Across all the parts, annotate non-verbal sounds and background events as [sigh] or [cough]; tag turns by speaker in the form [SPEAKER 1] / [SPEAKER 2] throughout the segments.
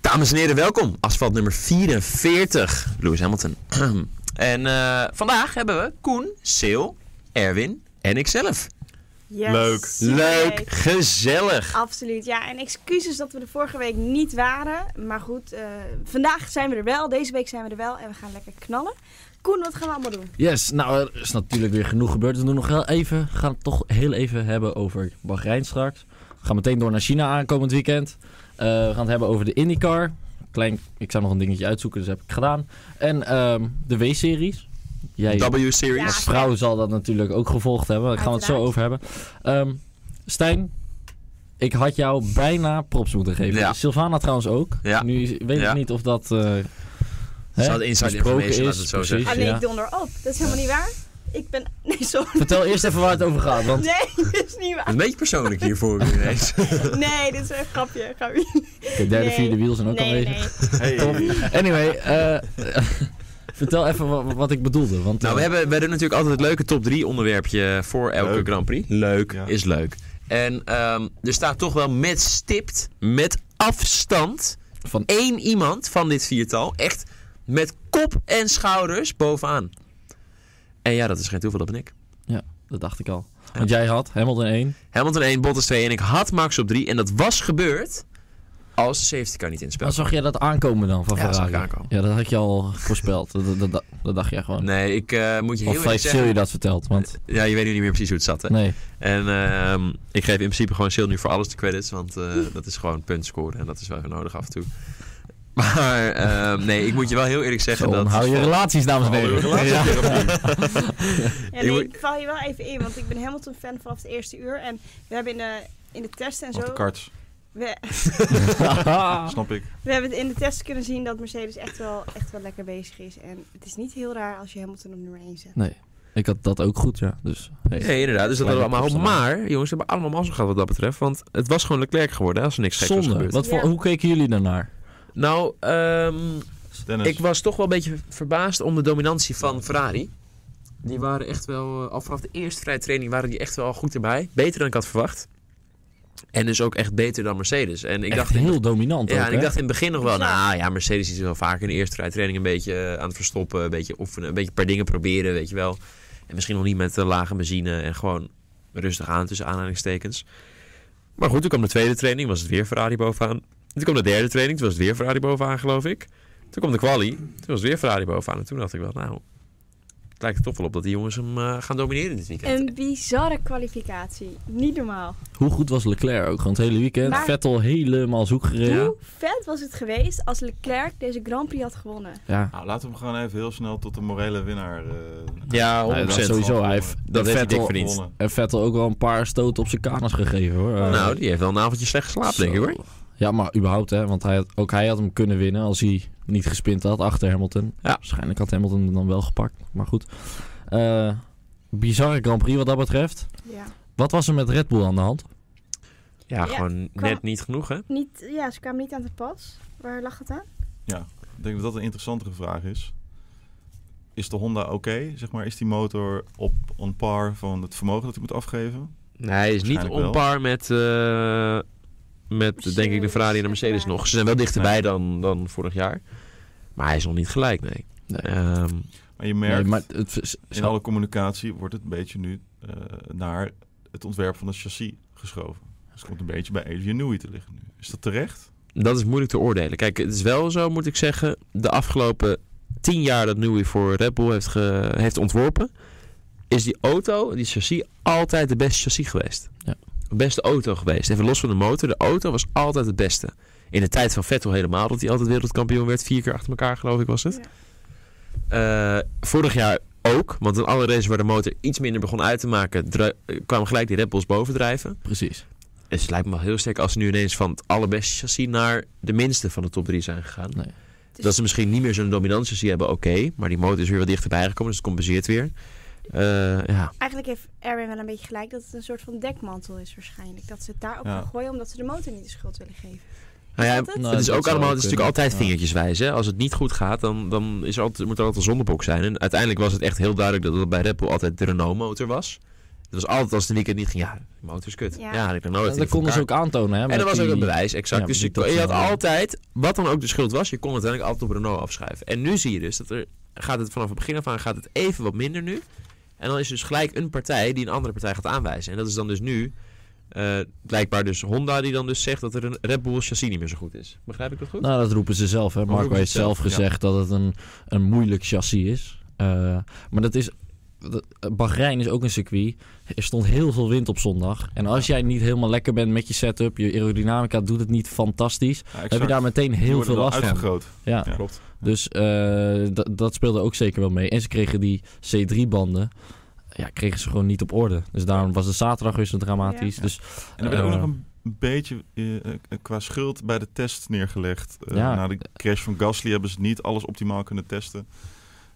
[SPEAKER 1] Dames en heren, welkom. Asfalt nummer 44. Lewis Hamilton. [clears throat] en eh, vandaag hebben we Koen, Sil, Erwin en ikzelf.
[SPEAKER 2] Yes.
[SPEAKER 3] Leuk.
[SPEAKER 1] Leuk,
[SPEAKER 2] Superleuk.
[SPEAKER 1] gezellig.
[SPEAKER 2] Absoluut, ja. En excuses dat we er vorige week niet waren. Maar goed, eh, vandaag zijn we er wel. Deze week zijn we er wel. En we gaan lekker knallen. Koen, wat gaan we allemaal doen?
[SPEAKER 4] Yes, nou er is natuurlijk weer genoeg gebeurd. We doen nog heel even, gaan het toch heel even hebben over Bahrein straks. We gaan meteen door naar China aankomend weekend. Eh, we gaan het hebben over de IndyCar. Klein, ik zou nog een dingetje uitzoeken, dus heb ik gedaan. En ehm, de W-series. Jij
[SPEAKER 1] W-series.
[SPEAKER 4] als vrouw zal dat natuurlijk ook gevolgd hebben. Daar gaan we het zo over hebben. Ehm, Stijn, ik had jou bijna props moeten geven.
[SPEAKER 1] Ja.
[SPEAKER 4] Sylvana trouwens ook.
[SPEAKER 1] Ja.
[SPEAKER 4] Nu is- weet
[SPEAKER 1] Ja.
[SPEAKER 4] ik niet of dat... eh,
[SPEAKER 1] Ze
[SPEAKER 4] hè,
[SPEAKER 1] hadden inside
[SPEAKER 4] besproken
[SPEAKER 1] information, laten
[SPEAKER 4] is,
[SPEAKER 1] we het zo
[SPEAKER 4] precies,
[SPEAKER 1] zeggen.
[SPEAKER 2] Ah nee,
[SPEAKER 4] ja.
[SPEAKER 2] ik donder op. Dat is helemaal niet waar. Ik ben... [laughs] Nee, sorry.
[SPEAKER 4] Vertel eerst even waar het over gaat, want
[SPEAKER 2] Nee, [laughs] dat is niet waar.
[SPEAKER 1] Een beetje persoonlijk hier voor u
[SPEAKER 3] [laughs]
[SPEAKER 1] ineens.
[SPEAKER 2] Nee, dit is een grapje. een grapje.
[SPEAKER 4] de derde,
[SPEAKER 2] Nee.
[SPEAKER 4] vierde wiel zijn ook
[SPEAKER 2] Nee,
[SPEAKER 4] aanwezig. [laughs]
[SPEAKER 2] nee.
[SPEAKER 4] Anyway, eh, [laughs] vertel even wa- wat, ik bedoelde. Want,
[SPEAKER 1] Nou, we,
[SPEAKER 4] eh,
[SPEAKER 1] hebben, we doen natuurlijk altijd het leuke top 3 onderwerpje voor elke
[SPEAKER 3] Leuk.
[SPEAKER 1] Grand Prix. Leuk
[SPEAKER 3] Ja.
[SPEAKER 1] is leuk. En ehm, er staat toch wel met stipt, met afstand,
[SPEAKER 4] van,
[SPEAKER 1] één iemand van dit viertal echt met kop en schouders bovenaan. En ja, dat is geen toeval, dat ben ik.
[SPEAKER 4] ja, dat dacht ik al. Want jij had Hamilton 1.
[SPEAKER 1] Hamilton 1, Bottas 2 en ik had Max op 3. En dat was gebeurd als de safety car niet in het spel
[SPEAKER 4] Maar zag jij dat aankomen dan van
[SPEAKER 1] Ja, dat
[SPEAKER 4] Ferrari?
[SPEAKER 1] zag ik aankomen.
[SPEAKER 4] Ja, dat had je al voorspeld. Dat, dat, dat, dat dacht jij gewoon.
[SPEAKER 1] kwam. Nee, ik eh, moet je heel
[SPEAKER 4] of
[SPEAKER 1] eerlijk
[SPEAKER 4] vijf Sil
[SPEAKER 1] zeggen...
[SPEAKER 4] je dat verteld. Want,
[SPEAKER 1] Ja, je weet nu niet meer precies hoe het zat, hè?
[SPEAKER 4] nee.
[SPEAKER 1] En ehm, ik geef in principe gewoon Sil nu voor alles de credits. Want eh, dat is gewoon punt scoren. En dat is wel even nodig af en toe. [laughs] Maar ehm, nee, ik moet je wel heel eerlijk zeggen
[SPEAKER 4] Zo,
[SPEAKER 1] dat... Oh,
[SPEAKER 4] hou je relaties, dames en heren. [laughs] Ja.
[SPEAKER 2] Ja,
[SPEAKER 1] Ik
[SPEAKER 2] nee,
[SPEAKER 1] moet-
[SPEAKER 2] ik val je wel even in. Want ik ben Hamilton-fan vanaf het eerste uur. En we hebben in de, in de test en
[SPEAKER 3] Wat
[SPEAKER 2] zo...
[SPEAKER 3] de karts,
[SPEAKER 2] We, [laughs]
[SPEAKER 3] snap ik.
[SPEAKER 2] We hebben het in de test kunnen zien dat Mercedes echt wel, echt wel lekker bezig is. En het is niet heel raar als je Hamilton op nummer 1 zet.
[SPEAKER 4] nee, ik had dat ook goed, ja. Dus, hey.
[SPEAKER 1] Nee, inderdaad. Dus dat
[SPEAKER 4] Kleine
[SPEAKER 1] hadden we allemaal.
[SPEAKER 4] opstelling.
[SPEAKER 1] Maar, jongens, we hebben allemaal mazzel gehad wat dat betreft. Want het was gewoon Leclerc geworden hè, als er niks geks was
[SPEAKER 4] Zonde.
[SPEAKER 1] gebeurd.
[SPEAKER 4] Wat voor,
[SPEAKER 2] Ja.
[SPEAKER 4] Hoe keken jullie daarnaar?
[SPEAKER 1] Nou, ehm,
[SPEAKER 3] Dennis.
[SPEAKER 1] ik was toch wel een beetje verbaasd om de dominantie van Ferrari. Die waren echt wel, eh, al vanaf de eerste vrije training waren die echt wel goed erbij. Beter dan ik had verwacht. En dus ook echt beter dan Mercedes. En ik
[SPEAKER 4] Echt
[SPEAKER 1] dacht
[SPEAKER 4] heel dominant
[SPEAKER 1] Ja,
[SPEAKER 4] ook,
[SPEAKER 1] en ik
[SPEAKER 4] hè?
[SPEAKER 1] dacht in het begin nog wel,
[SPEAKER 2] Ja.
[SPEAKER 1] nou ja, Mercedes is wel vaak in de eerste rijtraining een beetje eh, aan het verstoppen, een beetje oefenen, een beetje een paar dingen proberen, weet je wel. En misschien nog niet met eh, lage benzine en gewoon rustig aan tussen aanhalingstekens. Maar goed, toen kwam de tweede training, was het weer Ferrari bovenaan. Toen kwam de derde training, toen was het weer Ferrari bovenaan, geloof ik. Toen kwam de quali, toen was het weer Ferrari bovenaan. En toen dacht ik wel, nou, het lijkt er toch wel op dat die jongens hem eh, gaan domineren dit weekend.
[SPEAKER 2] Een bizarre kwalificatie. Niet normaal.
[SPEAKER 4] Hoe goed was Leclerc ook? Gewoon het hele weekend.
[SPEAKER 2] Maar-
[SPEAKER 4] Vettel helemaal zoek gereden.
[SPEAKER 2] Hoe vet was het geweest als Leclerc deze Grand Prix had gewonnen?
[SPEAKER 4] Ja.
[SPEAKER 3] Nou, laten we hem gewoon even heel snel tot de morele winnaar. eh,
[SPEAKER 1] Ja,
[SPEAKER 4] Nee, dat
[SPEAKER 3] 100%.
[SPEAKER 4] sowieso. Hij heeft,
[SPEAKER 1] Dat heeft hij dik
[SPEAKER 4] Vettel-
[SPEAKER 1] verdiend.
[SPEAKER 3] gewonnen.
[SPEAKER 4] En Vettel ook wel een paar stoten op zijn kanus gegeven hoor. Eh,
[SPEAKER 1] Nou, die heeft wel een avondje slecht geslapen,
[SPEAKER 4] zo.
[SPEAKER 1] denk ik hoor.
[SPEAKER 4] Ja, maar überhaupt hè. Want hij had, ook hij had hem kunnen winnen als hij niet gespint had achter Hamilton.
[SPEAKER 1] Ja.
[SPEAKER 4] Waarschijnlijk had Hamilton hem dan wel gepakt. Maar goed. Eh, bizarre Grand Prix wat dat betreft.
[SPEAKER 2] Ja.
[SPEAKER 4] Wat was er met Red Bull aan de hand?
[SPEAKER 1] Ja,
[SPEAKER 2] Ja,
[SPEAKER 1] gewoon
[SPEAKER 2] kwam-
[SPEAKER 1] net niet genoeg, hè?
[SPEAKER 2] Niet, ja, ze kwamen niet aan het pas. Waar lag het aan?
[SPEAKER 3] Ik denk dat dat een interessantere vraag is. Is de Honda oké? Zeg maar, is die motor op on par van het vermogen dat hij moet afgeven?
[SPEAKER 1] Nee, hij is niet
[SPEAKER 3] Waarschijnlijk
[SPEAKER 1] on
[SPEAKER 3] wel.
[SPEAKER 1] par met, eh, met denk ik, de
[SPEAKER 2] Mercedes,
[SPEAKER 1] Ferrari en de Mercedes
[SPEAKER 2] echt waar.
[SPEAKER 1] nog. Ze zijn wel dichterbij dan, dan vorig jaar. Maar hij is nog niet gelijk, nee.
[SPEAKER 4] Nee.
[SPEAKER 1] Ehm,
[SPEAKER 3] Maar je merkt,
[SPEAKER 4] Nee, maar het, is-
[SPEAKER 3] in alle communicatie wordt het een beetje nu eh, naar het ontwerp van het chassis geschoven. Dus het komt een beetje bij Adrian Newey te liggen nu. Is dat terecht?
[SPEAKER 1] dat is moeilijk te oordelen. Kijk, het is wel zo, moet ik zeggen, de afgelopen tien jaar dat Newey voor Red Bull heeft, ge- heeft ontworpen, is die auto, die chassis, altijd de beste chassis geweest.
[SPEAKER 4] Ja.
[SPEAKER 1] De beste auto geweest. Even los van de motor, de auto was altijd het beste. In de tijd van Vettel helemaal, dat hij altijd wereldkampioen werd. Vier keer achter elkaar, geloof ik, was het. Eh, vorig jaar ook, want in alle races waar de motor iets minder begon uit te maken, dru- eh, kwamen gelijk die Red Bulls bovendrijven.
[SPEAKER 4] precies.
[SPEAKER 1] Dus het lijkt me wel heel sterk als ze nu ineens van het allerbeste chassis naar de minste van de top 3 zijn gegaan.
[SPEAKER 4] Nee.
[SPEAKER 2] Dus
[SPEAKER 1] Dat ze misschien niet meer zo'n dominant chassis hebben, oké, maar die motor is weer wat dichterbij gekomen, dus het compenseert weer. Eh, ja.
[SPEAKER 2] Eigenlijk heeft Erwin wel een beetje gelijk dat het een soort van dekmantel is waarschijnlijk. Dat ze het daarop
[SPEAKER 3] Ja.
[SPEAKER 2] gaan gooien omdat ze de motor niet de schuld willen geven.
[SPEAKER 1] Nou ja,
[SPEAKER 2] Is dat het?
[SPEAKER 1] het is ook
[SPEAKER 4] Nou, dat zou
[SPEAKER 1] allemaal,
[SPEAKER 4] ook
[SPEAKER 1] het is natuurlijk
[SPEAKER 4] kunnen.
[SPEAKER 1] altijd
[SPEAKER 4] Ja.
[SPEAKER 1] vingertjeswijs. Hè? Als het niet goed gaat, dan, dan is er altijd, moet er altijd een zondebok zijn. En uiteindelijk was het echt heel duidelijk dat het bij Red Bull altijd de Renault motor was. Het was altijd als de weekend niet ging, ja, de motor is kut.
[SPEAKER 2] Ja.
[SPEAKER 1] Ja, dat heb ik nog nooit.
[SPEAKER 4] dat konden ze ook aantonen, hè?
[SPEAKER 1] En
[SPEAKER 4] met
[SPEAKER 1] dat was ook
[SPEAKER 4] die-
[SPEAKER 1] het bewijs, exact.
[SPEAKER 4] ja,
[SPEAKER 1] dus je,
[SPEAKER 4] die
[SPEAKER 1] kon- je had
[SPEAKER 4] toetsen.
[SPEAKER 1] altijd, wat dan ook de schuld was, je kon het uiteindelijk altijd op Renault afschrijven. En nu zie je dus dat er gaat het vanaf het begin af aan gaat het even wat minder nu. En dan is er dus gelijk een partij die een andere partij gaat aanwijzen. En dat is dan dus nu eh, blijkbaar dus Honda die dan dus zegt dat er een Red Bull chassis niet meer zo goed is. Begrijp ik dat goed?
[SPEAKER 4] Nou, dat roepen ze zelf. Hè. Marco
[SPEAKER 1] roepen ze
[SPEAKER 4] heeft zelf
[SPEAKER 1] zelf, ja.
[SPEAKER 4] gezegd dat het een, een moeilijk chassis is. Eh, maar dat is. dat- Bahrein is ook een circuit. Er stond heel veel wind op zondag. En als jij niet helemaal lekker bent met je setup, je aerodynamica doet het niet fantastisch. Heb je daar meteen heel veel last van.
[SPEAKER 3] uitvergroot.
[SPEAKER 4] Ja.
[SPEAKER 3] Ja.
[SPEAKER 1] Klopt.
[SPEAKER 4] Dus eh, dat- dat speelde ook zeker wel mee. En ze kregen die C3-banden. Ja, kregen ze gewoon niet op orde. Dus daarom was de zaterdag weer zo dramatisch.
[SPEAKER 3] Ja.
[SPEAKER 4] Dus
[SPEAKER 3] En er werd ook
[SPEAKER 4] Eh.
[SPEAKER 3] nog een beetje eh, eh, qua schuld bij de test neergelegd. Eh,
[SPEAKER 4] Ja.
[SPEAKER 3] Na de crash van Gasly hebben ze niet alles optimaal kunnen testen.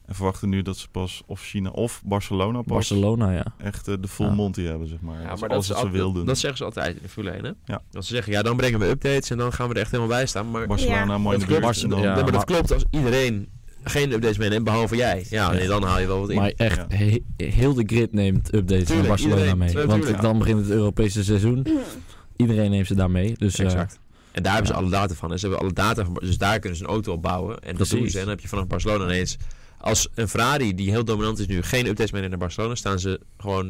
[SPEAKER 3] En verwachten nu dat ze pas of China of Barcelona pas
[SPEAKER 4] Barcelona, ja.
[SPEAKER 3] echt eh, de full
[SPEAKER 4] Ja.
[SPEAKER 3] monty hebben, zeg maar.
[SPEAKER 1] Ja,
[SPEAKER 3] dat
[SPEAKER 1] maar
[SPEAKER 3] is
[SPEAKER 1] dat,
[SPEAKER 3] alles
[SPEAKER 1] ze
[SPEAKER 3] wat ze
[SPEAKER 1] al-
[SPEAKER 3] wilden.
[SPEAKER 1] dat zeggen ze altijd in de Formule 1, hè?
[SPEAKER 3] Ja.
[SPEAKER 1] Dat ze zeggen, ja, dan brengen we updates en dan gaan we er echt helemaal bij staan. Maar
[SPEAKER 3] Barcelona, mooi in de
[SPEAKER 1] Dat klopt.
[SPEAKER 3] buurt. En dan-
[SPEAKER 4] Ja.
[SPEAKER 1] Ja, maar
[SPEAKER 4] maar-
[SPEAKER 1] dat klopt als iedereen geen updates meeneemt, behalve jij. Ja, nee, dan haal je wel wat in.
[SPEAKER 4] Maar echt,
[SPEAKER 3] Ja.
[SPEAKER 4] he- heel de grid neemt updates van
[SPEAKER 1] Tuurlijk,
[SPEAKER 4] Barcelona
[SPEAKER 1] iedereen.
[SPEAKER 4] mee.
[SPEAKER 1] Ja,
[SPEAKER 4] Want
[SPEAKER 1] tuurlijk.
[SPEAKER 4] dan begint het Europese seizoen. Iedereen neemt ze daar mee. Dus eh,
[SPEAKER 1] exact. En daar hebben ze alle data van. En ze hebben alle data van, dus daar kunnen ze een auto op bouwen. En dat
[SPEAKER 4] Precies.
[SPEAKER 1] doen ze. En dan heb je vanaf Barcelona ineens... Als een Ferrari, die heel dominant is nu, geen updates meeneemt naar Barcelona... staan ze gewoon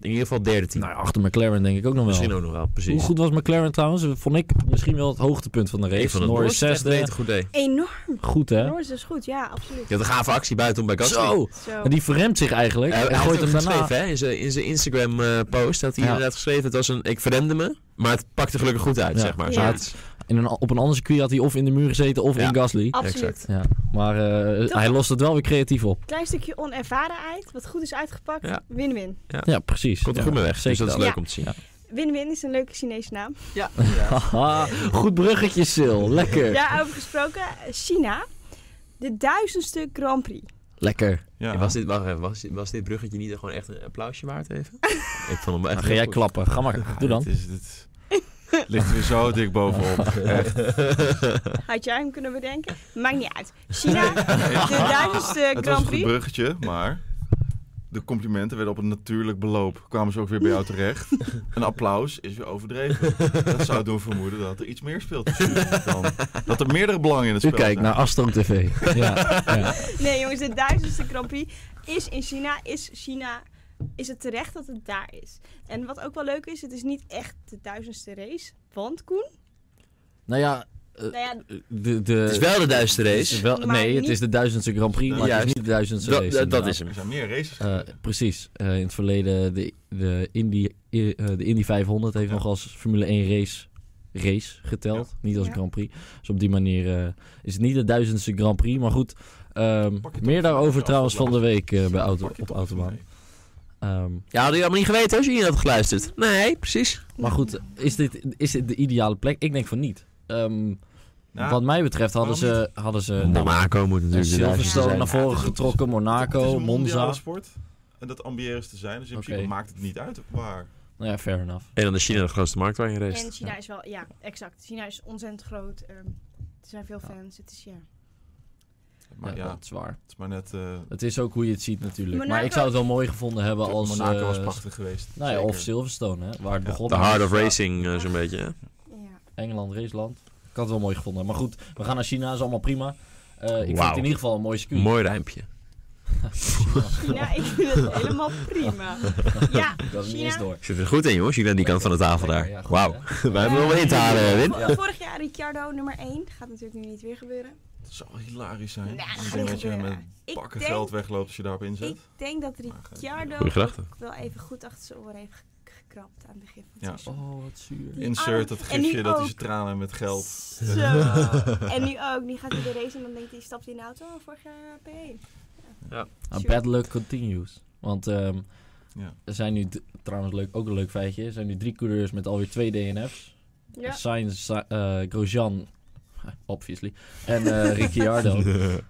[SPEAKER 1] in ieder geval derde team.
[SPEAKER 4] nou, ja, achter McLaren denk ik ook nog wel.
[SPEAKER 1] Misschien ook nog wel,
[SPEAKER 4] Hoe
[SPEAKER 1] precies.
[SPEAKER 4] goed was McLaren trouwens? Vond ik misschien wel het hoogtepunt van de race.
[SPEAKER 1] Ik vond het
[SPEAKER 4] Norris
[SPEAKER 1] Norris echt
[SPEAKER 4] zesde.
[SPEAKER 1] een goed idee.
[SPEAKER 2] Enorm.
[SPEAKER 4] Goed hè?
[SPEAKER 2] Norris is goed, ja, absoluut.
[SPEAKER 1] Je had een gave actie buiten om bij Gasly.
[SPEAKER 4] Zo!
[SPEAKER 2] Zo.
[SPEAKER 4] En die verremt zich eigenlijk.
[SPEAKER 1] Hij,
[SPEAKER 4] en
[SPEAKER 1] hij
[SPEAKER 4] gooit hem daarna.
[SPEAKER 1] geschreven, hè? In zijn, in zijn Instagram eh, post had hij
[SPEAKER 4] Ja.
[SPEAKER 1] inderdaad geschreven... het was een, ik verremde me, maar het pakte gelukkig goed uit,
[SPEAKER 4] Ja.
[SPEAKER 1] zeg maar.
[SPEAKER 2] Ja.
[SPEAKER 1] Zoiets.
[SPEAKER 4] In een, op een ander circuit had hij of in de muur gezeten of
[SPEAKER 1] Ja.
[SPEAKER 4] in Gasly.
[SPEAKER 2] Absoluut.
[SPEAKER 1] Exact.
[SPEAKER 4] Ja. Maar eh,
[SPEAKER 2] Toch?
[SPEAKER 4] hij lost het wel weer creatief op.
[SPEAKER 2] Klein stukje onervarenheid, wat goed is uitgepakt.
[SPEAKER 1] Ja.
[SPEAKER 2] Win-win.
[SPEAKER 4] Ja, precies.
[SPEAKER 1] Komt er
[SPEAKER 4] Ja,
[SPEAKER 1] goed mee weg,
[SPEAKER 4] zeker
[SPEAKER 1] dus dat is
[SPEAKER 2] dat.
[SPEAKER 1] leuk
[SPEAKER 2] Ja.
[SPEAKER 1] om te zien.
[SPEAKER 4] Ja.
[SPEAKER 2] Win-win is een leuke Chinese naam.
[SPEAKER 4] Haha, [laughs] goed bruggetje, Sil. Lekker.
[SPEAKER 2] Daarover gesproken, China. De duizendste Grand Prix.
[SPEAKER 4] Lekker.
[SPEAKER 3] Ja.
[SPEAKER 1] Was, dit, wacht even, was, dit- was dit bruggetje niet gewoon echt een applausje waard [laughs] even? ik vond hem wel echt
[SPEAKER 4] Dan Nou, ga
[SPEAKER 1] heel
[SPEAKER 4] jij
[SPEAKER 1] goed.
[SPEAKER 4] klappen. Ga maar.
[SPEAKER 3] Ja,
[SPEAKER 4] Doe dan.
[SPEAKER 3] dit is, dit ligt
[SPEAKER 4] [laughs]
[SPEAKER 3] er weer zo dik bovenop. Echt.
[SPEAKER 2] Had jij hem kunnen bedenken? Maakt niet uit. China, de duizendste
[SPEAKER 3] Het was
[SPEAKER 2] Grand
[SPEAKER 3] een goed
[SPEAKER 2] Prix.
[SPEAKER 3] bruggetje, maar de complimenten werden op een natuurlijk beloop. Kwamen ze ook weer bij jou terecht.
[SPEAKER 2] [laughs]
[SPEAKER 3] Een applaus is weer overdreven. Dat zou doen vermoeden dat er iets meer speelt. Dan, dat er meerdere belangen in het
[SPEAKER 4] U
[SPEAKER 3] spel
[SPEAKER 4] kijkt naar Astro TV. [laughs] ja, ja.
[SPEAKER 2] Nee jongens, de duizendste Grand Prix is in China. Is China, is het terecht dat het daar is? En wat ook wel leuk is, het is niet echt de duizendste race. Want Koen,
[SPEAKER 4] Nou ja,
[SPEAKER 2] nou ja,
[SPEAKER 4] de, de,
[SPEAKER 1] Het is wel de duiste
[SPEAKER 4] het is
[SPEAKER 1] race.
[SPEAKER 4] wel-
[SPEAKER 2] Maar
[SPEAKER 4] nee, het
[SPEAKER 2] niet-
[SPEAKER 4] is de duizendste Grand Prix, maar het is
[SPEAKER 1] Juist.
[SPEAKER 4] niet de duizendste
[SPEAKER 1] Dat-
[SPEAKER 4] race.
[SPEAKER 1] dat- dat
[SPEAKER 4] inderdaad.
[SPEAKER 1] is hem.
[SPEAKER 3] Er zijn meer races.
[SPEAKER 4] Eh, precies. Eh, in het verleden, de, de, Indy, eh, de Indy 500 heeft
[SPEAKER 3] Ja.
[SPEAKER 4] nog als Formule 1 race, race geteld. Niet als
[SPEAKER 2] Ja.
[SPEAKER 4] Grand Prix. Dus op die manier eh, is het niet de duizendste Grand Prix. Maar goed, ehm,
[SPEAKER 3] Pak je toch
[SPEAKER 4] meer daarover
[SPEAKER 3] even
[SPEAKER 4] trouwens
[SPEAKER 3] af,
[SPEAKER 4] van de week eh, bij auto,
[SPEAKER 3] Pak je
[SPEAKER 4] op
[SPEAKER 3] toch
[SPEAKER 4] Autobaan.
[SPEAKER 3] even mee.
[SPEAKER 4] Ehm,
[SPEAKER 1] Ja, hadden jullie allemaal niet geweten als jullie had geluisterd. Eh, Nee, precies.
[SPEAKER 4] maar goed, is dit, is dit de ideale plek? Ik denk van niet. Ehm,
[SPEAKER 3] Nou,
[SPEAKER 4] Wat mij betreft hadden
[SPEAKER 3] waarom
[SPEAKER 4] ze, hadden ze nou,
[SPEAKER 1] Monaco moet
[SPEAKER 4] een
[SPEAKER 1] natuurlijk de duiste
[SPEAKER 4] Silverstone
[SPEAKER 2] zijn.
[SPEAKER 4] naar voren getrokken,
[SPEAKER 3] het is
[SPEAKER 4] Monaco,
[SPEAKER 3] een mondiale
[SPEAKER 4] Monza.
[SPEAKER 3] sport. En dat ambiëren is te zijn. Dus in
[SPEAKER 4] Oké.
[SPEAKER 3] principe maakt het niet uit waar.
[SPEAKER 4] Nou ja, fair enough.
[SPEAKER 1] En dan is China de grootste markt waar je race.
[SPEAKER 2] en China is wel, ja, exact. China is ontzettend groot. ehm, er zijn veel fans. Het is ja.
[SPEAKER 4] ja,
[SPEAKER 3] Maar ja,
[SPEAKER 4] dat is waar.
[SPEAKER 3] het is maar net... eh,
[SPEAKER 4] Het is ook hoe je het ziet natuurlijk. Maar
[SPEAKER 2] Monaco-
[SPEAKER 4] ik zou het wel mooi gevonden hebben als...
[SPEAKER 3] Monaco
[SPEAKER 4] eh,
[SPEAKER 3] was prachtig geweest.
[SPEAKER 4] Nou ja,
[SPEAKER 3] zeker.
[SPEAKER 4] of Silverstone, hè, waar het
[SPEAKER 3] Ja,
[SPEAKER 4] begon.
[SPEAKER 1] De hard of racing, eh, zo'n beetje. hè?
[SPEAKER 2] ja.
[SPEAKER 4] Engeland, Raceland. Ik had het wel mooi gevonden. Maar goed, we gaan naar China, is allemaal prima. Eh, ik vind
[SPEAKER 1] Wauw.
[SPEAKER 4] het in ieder geval een mooi circuit.
[SPEAKER 1] Mooi rijmpje.
[SPEAKER 2] China, ik vind het helemaal prima. Ja,
[SPEAKER 4] Dat is niet eens
[SPEAKER 2] China.
[SPEAKER 4] door.
[SPEAKER 1] Ik zit er goed in, jongens. Jullie aan die kant van de tafel
[SPEAKER 4] Lekker,
[SPEAKER 1] daar.
[SPEAKER 4] ja, goed,
[SPEAKER 1] Wauw.
[SPEAKER 4] hè.
[SPEAKER 1] [laughs] Wij hebben wel wat in te halen, hè, Win.
[SPEAKER 2] Vo-
[SPEAKER 4] Ja.
[SPEAKER 2] Vorig jaar Ricciardo nummer 1. Gaat natuurlijk nu niet weer gebeuren.
[SPEAKER 3] Het zou hilarisch zijn.
[SPEAKER 2] Nou, dat
[SPEAKER 3] ik
[SPEAKER 2] gaat
[SPEAKER 3] denk
[SPEAKER 2] niet
[SPEAKER 3] dat je
[SPEAKER 2] gebeuren.
[SPEAKER 3] met
[SPEAKER 2] Ik
[SPEAKER 3] bakken
[SPEAKER 2] denk-
[SPEAKER 3] geld wegloopt als je daarop inzet.
[SPEAKER 2] Ik denk dat Ricciardo
[SPEAKER 1] Goeie gedachte.
[SPEAKER 2] ook wel even goed achter zijn oren heeft ge- gekrapt aan het begin van het
[SPEAKER 3] Ja.
[SPEAKER 2] seizoen.
[SPEAKER 4] Oh, wat zuur.
[SPEAKER 2] Die
[SPEAKER 3] Insert dat
[SPEAKER 2] arm- en nu
[SPEAKER 3] gifje dat hij
[SPEAKER 2] ook.
[SPEAKER 3] zijn tranen met geld. [laughs]
[SPEAKER 2] Zo. en nu ook. Nu gaat hij de race en dan denkt hij, stapt hij in de auto. Oh, Vorig jaar P1.
[SPEAKER 4] Ah,
[SPEAKER 2] Sure.
[SPEAKER 4] bad luck continues. Want ehm,
[SPEAKER 3] Ja.
[SPEAKER 4] er zijn nu, d- trouwens leuk, ook een leuk feitje, er zijn nu drie coureurs met alweer twee DNF's.
[SPEAKER 2] Ja.
[SPEAKER 4] Sainz, Sa- eh, Grosjean, obviously, en
[SPEAKER 2] [laughs]
[SPEAKER 4] eh, Ricciardo.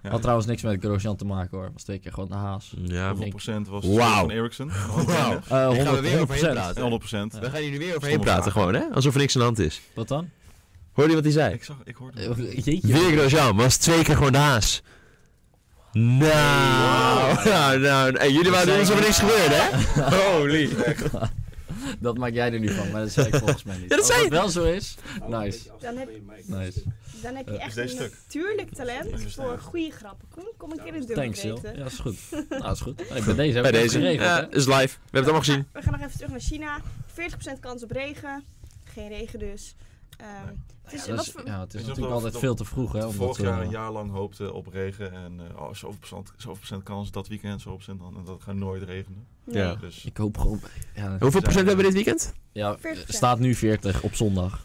[SPEAKER 4] Had trouwens niks met Grosjean te maken hoor, was twee keer gewoon de
[SPEAKER 1] [laughs]
[SPEAKER 4] haas.
[SPEAKER 1] Ja,
[SPEAKER 3] Hoeveel
[SPEAKER 4] ik-
[SPEAKER 3] procent was
[SPEAKER 1] Wauw.
[SPEAKER 3] van
[SPEAKER 4] [laughs]
[SPEAKER 3] Ericsson?
[SPEAKER 1] Wauw.
[SPEAKER 4] Eh
[SPEAKER 1] Hier gaan we
[SPEAKER 4] 100,
[SPEAKER 1] weer overheen
[SPEAKER 4] 100%.
[SPEAKER 1] praten.
[SPEAKER 3] 100 procent.
[SPEAKER 1] We gaan jullie weer overheen
[SPEAKER 3] Stomme
[SPEAKER 1] praten
[SPEAKER 3] vraag.
[SPEAKER 1] gewoon, hè? Alsof er niks aan de hand is.
[SPEAKER 4] Wat
[SPEAKER 2] [laughs]
[SPEAKER 4] dan?
[SPEAKER 1] Hoorde je wat hij zei?
[SPEAKER 3] Ik, zag, ik hoorde
[SPEAKER 4] Eh, Jeetje.
[SPEAKER 1] Weer Grosjean was twee keer gewoon de haas. Nou, nou, nou. En jullie waren
[SPEAKER 4] zijn-
[SPEAKER 1] alsof er niks gebeurde, hè? Holy.
[SPEAKER 4] Dat maak jij er nu van, maar
[SPEAKER 2] [laughs]
[SPEAKER 4] dat zei ik volgens mij niet.
[SPEAKER 1] Ja, dat zei
[SPEAKER 4] Als het wel zo is,
[SPEAKER 2] Oh,
[SPEAKER 4] nice.
[SPEAKER 2] Dan heb,
[SPEAKER 4] nice.
[SPEAKER 2] dan heb je echt
[SPEAKER 3] deze
[SPEAKER 2] een
[SPEAKER 3] stuk.
[SPEAKER 2] natuurlijk talent
[SPEAKER 3] Is
[SPEAKER 2] voor goede grappen. Kom, kom een keer een dubbel
[SPEAKER 4] Thanks, Sil. Ja, dat is goed.
[SPEAKER 2] [laughs]
[SPEAKER 4] Nou, dat is goed. Hey, bij deze
[SPEAKER 1] Bij
[SPEAKER 4] hebben we het
[SPEAKER 1] deze.
[SPEAKER 4] geregeld,
[SPEAKER 1] Ja,
[SPEAKER 4] hè?
[SPEAKER 1] is live. We hebben het allemaal gezien.
[SPEAKER 2] We gaan nog even terug naar China. 40% kans op regen. Geen regen dus. Ehm,
[SPEAKER 3] Nee.
[SPEAKER 2] het is,
[SPEAKER 4] Ja, dat
[SPEAKER 2] wat
[SPEAKER 4] is,
[SPEAKER 2] voor-
[SPEAKER 4] ja, het is
[SPEAKER 3] Is dat
[SPEAKER 4] natuurlijk
[SPEAKER 3] wel-
[SPEAKER 4] altijd veel te vroeg, hè? om
[SPEAKER 3] Vorig
[SPEAKER 4] dat, eh,
[SPEAKER 3] jaar een jaar lang hoopte op regen en eh oh, zoveel, procent, zoveel procent kans dat weekend, zoveel procent dan, en dat gaat nooit regenen.
[SPEAKER 2] nee.
[SPEAKER 1] Ja.
[SPEAKER 3] Dus
[SPEAKER 4] Ik hoop gewoon... Ja,
[SPEAKER 1] Hoeveel
[SPEAKER 3] Zijn
[SPEAKER 1] procent
[SPEAKER 3] we-
[SPEAKER 1] hebben we dit weekend?
[SPEAKER 4] ja,
[SPEAKER 2] 40%.
[SPEAKER 4] staat nu 40 op zondag.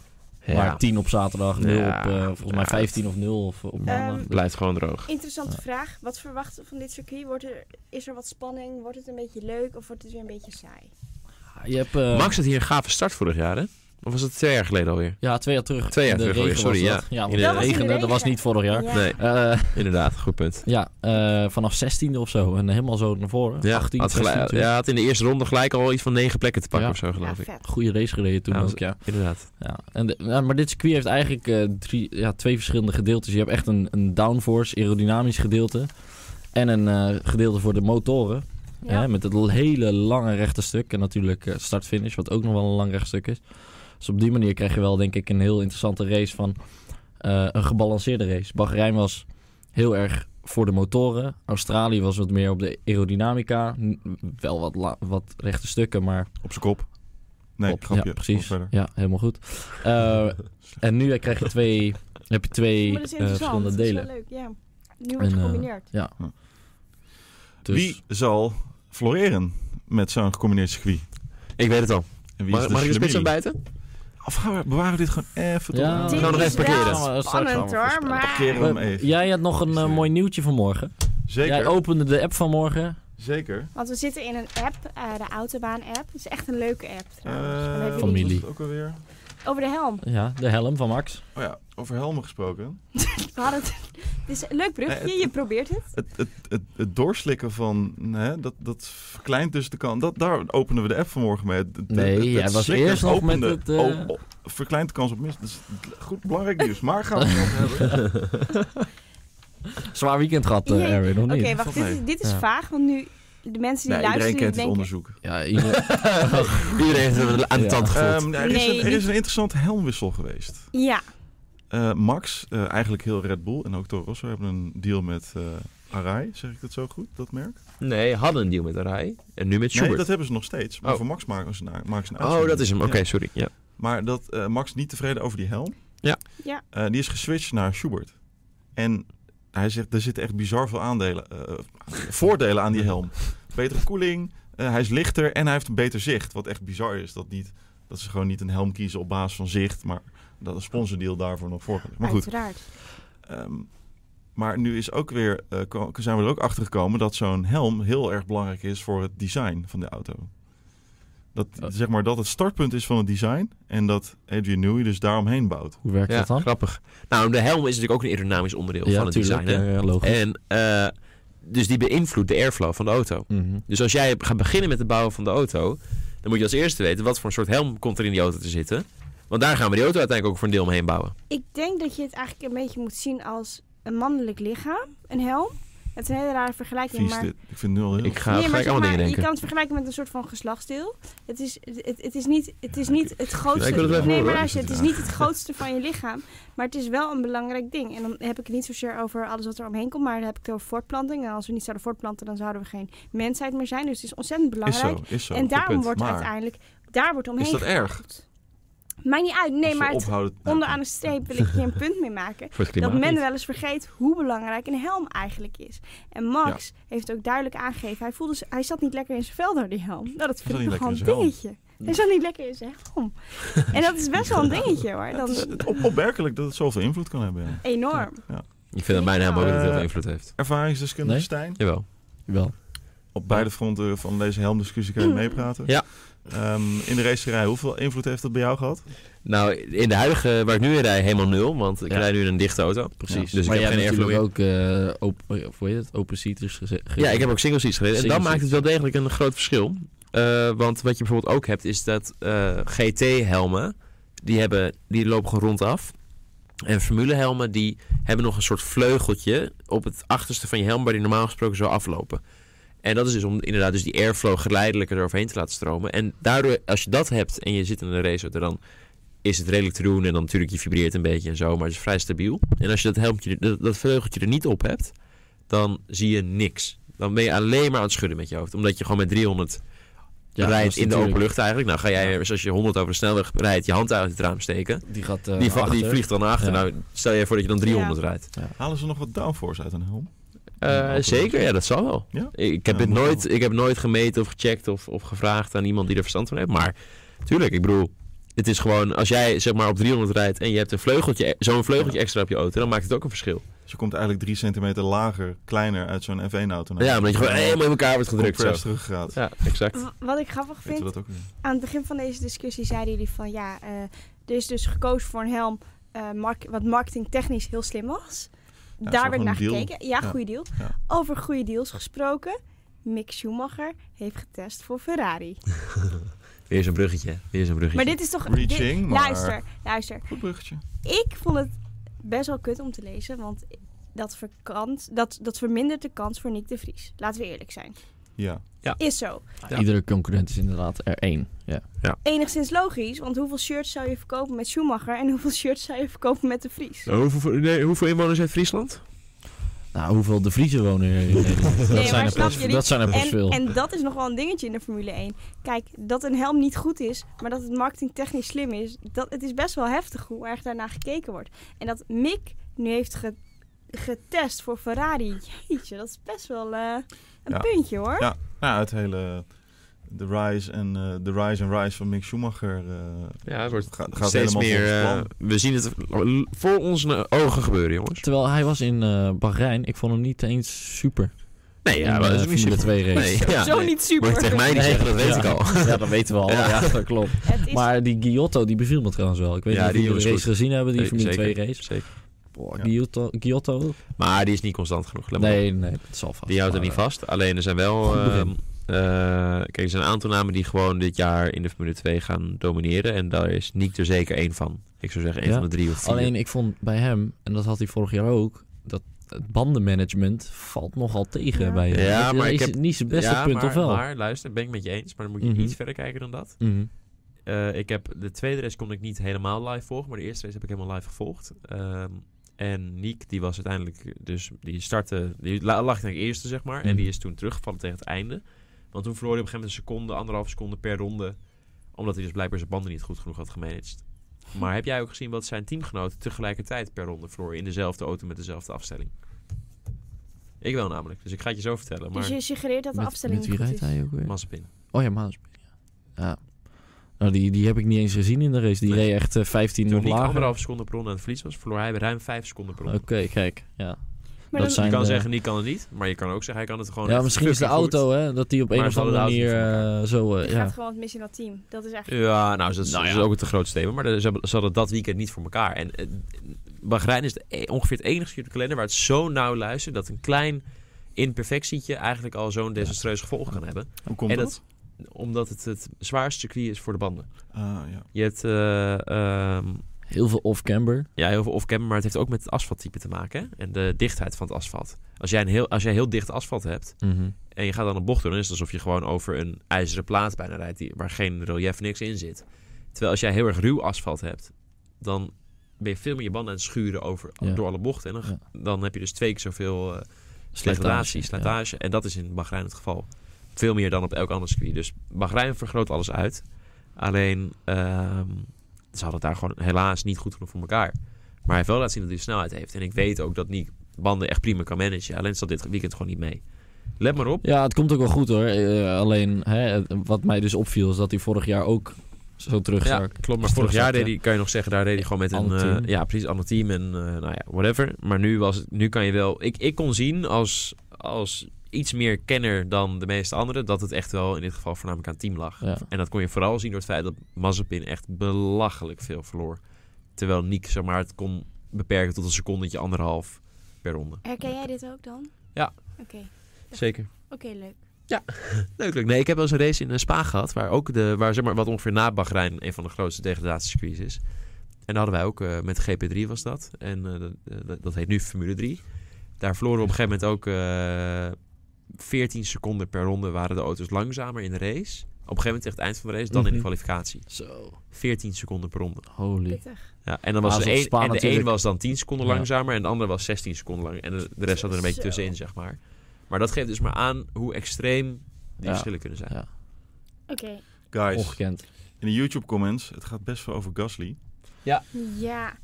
[SPEAKER 4] Maar 10 op zaterdag, 0
[SPEAKER 1] Ja,
[SPEAKER 4] op... eh, volgens mij
[SPEAKER 1] ja.
[SPEAKER 4] 15 of 0 of, op maandag.
[SPEAKER 2] Ehm,
[SPEAKER 1] Blijft gewoon droog.
[SPEAKER 2] Interessante vraag. Wat verwachten we van dit circuit? Wordt er, is er wat spanning? Wordt het een beetje leuk of wordt het weer een beetje saai?
[SPEAKER 4] je hebt... eh,
[SPEAKER 1] Max had hier een gave start vorig jaar, hè? Of was dat twee jaar geleden alweer?
[SPEAKER 4] Ja, twee jaar terug.
[SPEAKER 1] Twee jaar
[SPEAKER 4] In de
[SPEAKER 1] terug
[SPEAKER 4] regen
[SPEAKER 1] alweer, sorry,
[SPEAKER 4] was dat.
[SPEAKER 1] ja.
[SPEAKER 4] Ja,
[SPEAKER 1] In
[SPEAKER 4] want
[SPEAKER 1] de-
[SPEAKER 4] het
[SPEAKER 1] Dat was in
[SPEAKER 2] de
[SPEAKER 4] regende, dat was
[SPEAKER 2] regen.
[SPEAKER 4] niet vorig jaar.
[SPEAKER 2] Ja.
[SPEAKER 1] Nee,
[SPEAKER 4] Eh,
[SPEAKER 1] inderdaad. Goed punt.
[SPEAKER 4] ja, eh, vanaf 16 of zo. En helemaal zo naar voren.
[SPEAKER 1] Ja,
[SPEAKER 4] 18,
[SPEAKER 1] had,
[SPEAKER 4] 16,
[SPEAKER 1] gelijk,
[SPEAKER 4] 20.
[SPEAKER 1] ja, had in de eerste ronde gelijk al iets van negen plekken te pakken
[SPEAKER 4] Ja.
[SPEAKER 1] of zo, geloof
[SPEAKER 2] ja,
[SPEAKER 1] ik.
[SPEAKER 2] vet.
[SPEAKER 4] Goede race gereden toen
[SPEAKER 1] Ja, was-
[SPEAKER 4] ook, ja.
[SPEAKER 1] Inderdaad.
[SPEAKER 4] ja. En de- ja, maar dit circuit heeft eigenlijk eh, drie, ja, twee verschillende gedeeltes. Je hebt echt een, een downforce, aerodynamisch gedeelte. En een eh, gedeelte voor de motoren.
[SPEAKER 2] Ja.
[SPEAKER 4] Hè, met het l- hele lange rechte stuk. En natuurlijk eh, start-finish, wat ook nog wel een lang recht stuk is. Dus op die manier krijg je wel, denk ik, een heel interessante race van eh, een gebalanceerde race. Bahrein was heel erg voor de motoren. Australië was wat meer op de aerodynamica. N- wel wat, la- wat rechte stukken, maar
[SPEAKER 3] op zijn kop. Nee,
[SPEAKER 4] Klopt,
[SPEAKER 3] grapje.
[SPEAKER 4] Ja, precies.
[SPEAKER 3] Kom verder.
[SPEAKER 4] Ja, helemaal goed.
[SPEAKER 3] [laughs]
[SPEAKER 4] Eh, en nu krijg je twee, heb je twee
[SPEAKER 2] Maar dat is
[SPEAKER 4] eh,
[SPEAKER 2] dus interessant.
[SPEAKER 4] verschillende
[SPEAKER 2] dat is wel
[SPEAKER 4] delen.
[SPEAKER 2] leuk, ja. Nu wordt
[SPEAKER 4] En, eh,
[SPEAKER 2] gecombineerd.
[SPEAKER 4] Dus
[SPEAKER 3] Wie zal floreren met zo'n gecombineerd circuit?
[SPEAKER 1] Ik weet het al.
[SPEAKER 3] En wie
[SPEAKER 1] Mag,
[SPEAKER 3] is de
[SPEAKER 1] mag ik de spits
[SPEAKER 3] familie?
[SPEAKER 1] aanbijten?
[SPEAKER 3] Of gaan we, bewaren we dit gewoon even tot...
[SPEAKER 4] Ja.
[SPEAKER 3] aan-
[SPEAKER 4] Dit
[SPEAKER 1] gaan we nog
[SPEAKER 2] is
[SPEAKER 1] even parkeren.
[SPEAKER 2] wel
[SPEAKER 1] Gaan
[SPEAKER 4] we straks
[SPEAKER 2] Spannend
[SPEAKER 4] allemaal
[SPEAKER 2] hoor,
[SPEAKER 4] voorspellen.
[SPEAKER 2] maar...
[SPEAKER 3] Parkeren.
[SPEAKER 4] We-
[SPEAKER 3] hem even.
[SPEAKER 4] jij had nog een eh, mooi nieuwtje vanmorgen.
[SPEAKER 3] Zeker,
[SPEAKER 4] Jij opende de app vanmorgen.
[SPEAKER 3] zeker.
[SPEAKER 2] Want we zitten in een app, eh, de Autobaan-app. Het is echt een leuke app trouwens. Dan
[SPEAKER 3] Eh,
[SPEAKER 2] hebben
[SPEAKER 4] Familie.
[SPEAKER 2] jullie-
[SPEAKER 3] was het Ook alweer.
[SPEAKER 2] Over de helm.
[SPEAKER 4] Ja, de helm van Max.
[SPEAKER 3] Oh ja, over helmen gesproken.
[SPEAKER 2] We hadden het... [laughs] Het is een leuk
[SPEAKER 3] Nee,
[SPEAKER 2] brugje,
[SPEAKER 3] het-
[SPEAKER 2] je probeert het.
[SPEAKER 3] Het, het, het, het doorslikken van, hè, dat, dat verkleint dus de kans. Dat, daar openen we de app vanmorgen mee. Het- het-
[SPEAKER 4] Nee,
[SPEAKER 3] het- het
[SPEAKER 4] jij was
[SPEAKER 3] slikken
[SPEAKER 4] eerst nog met
[SPEAKER 3] opende-
[SPEAKER 4] het, eh,
[SPEAKER 3] o- o- oh, verkleint de kans op mis. Dat is goed belangrijk nieuws. Maar gaan we het nog [laughs] hebben.
[SPEAKER 4] Zwaar weekend gehad, eh
[SPEAKER 2] Jee.
[SPEAKER 4] Erwin, nog
[SPEAKER 2] Oké,
[SPEAKER 4] niet?
[SPEAKER 2] wacht,
[SPEAKER 3] Valt
[SPEAKER 2] dit,
[SPEAKER 3] mee.
[SPEAKER 2] is- dit is
[SPEAKER 4] Ja.
[SPEAKER 2] vaag, want nu de mensen die
[SPEAKER 3] Nee, iedereen
[SPEAKER 2] luisteren
[SPEAKER 3] kent het
[SPEAKER 2] denken...
[SPEAKER 3] onderzoek.
[SPEAKER 4] Ja, ieder-
[SPEAKER 1] [laughs] Iedereen heeft het aan de
[SPEAKER 4] Ja.
[SPEAKER 1] tand gevoeld.
[SPEAKER 3] Ehm, er, is
[SPEAKER 2] Nee,
[SPEAKER 3] een, er
[SPEAKER 2] niet.
[SPEAKER 3] is een interessante helmwissel geweest.
[SPEAKER 2] Ja,
[SPEAKER 3] Eh, Max, eh, eigenlijk heel Red Bull en ook Toro Rosso hebben een deal met eh Arai. Zeg ik dat zo goed, dat merk?
[SPEAKER 1] Ehm, nee, hadden een deal met Arai. En nu met Schubert.
[SPEAKER 3] Nee, dat hebben ze nog steeds. Maar
[SPEAKER 1] Oh.
[SPEAKER 3] voor Max maken ze, na- maken ze een
[SPEAKER 1] Oh, dat is hem.
[SPEAKER 3] Ja.
[SPEAKER 1] Oké, sorry. Ja.
[SPEAKER 3] Maar dat eh, Max niet tevreden over die helm.
[SPEAKER 1] Ja.
[SPEAKER 2] Ja.
[SPEAKER 3] Eh, die is geswitcht naar Schubert. En hij zegt, er zitten echt bizar veel aandelen, eh, voordelen aan die helm. Betere koeling, eh, hij is lichter en hij heeft een beter zicht. Wat echt bizar is, dat, niet, dat ze gewoon niet een helm kiezen op basis van zicht. Maar dat een sponsordeal daarvoor nog voor. Maar goed,
[SPEAKER 2] uiteraard.
[SPEAKER 3] ehm, maar nu is ook weer, eh, ko- zijn we er ook achter gekomen dat zo'n helm heel erg belangrijk is voor het design van de auto. Dat,
[SPEAKER 4] Oh.
[SPEAKER 3] zeg maar, dat het startpunt is van het design en dat Adrian Newey dus daaromheen bouwt.
[SPEAKER 4] Hoe werkt
[SPEAKER 1] Ja,
[SPEAKER 4] dat dan?
[SPEAKER 1] grappig. Nou, de helm is natuurlijk ook een aerodynamisch onderdeel van het
[SPEAKER 4] tuurlijk,
[SPEAKER 1] design.
[SPEAKER 4] ja, ja, logisch.
[SPEAKER 1] Hè? En eh, dus die beïnvloedt de airflow van de auto.
[SPEAKER 4] Mhm.
[SPEAKER 1] Dus als jij gaat beginnen met het bouwen van de auto, dan moet je als eerste weten wat voor een soort helm komt er in die auto te zitten. Want daar gaan we die auto uiteindelijk ook voor een deel omheen bouwen.
[SPEAKER 2] Ik denk dat je het eigenlijk een beetje moet zien als een mannelijk lichaam, een helm. Het is een hele rare vergelijking,
[SPEAKER 3] Vies
[SPEAKER 2] maar...
[SPEAKER 3] dit. Ik vind het nu al heel...
[SPEAKER 1] Ik ga
[SPEAKER 2] maar
[SPEAKER 1] gelijk
[SPEAKER 2] zeg
[SPEAKER 1] allemaal dingen
[SPEAKER 2] maar, je
[SPEAKER 1] denken.
[SPEAKER 2] kan het vergelijken met een soort van geslachtsdeel. Het is, het, het is niet het, is niet het
[SPEAKER 3] Ja,
[SPEAKER 2] grootste.
[SPEAKER 1] ik wil het wel even
[SPEAKER 2] nee,
[SPEAKER 1] horen,
[SPEAKER 2] maar
[SPEAKER 1] hoor.
[SPEAKER 2] luister, het is niet het grootste van je lichaam. Maar het is wel een belangrijk ding. En dan heb ik het niet zozeer over alles wat er omheen komt, maar dan heb ik het over voortplanting. En als we niet zouden voortplanten, dan zouden we geen mensheid meer zijn. Dus het is ontzettend
[SPEAKER 3] is
[SPEAKER 2] belangrijk.
[SPEAKER 3] zo, is zo.
[SPEAKER 2] en daarom
[SPEAKER 1] punt.
[SPEAKER 2] wordt
[SPEAKER 3] Maar-
[SPEAKER 2] uiteindelijk daar wordt omheen
[SPEAKER 3] Is dat erg?
[SPEAKER 2] gepraat. Maakt niet uit. Nee,
[SPEAKER 3] Als we
[SPEAKER 2] maar het,
[SPEAKER 3] ophouden...
[SPEAKER 2] onderaan de streep wil ik hier een punt mee maken
[SPEAKER 1] Voor het
[SPEAKER 2] dat
[SPEAKER 1] klimaat.
[SPEAKER 2] men wel eens vergeet hoe belangrijk een helm eigenlijk is. En Max heeft ook duidelijk aangegeven, hij, voelde, z- hij zat niet lekker in zijn vel door die helm. Nou, dat vind
[SPEAKER 3] niet
[SPEAKER 2] ik nogal
[SPEAKER 3] lekker in
[SPEAKER 2] een
[SPEAKER 3] zijn helm.
[SPEAKER 2] dingetje. Hij zat niet lekker in zijn
[SPEAKER 3] [laughs]
[SPEAKER 2] helm. en dat is best wel een dingetje hoor. Dat is
[SPEAKER 3] [laughs] Het op- opmerkelijk dat het zoveel invloed kan hebben. ja.
[SPEAKER 2] enorm.
[SPEAKER 1] Ik vind dat mijn helm ook niet heel veel
[SPEAKER 3] Eh,
[SPEAKER 1] invloed heeft.
[SPEAKER 3] Ervaringsdeskundige
[SPEAKER 4] Nee?
[SPEAKER 3] Stijn,
[SPEAKER 1] Jawel.
[SPEAKER 4] Wel.
[SPEAKER 3] op beide fronten van deze helmdiscussie kan je
[SPEAKER 2] Hmm.
[SPEAKER 3] meepraten.
[SPEAKER 1] Ja.
[SPEAKER 3] Ehm, in de racerij, hoeveel invloed heeft dat bij jou gehad?
[SPEAKER 1] Nou, in de huidige waar ik nu in rij, helemaal nul. Want ik
[SPEAKER 4] Ja.
[SPEAKER 1] rijd nu in een dichte auto.
[SPEAKER 4] Precies.
[SPEAKER 1] Dus
[SPEAKER 4] maar
[SPEAKER 1] ik
[SPEAKER 4] jij
[SPEAKER 1] heb geen
[SPEAKER 4] hebt
[SPEAKER 1] airflow
[SPEAKER 4] natuurlijk
[SPEAKER 1] in.
[SPEAKER 4] ook eh open, of hoe heet het? open seaters geze-
[SPEAKER 1] Ja,
[SPEAKER 4] gereden.
[SPEAKER 1] ik heb ook single seats gereden. En dan
[SPEAKER 4] Single
[SPEAKER 1] maakt het wel degelijk een groot verschil. Eh, want wat je bijvoorbeeld ook hebt, is dat eh, GT-helmen, die, hebben, die lopen gewoon rondaf. En formulehelmen die hebben nog een soort vleugeltje op het achterste van je helm waar die normaal gesproken zou aflopen. En dat is dus om inderdaad dus die airflow geleidelijk eroverheen te laten stromen. En daardoor, als je dat hebt en je zit in een raceauto, dan is het redelijk te doen. En dan natuurlijk, je vibreert een beetje en zo, maar het is vrij stabiel. En als je dat helmpje, dat, dat vleugeltje er niet op hebt, dan zie je niks. Dan ben je alleen maar aan het schudden met je hoofd. Omdat je gewoon met 300 rijdt in de open lucht eigenlijk. Nou ga jij,
[SPEAKER 4] Ja.
[SPEAKER 1] als je 100 over de snelweg rijdt, je hand uit het raam steken.
[SPEAKER 4] Die gaat eh,
[SPEAKER 1] Die, va- die
[SPEAKER 4] achter.
[SPEAKER 1] vliegt dan naar achter.
[SPEAKER 4] Ja.
[SPEAKER 1] Nou, stel jij voor dat je dan 300 rijdt.
[SPEAKER 3] Halen ze nog wat downforce uit een helm?
[SPEAKER 1] Eh,
[SPEAKER 4] Ja,
[SPEAKER 1] zeker, ja, dat zal wel.
[SPEAKER 3] Ja?
[SPEAKER 1] Ik heb
[SPEAKER 3] Ja,
[SPEAKER 1] het
[SPEAKER 3] moet
[SPEAKER 1] nooit, ik heb nooit gemeten of gecheckt of, of gevraagd aan iemand die er verstand van heeft. Maar tuurlijk, ik bedoel, het is gewoon, als jij zeg maar op 300 rijdt en je hebt een vleugeltje, eh, zo'n vleugeltje extra op je auto, dan maakt het ook een verschil.
[SPEAKER 3] Dus je komt eigenlijk drie centimeter lager, kleiner uit zo'n F1-auto.
[SPEAKER 1] Ja, omdat je gewoon helemaal in elkaar wordt gedrukt. Zo.
[SPEAKER 3] compress teruggehaald.
[SPEAKER 1] Ja, exact.
[SPEAKER 2] W- Wat ik grappig
[SPEAKER 3] Weet
[SPEAKER 2] vind,
[SPEAKER 3] je dat ook weer?
[SPEAKER 2] aan het begin van deze discussie zeiden jullie van ja, eh, er is dus gekozen voor een helm eh, mark- wat marketingtechnisch heel slim was.
[SPEAKER 3] is wel
[SPEAKER 2] Daar werd
[SPEAKER 3] gewoon
[SPEAKER 2] naar
[SPEAKER 3] een deal.
[SPEAKER 2] gekeken. Ja,
[SPEAKER 3] Ja.
[SPEAKER 2] goede deal.
[SPEAKER 3] Ja.
[SPEAKER 2] Over goede deals gesproken. Mick Schumacher heeft getest voor Ferrari.
[SPEAKER 1] Weer zo'n bruggetje, weer zo'n bruggetje.
[SPEAKER 2] Maar dit is toch...
[SPEAKER 3] Reaching,
[SPEAKER 2] dit-
[SPEAKER 3] maar-
[SPEAKER 2] Luister, luister.
[SPEAKER 3] Goed bruggetje.
[SPEAKER 2] Ik vond het best wel kut om te lezen, want dat, verkant, dat, dat vermindert de kans voor Nick de Vries. Laten we eerlijk zijn.
[SPEAKER 3] Ja.
[SPEAKER 2] Is zo.
[SPEAKER 1] Ja.
[SPEAKER 4] Iedere concurrent is inderdaad er één. Ja.
[SPEAKER 2] enigszins logisch, want hoeveel shirts zou je verkopen met Schumacher en hoeveel shirts zou je verkopen met de Vries?
[SPEAKER 1] Oh, hoeveel, inwoners heeft Friesland?
[SPEAKER 4] Nou, hoeveel de Vriezen wonen [laughs] er in Nederland?
[SPEAKER 2] maar
[SPEAKER 4] dat, zijn er
[SPEAKER 2] snap
[SPEAKER 4] pas,
[SPEAKER 2] je niet?
[SPEAKER 4] dat zijn er pas
[SPEAKER 2] En,
[SPEAKER 4] veel.
[SPEAKER 2] en dat is nog wel een dingetje in de Formule 1. Kijk, dat een helm niet goed is, maar dat het marketingtechnisch slim is, dat, het is best wel heftig hoe erg daarnaar gekeken wordt. En dat Mick nu heeft ge- getest voor Ferrari, jeetje, dat is best wel eh, een
[SPEAKER 3] Ja.
[SPEAKER 2] puntje hoor.
[SPEAKER 3] Ja. Nou, het hele... De rise en eh, de rise en rise van Mick Schumacher eh,
[SPEAKER 1] Ja, het wordt
[SPEAKER 3] ga- gaat
[SPEAKER 1] steeds
[SPEAKER 3] helemaal
[SPEAKER 1] meer.
[SPEAKER 3] volgens
[SPEAKER 1] eh,
[SPEAKER 3] plan.
[SPEAKER 1] we zien het voor onze ogen gebeuren, jongens.
[SPEAKER 4] Terwijl hij was in eh, Bahrein, ik vond hem niet eens super.
[SPEAKER 1] Nee, ja,
[SPEAKER 4] in,
[SPEAKER 1] maar
[SPEAKER 4] eh,
[SPEAKER 1] dat is niet
[SPEAKER 4] Formule
[SPEAKER 1] super.
[SPEAKER 4] 2 race.
[SPEAKER 1] Nee, ja.
[SPEAKER 2] Zo
[SPEAKER 1] nee.
[SPEAKER 2] niet super.
[SPEAKER 1] Moet je tegen mij niet
[SPEAKER 4] Nee.
[SPEAKER 1] zeggen, dat weet
[SPEAKER 4] Ja.
[SPEAKER 1] ik al.
[SPEAKER 4] [laughs] Ja, dat weten we al.
[SPEAKER 1] [laughs] Ja.
[SPEAKER 4] Ja, dat klopt.
[SPEAKER 2] Het is,
[SPEAKER 4] Maar die Giotto, die beviel me trouwens wel. Ik weet
[SPEAKER 1] Ja,
[SPEAKER 4] niet of
[SPEAKER 1] die
[SPEAKER 4] jullie de
[SPEAKER 1] was
[SPEAKER 4] race gezien hebben, die
[SPEAKER 1] Nee,
[SPEAKER 4] Formule
[SPEAKER 1] zeker.
[SPEAKER 4] 2 race.
[SPEAKER 1] Zeker.
[SPEAKER 4] Boah,
[SPEAKER 3] Ja.
[SPEAKER 4] Giotto, Giotto?
[SPEAKER 1] Maar die is niet constant genoeg. Let maar op.
[SPEAKER 4] Nee, nee, dat zal vast.
[SPEAKER 1] Die houdt er
[SPEAKER 4] Maar,
[SPEAKER 1] niet vast. Alleen er zijn wel.
[SPEAKER 4] Goed begin.
[SPEAKER 1] ehm, eh, kijk, er zijn een aantal namen die gewoon dit jaar in de Formule 2 gaan domineren. En daar is Niek er zeker één van. Ik zou zeggen één
[SPEAKER 4] Ja.
[SPEAKER 1] van de drie of
[SPEAKER 4] eh,
[SPEAKER 1] vier.
[SPEAKER 4] Alleen ik vond bij hem, en dat had hij vorig jaar ook, dat het bandenmanagement valt nogal tegen
[SPEAKER 2] Ja.
[SPEAKER 4] bij hem.
[SPEAKER 1] Ja,
[SPEAKER 4] Dat
[SPEAKER 1] maar
[SPEAKER 4] is
[SPEAKER 1] ik heb-
[SPEAKER 4] niet zijn beste
[SPEAKER 1] ja,
[SPEAKER 4] punt,
[SPEAKER 1] maar,
[SPEAKER 4] of wel?
[SPEAKER 1] maar luister, ben ik met je eens. Maar dan moet je
[SPEAKER 4] Mhm.
[SPEAKER 1] iets verder kijken dan dat.
[SPEAKER 4] Mhm.
[SPEAKER 1] Eh, ik heb de tweede race kon ik niet helemaal live volgen, maar de eerste race heb ik helemaal live gevolgd. Ehm, en Niek, die was uiteindelijk, dus die startte, die la- lag naar eerste zeg maar, en
[SPEAKER 4] Mhm.
[SPEAKER 1] die is toen teruggevallen tegen het einde. Want toen verloor hij op een gegeven moment een seconde, anderhalf seconde per ronde, omdat hij dus blijkbaar zijn banden niet goed genoeg had gemanaged.
[SPEAKER 4] Hm.
[SPEAKER 1] Maar heb jij ook gezien wat zijn teamgenoten tegelijkertijd per ronde verloor in dezelfde auto met dezelfde afstelling? Ik wel namelijk, dus ik ga het je zo vertellen. Maar
[SPEAKER 2] dus je suggereert dat de
[SPEAKER 4] Met-
[SPEAKER 2] afstelling
[SPEAKER 4] met
[SPEAKER 2] niet
[SPEAKER 4] wie
[SPEAKER 2] goed
[SPEAKER 4] rijdt
[SPEAKER 2] is.
[SPEAKER 4] hij ook weer?
[SPEAKER 1] Mazepin.
[SPEAKER 4] Oh ja, Maaspin. Ja. ja. Nou, die, die heb ik niet eens gezien in de race. Die
[SPEAKER 1] Nee.
[SPEAKER 4] reed echt eh, 15
[SPEAKER 1] Toen
[SPEAKER 4] nog
[SPEAKER 1] Niek
[SPEAKER 4] lager.
[SPEAKER 1] anderhalf seconde per ronde aan het verlies was, verloor hij ruim vijf seconden per
[SPEAKER 4] Oké,
[SPEAKER 1] ronde.
[SPEAKER 4] kijk. Ja,
[SPEAKER 2] Maar
[SPEAKER 4] dat
[SPEAKER 2] dan-
[SPEAKER 4] zijn
[SPEAKER 1] Je kan
[SPEAKER 4] de-
[SPEAKER 1] zeggen, die kan het niet. Maar je kan ook zeggen, hij kan het gewoon
[SPEAKER 4] ja
[SPEAKER 1] echt
[SPEAKER 4] misschien is de
[SPEAKER 1] Oh, fucking goed.
[SPEAKER 4] auto, hè, dat die op een
[SPEAKER 1] Maar
[SPEAKER 4] of
[SPEAKER 1] ze
[SPEAKER 4] andere
[SPEAKER 1] hadden de
[SPEAKER 4] manier
[SPEAKER 1] auto
[SPEAKER 4] eh, zo... eh,
[SPEAKER 2] er
[SPEAKER 4] ja.
[SPEAKER 2] gaat gewoon wat mis in dat team. Dat is eigenlijk...
[SPEAKER 1] Ja, nou, dat is,
[SPEAKER 4] Nou
[SPEAKER 1] dat
[SPEAKER 4] ja.
[SPEAKER 1] is ook het grootste thema. Maar ze, hebben- ze hadden dat weekend niet voor elkaar. En eh, Bahrein is de e- ongeveer het enige stukje op de kalender waar het zo nauw luistert... dat een klein imperfectietje eigenlijk al zo'n desastreus gevolg kan hebben.
[SPEAKER 3] Hoe komt
[SPEAKER 1] en
[SPEAKER 3] dat?
[SPEAKER 1] dat? Omdat het het zwaarste circuit is voor de banden.
[SPEAKER 3] Ah, ja.
[SPEAKER 1] Je hebt... eh, ehm,
[SPEAKER 4] Heel veel off-camber.
[SPEAKER 1] Ja, heel veel off-camber, maar het heeft ook met het asfalttype te maken. hè, En de dichtheid van het asfalt. Als jij, een heel, als jij heel dicht asfalt hebt, en je gaat dan een bocht doen, dan is het alsof je gewoon over een ijzeren plaat bijna rijdt, die, waar geen relief niks in zit. Terwijl als jij heel erg ruw asfalt hebt, dan ben je veel meer je banden aan het schuren over,
[SPEAKER 4] Ja.
[SPEAKER 1] door alle bochten. En dan, dan heb je dus twee keer zoveel eh
[SPEAKER 4] Slijtage,
[SPEAKER 1] degradatie,
[SPEAKER 4] ja.
[SPEAKER 1] slijtage. En dat is in Bahrein het geval. Veel meer dan op elk ander circuit. Dus Bahrein vergroot alles uit. Alleen, ehm, ze hadden het daar gewoon helaas niet goed genoeg voor elkaar. Maar hij heeft wel laten zien dat hij snelheid heeft. En ik weet ook dat Nick banden echt prima kan managen. Alleen zat dit weekend gewoon niet mee. Let maar op.
[SPEAKER 4] Ja, het komt ook wel goed hoor. Eh, alleen, hè, wat mij dus opviel, is dat hij vorig jaar ook zo
[SPEAKER 1] Ja,
[SPEAKER 4] terugzak.
[SPEAKER 1] klopt. Maar
[SPEAKER 4] Is
[SPEAKER 1] Dus vorig jaar
[SPEAKER 4] terugzak,
[SPEAKER 1] deed hij, kan je nog zeggen, daar deed hij gewoon met een...
[SPEAKER 4] Ander
[SPEAKER 1] eh,
[SPEAKER 4] team.
[SPEAKER 1] ja, precies, ander team en eh, nou ja, whatever. Maar nu, was het, nu kan je wel... Ik, ik kon zien als, als iets meer kenner dan de meeste anderen... dat het echt wel in dit geval voornamelijk aan het team lag.
[SPEAKER 4] Ja.
[SPEAKER 1] En dat kon je vooral zien door het feit dat Mazepin echt belachelijk veel verloor. Terwijl Niek, zeg maar, het kon beperken tot een secondetje, anderhalf per ronde.
[SPEAKER 2] Herken jij dit ook dan?
[SPEAKER 1] Ja.
[SPEAKER 2] Oké,
[SPEAKER 1] Zeker.
[SPEAKER 2] oké, leuk.
[SPEAKER 1] Leuk, leuk. Nee, ik heb wel eens een race in eh, Spa gehad, waar ook de, waar zeg maar, wat ongeveer na Bahrein een van de grootste degradatiecircuits is. En daar hadden wij ook eh, met GP3 was dat. En eh, dat- dat, dat heet nu Formule 3. Daar verloren we op een gegeven moment ook eh 14 seconden per ronde waren de auto's langzamer in de race. Op een gegeven moment tegen het eind van de race, dan in
[SPEAKER 4] Mhm.
[SPEAKER 1] de kwalificatie.
[SPEAKER 4] Zo.
[SPEAKER 1] 14 seconden per ronde.
[SPEAKER 4] Holy.
[SPEAKER 2] Pittig.
[SPEAKER 1] Ja, en dan was
[SPEAKER 4] Maar
[SPEAKER 1] de
[SPEAKER 4] als op
[SPEAKER 1] een,
[SPEAKER 4] Spa
[SPEAKER 1] en de een
[SPEAKER 4] natuurlijk-
[SPEAKER 1] was dan 10 seconden
[SPEAKER 4] Ja.
[SPEAKER 1] langzamer en de andere was 16 seconden lang. En de, de rest zat er een beetje
[SPEAKER 2] Zo.
[SPEAKER 1] tussenin, zeg maar. Maar dat geeft dus maar aan hoe extreem die
[SPEAKER 4] Ja.
[SPEAKER 1] verschillen kunnen zijn.
[SPEAKER 4] Ja.
[SPEAKER 2] Oké.
[SPEAKER 3] Guys,
[SPEAKER 4] Ongekend.
[SPEAKER 3] in de YouTube comments, het gaat best wel over Gasly.
[SPEAKER 2] Ja.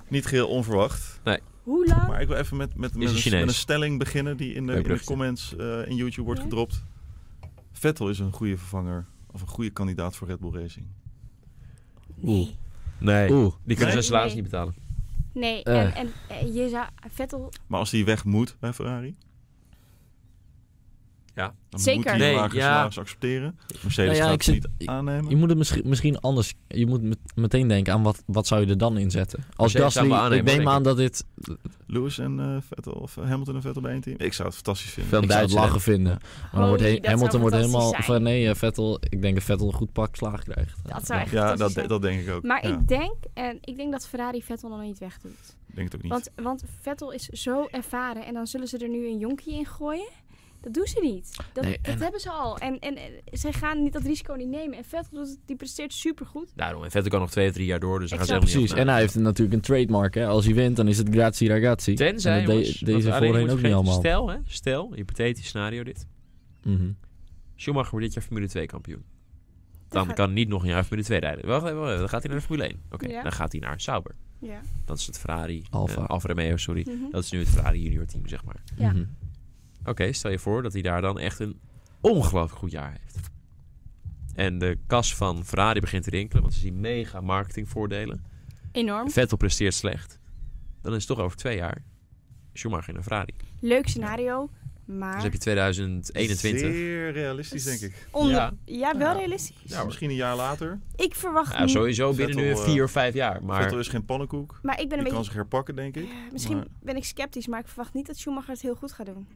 [SPEAKER 3] Niet geheel onverwacht.
[SPEAKER 2] Hoe lang?
[SPEAKER 3] Maar ik wil even met, met, met,
[SPEAKER 1] een
[SPEAKER 3] een,
[SPEAKER 1] Chinees.
[SPEAKER 3] met een stelling beginnen die in de,
[SPEAKER 1] Leuk
[SPEAKER 3] in de
[SPEAKER 1] bruggetje.
[SPEAKER 3] comments eh, in YouTube wordt
[SPEAKER 2] Ja.
[SPEAKER 3] gedropt. Vettel is een goede vervanger of een goede kandidaat voor Red Bull Racing.
[SPEAKER 2] Nee.
[SPEAKER 1] Nee,
[SPEAKER 4] Oeh.
[SPEAKER 1] die kunnen
[SPEAKER 3] Nee?
[SPEAKER 1] zijn salaris
[SPEAKER 2] Nee.
[SPEAKER 1] niet betalen.
[SPEAKER 2] Nee.
[SPEAKER 4] Eh.
[SPEAKER 2] En, en eh, je zou Vettel
[SPEAKER 3] Maar als hij weg moet bij Ferrari,
[SPEAKER 1] Ja.
[SPEAKER 3] dan moet
[SPEAKER 2] Zeker.
[SPEAKER 3] hij
[SPEAKER 1] Nee,
[SPEAKER 3] een lagere
[SPEAKER 1] ja.
[SPEAKER 3] salaris accepteren. Mercedes
[SPEAKER 4] Nou ja,
[SPEAKER 3] gaat
[SPEAKER 4] ik
[SPEAKER 3] het
[SPEAKER 4] zit-
[SPEAKER 3] niet aannemen.
[SPEAKER 4] Je moet het misschien, misschien anders. Je moet met- meteen denken aan wat, wat zou je er dan in zetten. Als
[SPEAKER 1] zou hem
[SPEAKER 4] Gasly,
[SPEAKER 1] aannemen,
[SPEAKER 4] ik neem
[SPEAKER 1] denk
[SPEAKER 4] aan dat dit.
[SPEAKER 3] Lewis en eh, Vettel of Hamilton en Vettel bij één team. Ik zou het fantastisch vinden.
[SPEAKER 1] Veel- Van
[SPEAKER 4] ik zou het
[SPEAKER 1] Duitsland.
[SPEAKER 4] lachen vinden. Maar dan
[SPEAKER 2] Holy,
[SPEAKER 4] wordt he-
[SPEAKER 2] dat zou
[SPEAKER 4] Hamilton wordt helemaal
[SPEAKER 2] fantastisch zijn.
[SPEAKER 4] van nee, eh, Vettel. Ik denk dat Vettel een goed pak slaag krijgt.
[SPEAKER 2] Dat zou echt
[SPEAKER 3] Ja,
[SPEAKER 2] fantastisch
[SPEAKER 3] dat,
[SPEAKER 2] zijn.
[SPEAKER 3] dat denk ik ook.
[SPEAKER 2] Maar
[SPEAKER 3] Ja,
[SPEAKER 2] ik denk, en ik denk dat Ferrari Vettel nog niet wegdoet.
[SPEAKER 3] denk het ook niet.
[SPEAKER 2] Want, want Vettel is zo ervaren en dan zullen ze er nu een jonkie in gooien. Dat doen ze niet. Dat,
[SPEAKER 4] Nee,
[SPEAKER 2] dat
[SPEAKER 4] en-
[SPEAKER 2] hebben ze al. En, en, eh, zij gaan niet dat risico niet nemen. En Vettel doet het, die presteert supergoed.
[SPEAKER 1] Daarom, en Vettel kan nog twee of drie jaar door, dus dan gaan ze
[SPEAKER 2] Exact.
[SPEAKER 1] helemaal
[SPEAKER 4] Precies.
[SPEAKER 1] niet
[SPEAKER 4] En hij heeft natuurlijk een trademark. Hè. Als hij wint, dan is het grazie ragazzi.
[SPEAKER 1] Tenzij,
[SPEAKER 4] En dat de-
[SPEAKER 1] jongens, wat
[SPEAKER 4] deze
[SPEAKER 1] alleen
[SPEAKER 4] voorheen
[SPEAKER 1] wordt
[SPEAKER 4] ook niet
[SPEAKER 1] vergeten,
[SPEAKER 4] allemaal.
[SPEAKER 1] Stel, hè, stel, hypothetisch scenario dit.
[SPEAKER 4] Mhm.
[SPEAKER 1] Schumacher wordt dit jaar Formule 2 kampioen.
[SPEAKER 2] Dan
[SPEAKER 1] Dan kan hij niet nog een jaar Formule 2 rijden. Wacht even, wacht even, dan gaat hij naar de Formule 1. Oké,
[SPEAKER 2] Ja.
[SPEAKER 1] dan gaat hij naar Sauber.
[SPEAKER 2] Ja.
[SPEAKER 1] Dat is het Ferrari.
[SPEAKER 4] Alfa.
[SPEAKER 1] eh, Alfa Romeo, sorry.
[SPEAKER 2] Mhm.
[SPEAKER 1] Dat is nu het Ferrari junior team, zeg maar.
[SPEAKER 2] Ja.
[SPEAKER 4] Mhm.
[SPEAKER 1] Oké, stel je voor dat hij daar dan echt een ongelooflijk goed jaar heeft. En de kas van Ferrari begint te rinkelen, want ze zien mega marketingvoordelen.
[SPEAKER 2] Enorm.
[SPEAKER 1] Vettel presteert slecht. Dan is het toch over twee jaar Schumacher naar Ferrari.
[SPEAKER 2] Leuk scenario. Maar
[SPEAKER 1] Dus heb je 2021.
[SPEAKER 3] Ah. Zeer realistisch, denk ik.
[SPEAKER 2] onder...
[SPEAKER 1] Ja.
[SPEAKER 2] ja. wel
[SPEAKER 3] Ja.
[SPEAKER 2] realistisch.
[SPEAKER 1] Ja, hoor.
[SPEAKER 3] Misschien een jaar later.
[SPEAKER 2] Ik verwacht
[SPEAKER 1] Ja,
[SPEAKER 2] niet-
[SPEAKER 1] sowieso binnen nu
[SPEAKER 3] Vettel, eh,
[SPEAKER 1] vier of vijf jaar.
[SPEAKER 3] Vettel
[SPEAKER 1] Maar
[SPEAKER 3] is geen pannenkoek.
[SPEAKER 2] Maar ik ben
[SPEAKER 3] Die
[SPEAKER 2] een
[SPEAKER 3] kan
[SPEAKER 2] beetje...
[SPEAKER 3] zich herpakken, denk ik.
[SPEAKER 2] Eh, misschien
[SPEAKER 3] maar-
[SPEAKER 2] ben ik sceptisch, maar ik verwacht niet dat Schumacher het heel goed gaat doen.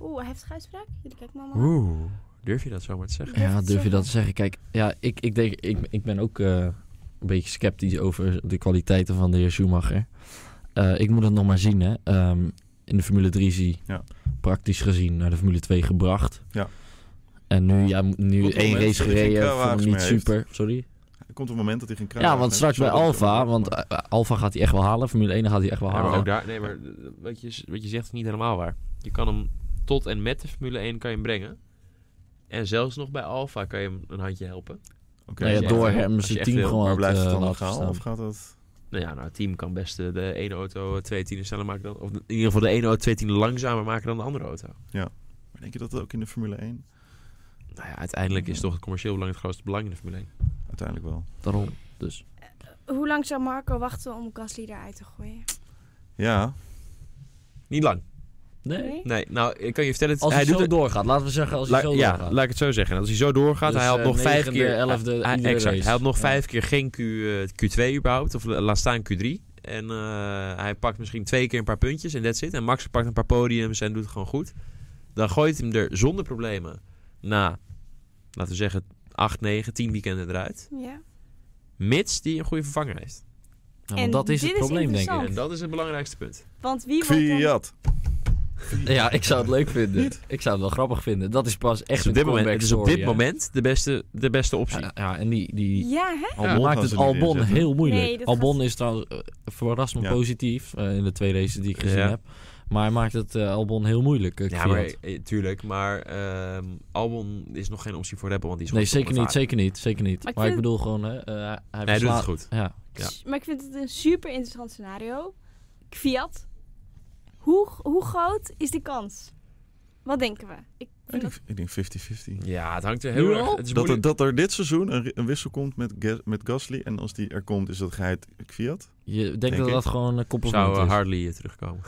[SPEAKER 2] Oeh, hij heeft schuitspraak? Jullie kijken me allemaal. aan.
[SPEAKER 1] oeh, durf je dat zomaar te zeggen?
[SPEAKER 4] Ja,
[SPEAKER 2] het
[SPEAKER 4] durf je
[SPEAKER 2] zeggen.
[SPEAKER 4] dat te zeggen? Kijk, ja, ik, ik, denk, ik, ik ben ook eh, een beetje sceptisch over de kwaliteiten van de heer Schumacher. Eh, ik moet dat nog maar zien, hè. Ehm, in de Formule 3 zie
[SPEAKER 3] Ja.
[SPEAKER 4] praktisch gezien naar de Formule 2 gebracht.
[SPEAKER 3] Ja.
[SPEAKER 4] En nu, ja, nu
[SPEAKER 3] Op het
[SPEAKER 4] één race
[SPEAKER 3] moment dat hij geen
[SPEAKER 4] gereden, vond
[SPEAKER 3] kruiwagens
[SPEAKER 4] hem niet
[SPEAKER 3] meer heeft.
[SPEAKER 4] super. Sorry?
[SPEAKER 3] Er komt een moment dat hij geen kruis
[SPEAKER 4] ja, want straks bij Alfa, want eh, Alfa gaat hij echt wel halen. Formule 1 gaat hij echt wel
[SPEAKER 1] Ja, maar
[SPEAKER 4] halen.
[SPEAKER 1] ook daar, nee, maar eh, wat je, wat je zegt is niet helemaal waar. Je kan hem tot en met de Formule 1 kan je hem brengen. En zelfs nog bij Alfa kan je hem een handje helpen.
[SPEAKER 3] Oké,
[SPEAKER 4] Nou ja,
[SPEAKER 1] Als je
[SPEAKER 4] door
[SPEAKER 1] echt wil-
[SPEAKER 4] hem
[SPEAKER 1] als je
[SPEAKER 4] zijn
[SPEAKER 1] echt
[SPEAKER 4] team
[SPEAKER 1] wil,
[SPEAKER 4] gewoon
[SPEAKER 3] maar
[SPEAKER 4] had,
[SPEAKER 3] blijft het
[SPEAKER 4] eh,
[SPEAKER 3] dan
[SPEAKER 4] laten
[SPEAKER 3] legaal?
[SPEAKER 4] staan.
[SPEAKER 3] Of gaat dat...
[SPEAKER 1] Nou ja, nou, het team kan best de, de ene auto eh, twee tienen sneller maken dan... Of in ieder geval de ene auto twee tienen langzamer maken dan de andere auto.
[SPEAKER 3] Maar denk je dat dat ook in de Formule 1?
[SPEAKER 1] Nou ja, uiteindelijk is toch het commercieel belang het grootste belang in de Formule 1.
[SPEAKER 3] Uiteindelijk wel.
[SPEAKER 4] Daarom, dus.
[SPEAKER 2] Hoe lang zou Marco wachten om Gasly eruit te gooien?
[SPEAKER 3] Ja,
[SPEAKER 1] Niet lang.
[SPEAKER 4] Nee.
[SPEAKER 2] Nee?
[SPEAKER 1] Nee, nou, ik kan je vertellen... het-
[SPEAKER 4] Als hij,
[SPEAKER 1] doet
[SPEAKER 4] zo
[SPEAKER 1] het-
[SPEAKER 4] doorgaat, laten we zeggen als hij
[SPEAKER 1] La-
[SPEAKER 4] zo
[SPEAKER 1] ja,
[SPEAKER 4] doorgaat.
[SPEAKER 1] laat ik het zo zeggen. Als hij zo doorgaat,
[SPEAKER 4] Dus,
[SPEAKER 1] hij had
[SPEAKER 4] eh,
[SPEAKER 1] nog vijf
[SPEAKER 4] negende,
[SPEAKER 1] keer...
[SPEAKER 4] elfde,
[SPEAKER 1] hij-
[SPEAKER 4] iedere
[SPEAKER 1] exact,
[SPEAKER 4] race.
[SPEAKER 1] hij had nog
[SPEAKER 4] Ja.
[SPEAKER 1] vijf keer geen Q, eh, Q2 überhaupt. Of la- laat staan Q3. En eh, hij pakt misschien twee keer een paar puntjes en that's it. En Max pakt een paar podiums en doet het gewoon goed. Dan gooit hij hem er zonder problemen na, laten we zeggen, acht, negen, tien weekenden eruit.
[SPEAKER 2] Ja.
[SPEAKER 1] Mits die een goede vervanger heeft.
[SPEAKER 4] Ja, want
[SPEAKER 2] En
[SPEAKER 4] dat is
[SPEAKER 2] dit
[SPEAKER 4] het
[SPEAKER 2] is
[SPEAKER 4] probleem, denk ik.
[SPEAKER 2] interessant.
[SPEAKER 1] En dat is het belangrijkste punt.
[SPEAKER 2] Want wie wordt dan...
[SPEAKER 3] Fiat.
[SPEAKER 4] Ja, ik zou het leuk vinden. Ik zou het wel grappig vinden. Dat is pas echt
[SPEAKER 1] Dus
[SPEAKER 4] een
[SPEAKER 1] op dit moment,
[SPEAKER 4] comeback
[SPEAKER 1] het is op
[SPEAKER 4] story,
[SPEAKER 1] dit
[SPEAKER 4] hè.
[SPEAKER 1] moment de beste, de beste optie.
[SPEAKER 4] Ja, ja, en die, die
[SPEAKER 2] Ja, hè?
[SPEAKER 3] Albon gaan
[SPEAKER 4] maakt het
[SPEAKER 3] ze niet
[SPEAKER 4] Albon
[SPEAKER 3] inzetten.
[SPEAKER 4] heel moeilijk.
[SPEAKER 2] Nee, dat
[SPEAKER 4] Albon
[SPEAKER 2] gaat-
[SPEAKER 4] is trouwens eh, verrassend
[SPEAKER 3] Ja.
[SPEAKER 4] positief eh, in de twee races die ik gezien
[SPEAKER 1] Ja.
[SPEAKER 4] heb. Maar hij maakt het eh, Albon heel moeilijk. eh,
[SPEAKER 1] Ja,
[SPEAKER 4] Fiat.
[SPEAKER 1] maar, eh, tuurlijk. Maar ehm, Albon is nog geen optie voor Rebel, want die is
[SPEAKER 4] nee,
[SPEAKER 1] goed op
[SPEAKER 4] zeker niet,
[SPEAKER 1] ervaren.
[SPEAKER 4] zeker niet, zeker niet. Maar
[SPEAKER 2] Maar
[SPEAKER 4] ik,
[SPEAKER 2] ik vind-
[SPEAKER 4] bedoel gewoon, hè, eh, hij
[SPEAKER 1] Nee, hij doet het
[SPEAKER 4] verslaat-
[SPEAKER 1] goed.
[SPEAKER 4] Ja.
[SPEAKER 1] Ja.
[SPEAKER 2] Maar ik vind het een super interessant scenario. Fiat. Hoe, hoe groot is de kans? Wat denken we? Ik
[SPEAKER 3] Ik
[SPEAKER 2] vind
[SPEAKER 3] denk-
[SPEAKER 2] dat...
[SPEAKER 3] Ik denk 50-50.
[SPEAKER 1] Ja, het hangt er
[SPEAKER 4] Nu
[SPEAKER 1] heel erg.
[SPEAKER 4] al?
[SPEAKER 1] Het is
[SPEAKER 3] Dat er,
[SPEAKER 1] moeilijk.
[SPEAKER 3] dat er dit seizoen een, een wissel komt met, Gas- met Gasly. En als die er komt, is dat geheid Fiat.
[SPEAKER 4] Je denkt
[SPEAKER 3] Denk
[SPEAKER 4] dat
[SPEAKER 3] ik.
[SPEAKER 4] dat gewoon een
[SPEAKER 1] zou
[SPEAKER 4] koppelpunt
[SPEAKER 1] eh,
[SPEAKER 4] is.
[SPEAKER 1] Harley eh, terugkomen.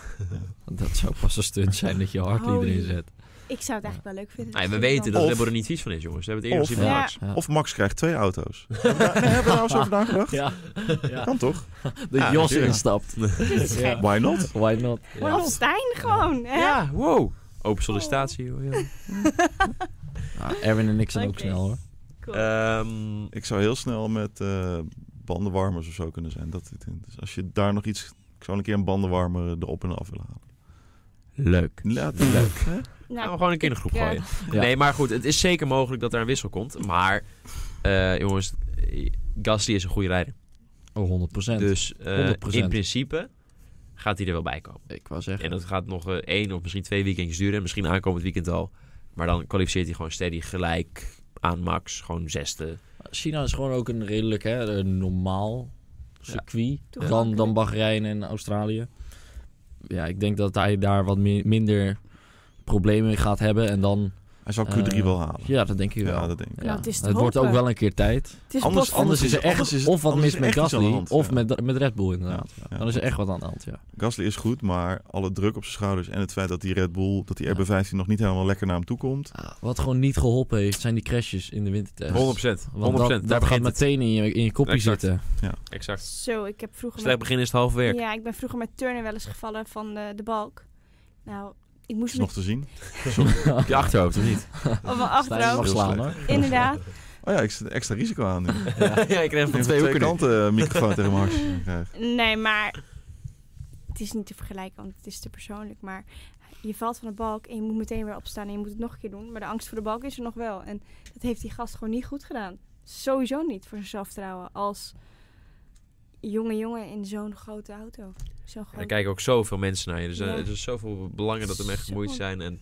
[SPEAKER 4] Dat zou pas een stunt zijn dat je
[SPEAKER 2] Oh,
[SPEAKER 4] Hartley
[SPEAKER 2] Holy.
[SPEAKER 4] erin zet.
[SPEAKER 2] Ik zou het eigenlijk wel leuk vinden.
[SPEAKER 1] Nee, we
[SPEAKER 2] Als
[SPEAKER 1] weten
[SPEAKER 2] dan-
[SPEAKER 1] dat
[SPEAKER 3] Of-
[SPEAKER 1] Rebel er niet vies van is, jongens. We hebben het eerder
[SPEAKER 3] Of-
[SPEAKER 1] gezien van
[SPEAKER 2] Ja.
[SPEAKER 1] Max.
[SPEAKER 4] Ja.
[SPEAKER 3] Of Max krijgt twee auto's. Hebben we daar- nee, hebben we daar eens over nagedacht?
[SPEAKER 4] [laughs] Ja.
[SPEAKER 3] Kan toch?
[SPEAKER 4] De
[SPEAKER 3] Ja,
[SPEAKER 4] Jos
[SPEAKER 3] natuurlijk. [laughs]
[SPEAKER 4] instapt.
[SPEAKER 2] Dit is gek.
[SPEAKER 3] Why not?
[SPEAKER 4] Why not?
[SPEAKER 2] Maar Of Stijn gewoon, hè?
[SPEAKER 1] Ja, wow. Open sollicitatie. joh, joh.
[SPEAKER 4] Ja, Nou, Erwin en ik zijn ook
[SPEAKER 2] Oké.
[SPEAKER 4] snel hoor.
[SPEAKER 2] Cool.
[SPEAKER 1] Ehm,
[SPEAKER 3] Ik zou heel snel met eh, bandenwarmers of zo kunnen zijn. Dat, dus als je daar nog iets... Ik zou een keer een bandenwarmer erop en af willen halen.
[SPEAKER 1] Leuk.
[SPEAKER 3] Laat leuk. Hè?
[SPEAKER 1] Gaan we
[SPEAKER 2] Nou,
[SPEAKER 1] gewoon een keer in de groep
[SPEAKER 2] Ja.
[SPEAKER 1] gooien.
[SPEAKER 4] Ja.
[SPEAKER 1] Nee, maar goed, het is zeker mogelijk dat er een wissel komt. Maar, eh, jongens, Gasly is een goede rijder.
[SPEAKER 4] Oh, 100%.
[SPEAKER 1] Dus eh,
[SPEAKER 4] 100%.
[SPEAKER 1] in principe gaat hij er wel bij komen.
[SPEAKER 4] ik wou zeggen.
[SPEAKER 1] En dat gaat nog eh, één of misschien twee weekendjes duren. Misschien aankomend weekend al. Maar dan kwalificeert hij gewoon steady gelijk aan Max. Gewoon zesde.
[SPEAKER 4] China is gewoon ook een redelijk hè, een normaal circuit dan,
[SPEAKER 2] Toegankelijk.
[SPEAKER 4] dan Bahrein en Australië. Ja, ik denk dat hij daar wat mi- minder problemen mee gaat hebben. En dan,
[SPEAKER 3] Hij zou
[SPEAKER 4] Eh,
[SPEAKER 3] Q3 wel halen.
[SPEAKER 4] ja, dat denk ik wel.
[SPEAKER 3] Ja, dat denk ik.
[SPEAKER 2] Nou, het is te
[SPEAKER 4] wordt ook
[SPEAKER 2] hopen.
[SPEAKER 4] wel een keer tijd.
[SPEAKER 2] het is
[SPEAKER 3] anders-
[SPEAKER 2] anders,
[SPEAKER 3] anders-
[SPEAKER 4] Anders is er
[SPEAKER 3] is-
[SPEAKER 4] echt
[SPEAKER 3] anders is-
[SPEAKER 4] of wat
[SPEAKER 3] anders is
[SPEAKER 4] mis met
[SPEAKER 3] echt iets aan de
[SPEAKER 4] Gasly
[SPEAKER 3] hand,
[SPEAKER 4] of
[SPEAKER 3] ja.
[SPEAKER 4] met, met Red Bull inderdaad.
[SPEAKER 3] Ja,
[SPEAKER 4] Dan is er echt wat aan de hand, ja.
[SPEAKER 3] Gasly is goed, maar alle druk op zijn schouders en het feit dat die Red Bull, dat die RB15 nog niet helemaal lekker naar hem toe komt.
[SPEAKER 4] Ah, Wat gewoon niet geholpen heeft, zijn die crashes in de wintertest.
[SPEAKER 1] 100%. 100%.
[SPEAKER 4] Want dat, dat
[SPEAKER 1] Daar
[SPEAKER 4] gaat
[SPEAKER 1] begint het.
[SPEAKER 4] meteen in je, in je kopje
[SPEAKER 1] Exact.
[SPEAKER 4] zitten.
[SPEAKER 1] Exact.
[SPEAKER 2] Zo, ik heb vroeger...
[SPEAKER 1] Slecht
[SPEAKER 2] met-
[SPEAKER 1] begin is het half werk.
[SPEAKER 2] Ja, ik ben vroeger met turnen wel eens gevallen van eh, de balk. Nou, ik
[SPEAKER 3] Dat
[SPEAKER 2] moest
[SPEAKER 3] is
[SPEAKER 2] me
[SPEAKER 3] nog te zien.
[SPEAKER 1] Op je achterhoofd, of [laughs] niet?
[SPEAKER 2] [laughs] op mijn
[SPEAKER 4] Sta je mag
[SPEAKER 2] achterhoofd.
[SPEAKER 3] Heel
[SPEAKER 4] slaan,
[SPEAKER 3] slecht.
[SPEAKER 4] hoor.
[SPEAKER 2] Inderdaad.
[SPEAKER 3] Oh ja, ik zet extra risico
[SPEAKER 1] [laughs]
[SPEAKER 3] aan nu. Ik denk
[SPEAKER 1] ja, ik kreeg
[SPEAKER 3] dat
[SPEAKER 1] van
[SPEAKER 3] ik
[SPEAKER 1] twee
[SPEAKER 3] twee
[SPEAKER 1] hoeken nu.
[SPEAKER 3] kanten eh, microfoon
[SPEAKER 1] [laughs]
[SPEAKER 3] tegen mijn hartje krijg.
[SPEAKER 2] Nee, maar het is niet te vergelijken, want het is te persoonlijk. Maar je valt van de balk en je moet meteen weer opstaan en je moet het nog een keer doen. Maar de angst voor de balk is er nog wel. En dat heeft die gast gewoon niet goed gedaan. Sowieso niet voor zijn zelfvertrouwen als jonge jongen in zo'n grote auto. Zo
[SPEAKER 1] Er
[SPEAKER 2] gewoon.
[SPEAKER 1] kijken ook zoveel mensen naar je. Dus eh,
[SPEAKER 2] Ja.
[SPEAKER 1] er is zoveel belangen dat ermee gemoeid
[SPEAKER 2] Zo.
[SPEAKER 1] zijn. En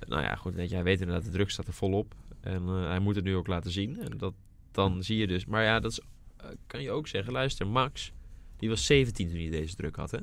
[SPEAKER 1] eh, nou ja, goed, weet je, hij weet inderdaad, de druk staat er volop. En eh, hij moet het nu ook laten zien. En dat, dan zie je dus. Maar ja, dat is, eh, kan je ook zeggen. Luister, Max, die was 17 toen hij deze druk had, hè?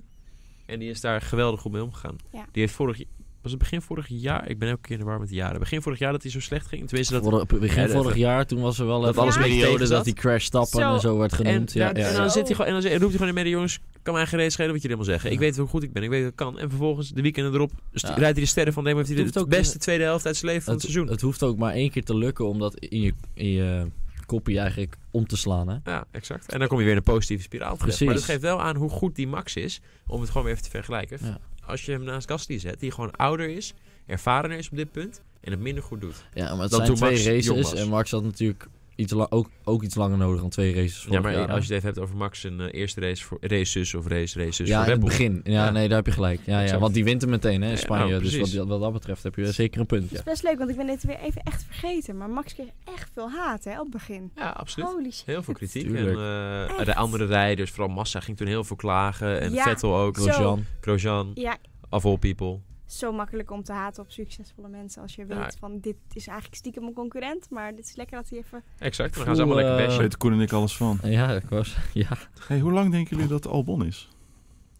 [SPEAKER 1] En die is daar geweldig goed mee omgegaan.
[SPEAKER 2] Ja.
[SPEAKER 1] Die heeft vorig was het begin vorig jaar? Ik ben elke keer in de war met de jaren. Begin vorig jaar dat hij zo slecht ging. Tenminste, dat,
[SPEAKER 4] Vorig- begin
[SPEAKER 1] Ja, dat-
[SPEAKER 4] vorig jaar, toen was er wel
[SPEAKER 1] Dat
[SPEAKER 4] even
[SPEAKER 2] alles
[SPEAKER 4] een
[SPEAKER 2] een beetje
[SPEAKER 4] periode
[SPEAKER 1] tegen
[SPEAKER 4] dat
[SPEAKER 1] zat.
[SPEAKER 4] die crash stappen
[SPEAKER 2] Zo.
[SPEAKER 4] en zo werd genoemd.
[SPEAKER 1] En,
[SPEAKER 4] ja,
[SPEAKER 1] daar-
[SPEAKER 4] ja,
[SPEAKER 1] en
[SPEAKER 4] ja.
[SPEAKER 1] dan
[SPEAKER 2] Zo.
[SPEAKER 1] zit hij gewoon en dan roept hij gewoon in midden, jongens, kan mij geen reet schelen wat jullie allemaal zeggen. Ik
[SPEAKER 4] Ja.
[SPEAKER 1] weet hoe goed ik ben, ik weet wat ik kan. En vervolgens de weekenden erop stu-
[SPEAKER 4] Ja.
[SPEAKER 1] rijdt hij de sterren van Demo. Heeft hij
[SPEAKER 4] Het
[SPEAKER 1] de
[SPEAKER 4] hoeft ook-
[SPEAKER 1] beste tweede helft uit zijn leven van het, seizoen.
[SPEAKER 4] Het hoeft ook maar één keer te lukken om dat in je, in je kopie eigenlijk om te slaan. Hè?
[SPEAKER 1] ja, exact. En dan kom je weer in een positieve spiraal terecht.
[SPEAKER 4] Precies.
[SPEAKER 1] Maar dat geeft wel aan hoe goed die Max is, om het gewoon weer even te vergelijken.
[SPEAKER 4] Ja.
[SPEAKER 1] Als je hem naast Gasly zet, die gewoon ouder is, ervarener is op dit punt en het minder goed doet.
[SPEAKER 4] Ja, maar het
[SPEAKER 1] Dat
[SPEAKER 4] zijn
[SPEAKER 1] toen
[SPEAKER 4] twee
[SPEAKER 1] Max jong
[SPEAKER 4] races
[SPEAKER 1] was.
[SPEAKER 4] en Max had natuurlijk iets la- ook, ook iets langer nodig dan twee races.
[SPEAKER 1] Ja,
[SPEAKER 4] vorig
[SPEAKER 1] maar
[SPEAKER 4] jaar, hè?
[SPEAKER 1] als je het even hebt over Max zijn eh, eerste race voor races of race races
[SPEAKER 4] ja,
[SPEAKER 1] voor
[SPEAKER 4] in
[SPEAKER 1] Red
[SPEAKER 4] het
[SPEAKER 1] Bull.
[SPEAKER 4] begin. Ja,
[SPEAKER 1] Ja.
[SPEAKER 4] nee, daar heb je gelijk. Ja, ja,
[SPEAKER 1] Exact.
[SPEAKER 4] want die wint hem meteen hè, in
[SPEAKER 1] Ja,
[SPEAKER 4] Spanje.
[SPEAKER 1] nou,
[SPEAKER 4] dus
[SPEAKER 1] precies.
[SPEAKER 4] wat, wat dat betreft heb je zeker een punt.
[SPEAKER 2] Het
[SPEAKER 4] Ja.
[SPEAKER 2] is best leuk, want ik ben dit weer even echt vergeten. Maar Max kreeg echt veel haat hè, op het begin.
[SPEAKER 1] Ja, absoluut.
[SPEAKER 2] Holy shit.
[SPEAKER 1] Heel veel kritiek.
[SPEAKER 4] Tuurlijk.
[SPEAKER 1] En eh,
[SPEAKER 2] Echt?
[SPEAKER 1] de andere rijders, vooral Massa, ging toen heel veel klagen. En
[SPEAKER 2] Ja.
[SPEAKER 1] Vettel ook.
[SPEAKER 2] Zo.
[SPEAKER 4] Grosjean.
[SPEAKER 1] Grosjean,
[SPEAKER 2] Ja,
[SPEAKER 1] of all people.
[SPEAKER 2] zo makkelijk om te haten op succesvolle mensen. Als je
[SPEAKER 1] Ja.
[SPEAKER 2] weet van dit is eigenlijk stiekem een concurrent. Maar dit is lekker dat hij even...
[SPEAKER 1] Exact, dan
[SPEAKER 4] Ik
[SPEAKER 1] gaan ze allemaal
[SPEAKER 4] voel, eh,
[SPEAKER 1] lekker
[SPEAKER 3] Daar
[SPEAKER 1] bashen.
[SPEAKER 3] weten Koen en ik alles van.
[SPEAKER 4] Ja, ik was. [laughs] Ja,
[SPEAKER 3] Hey, hoe lang denken jullie dat Albon is?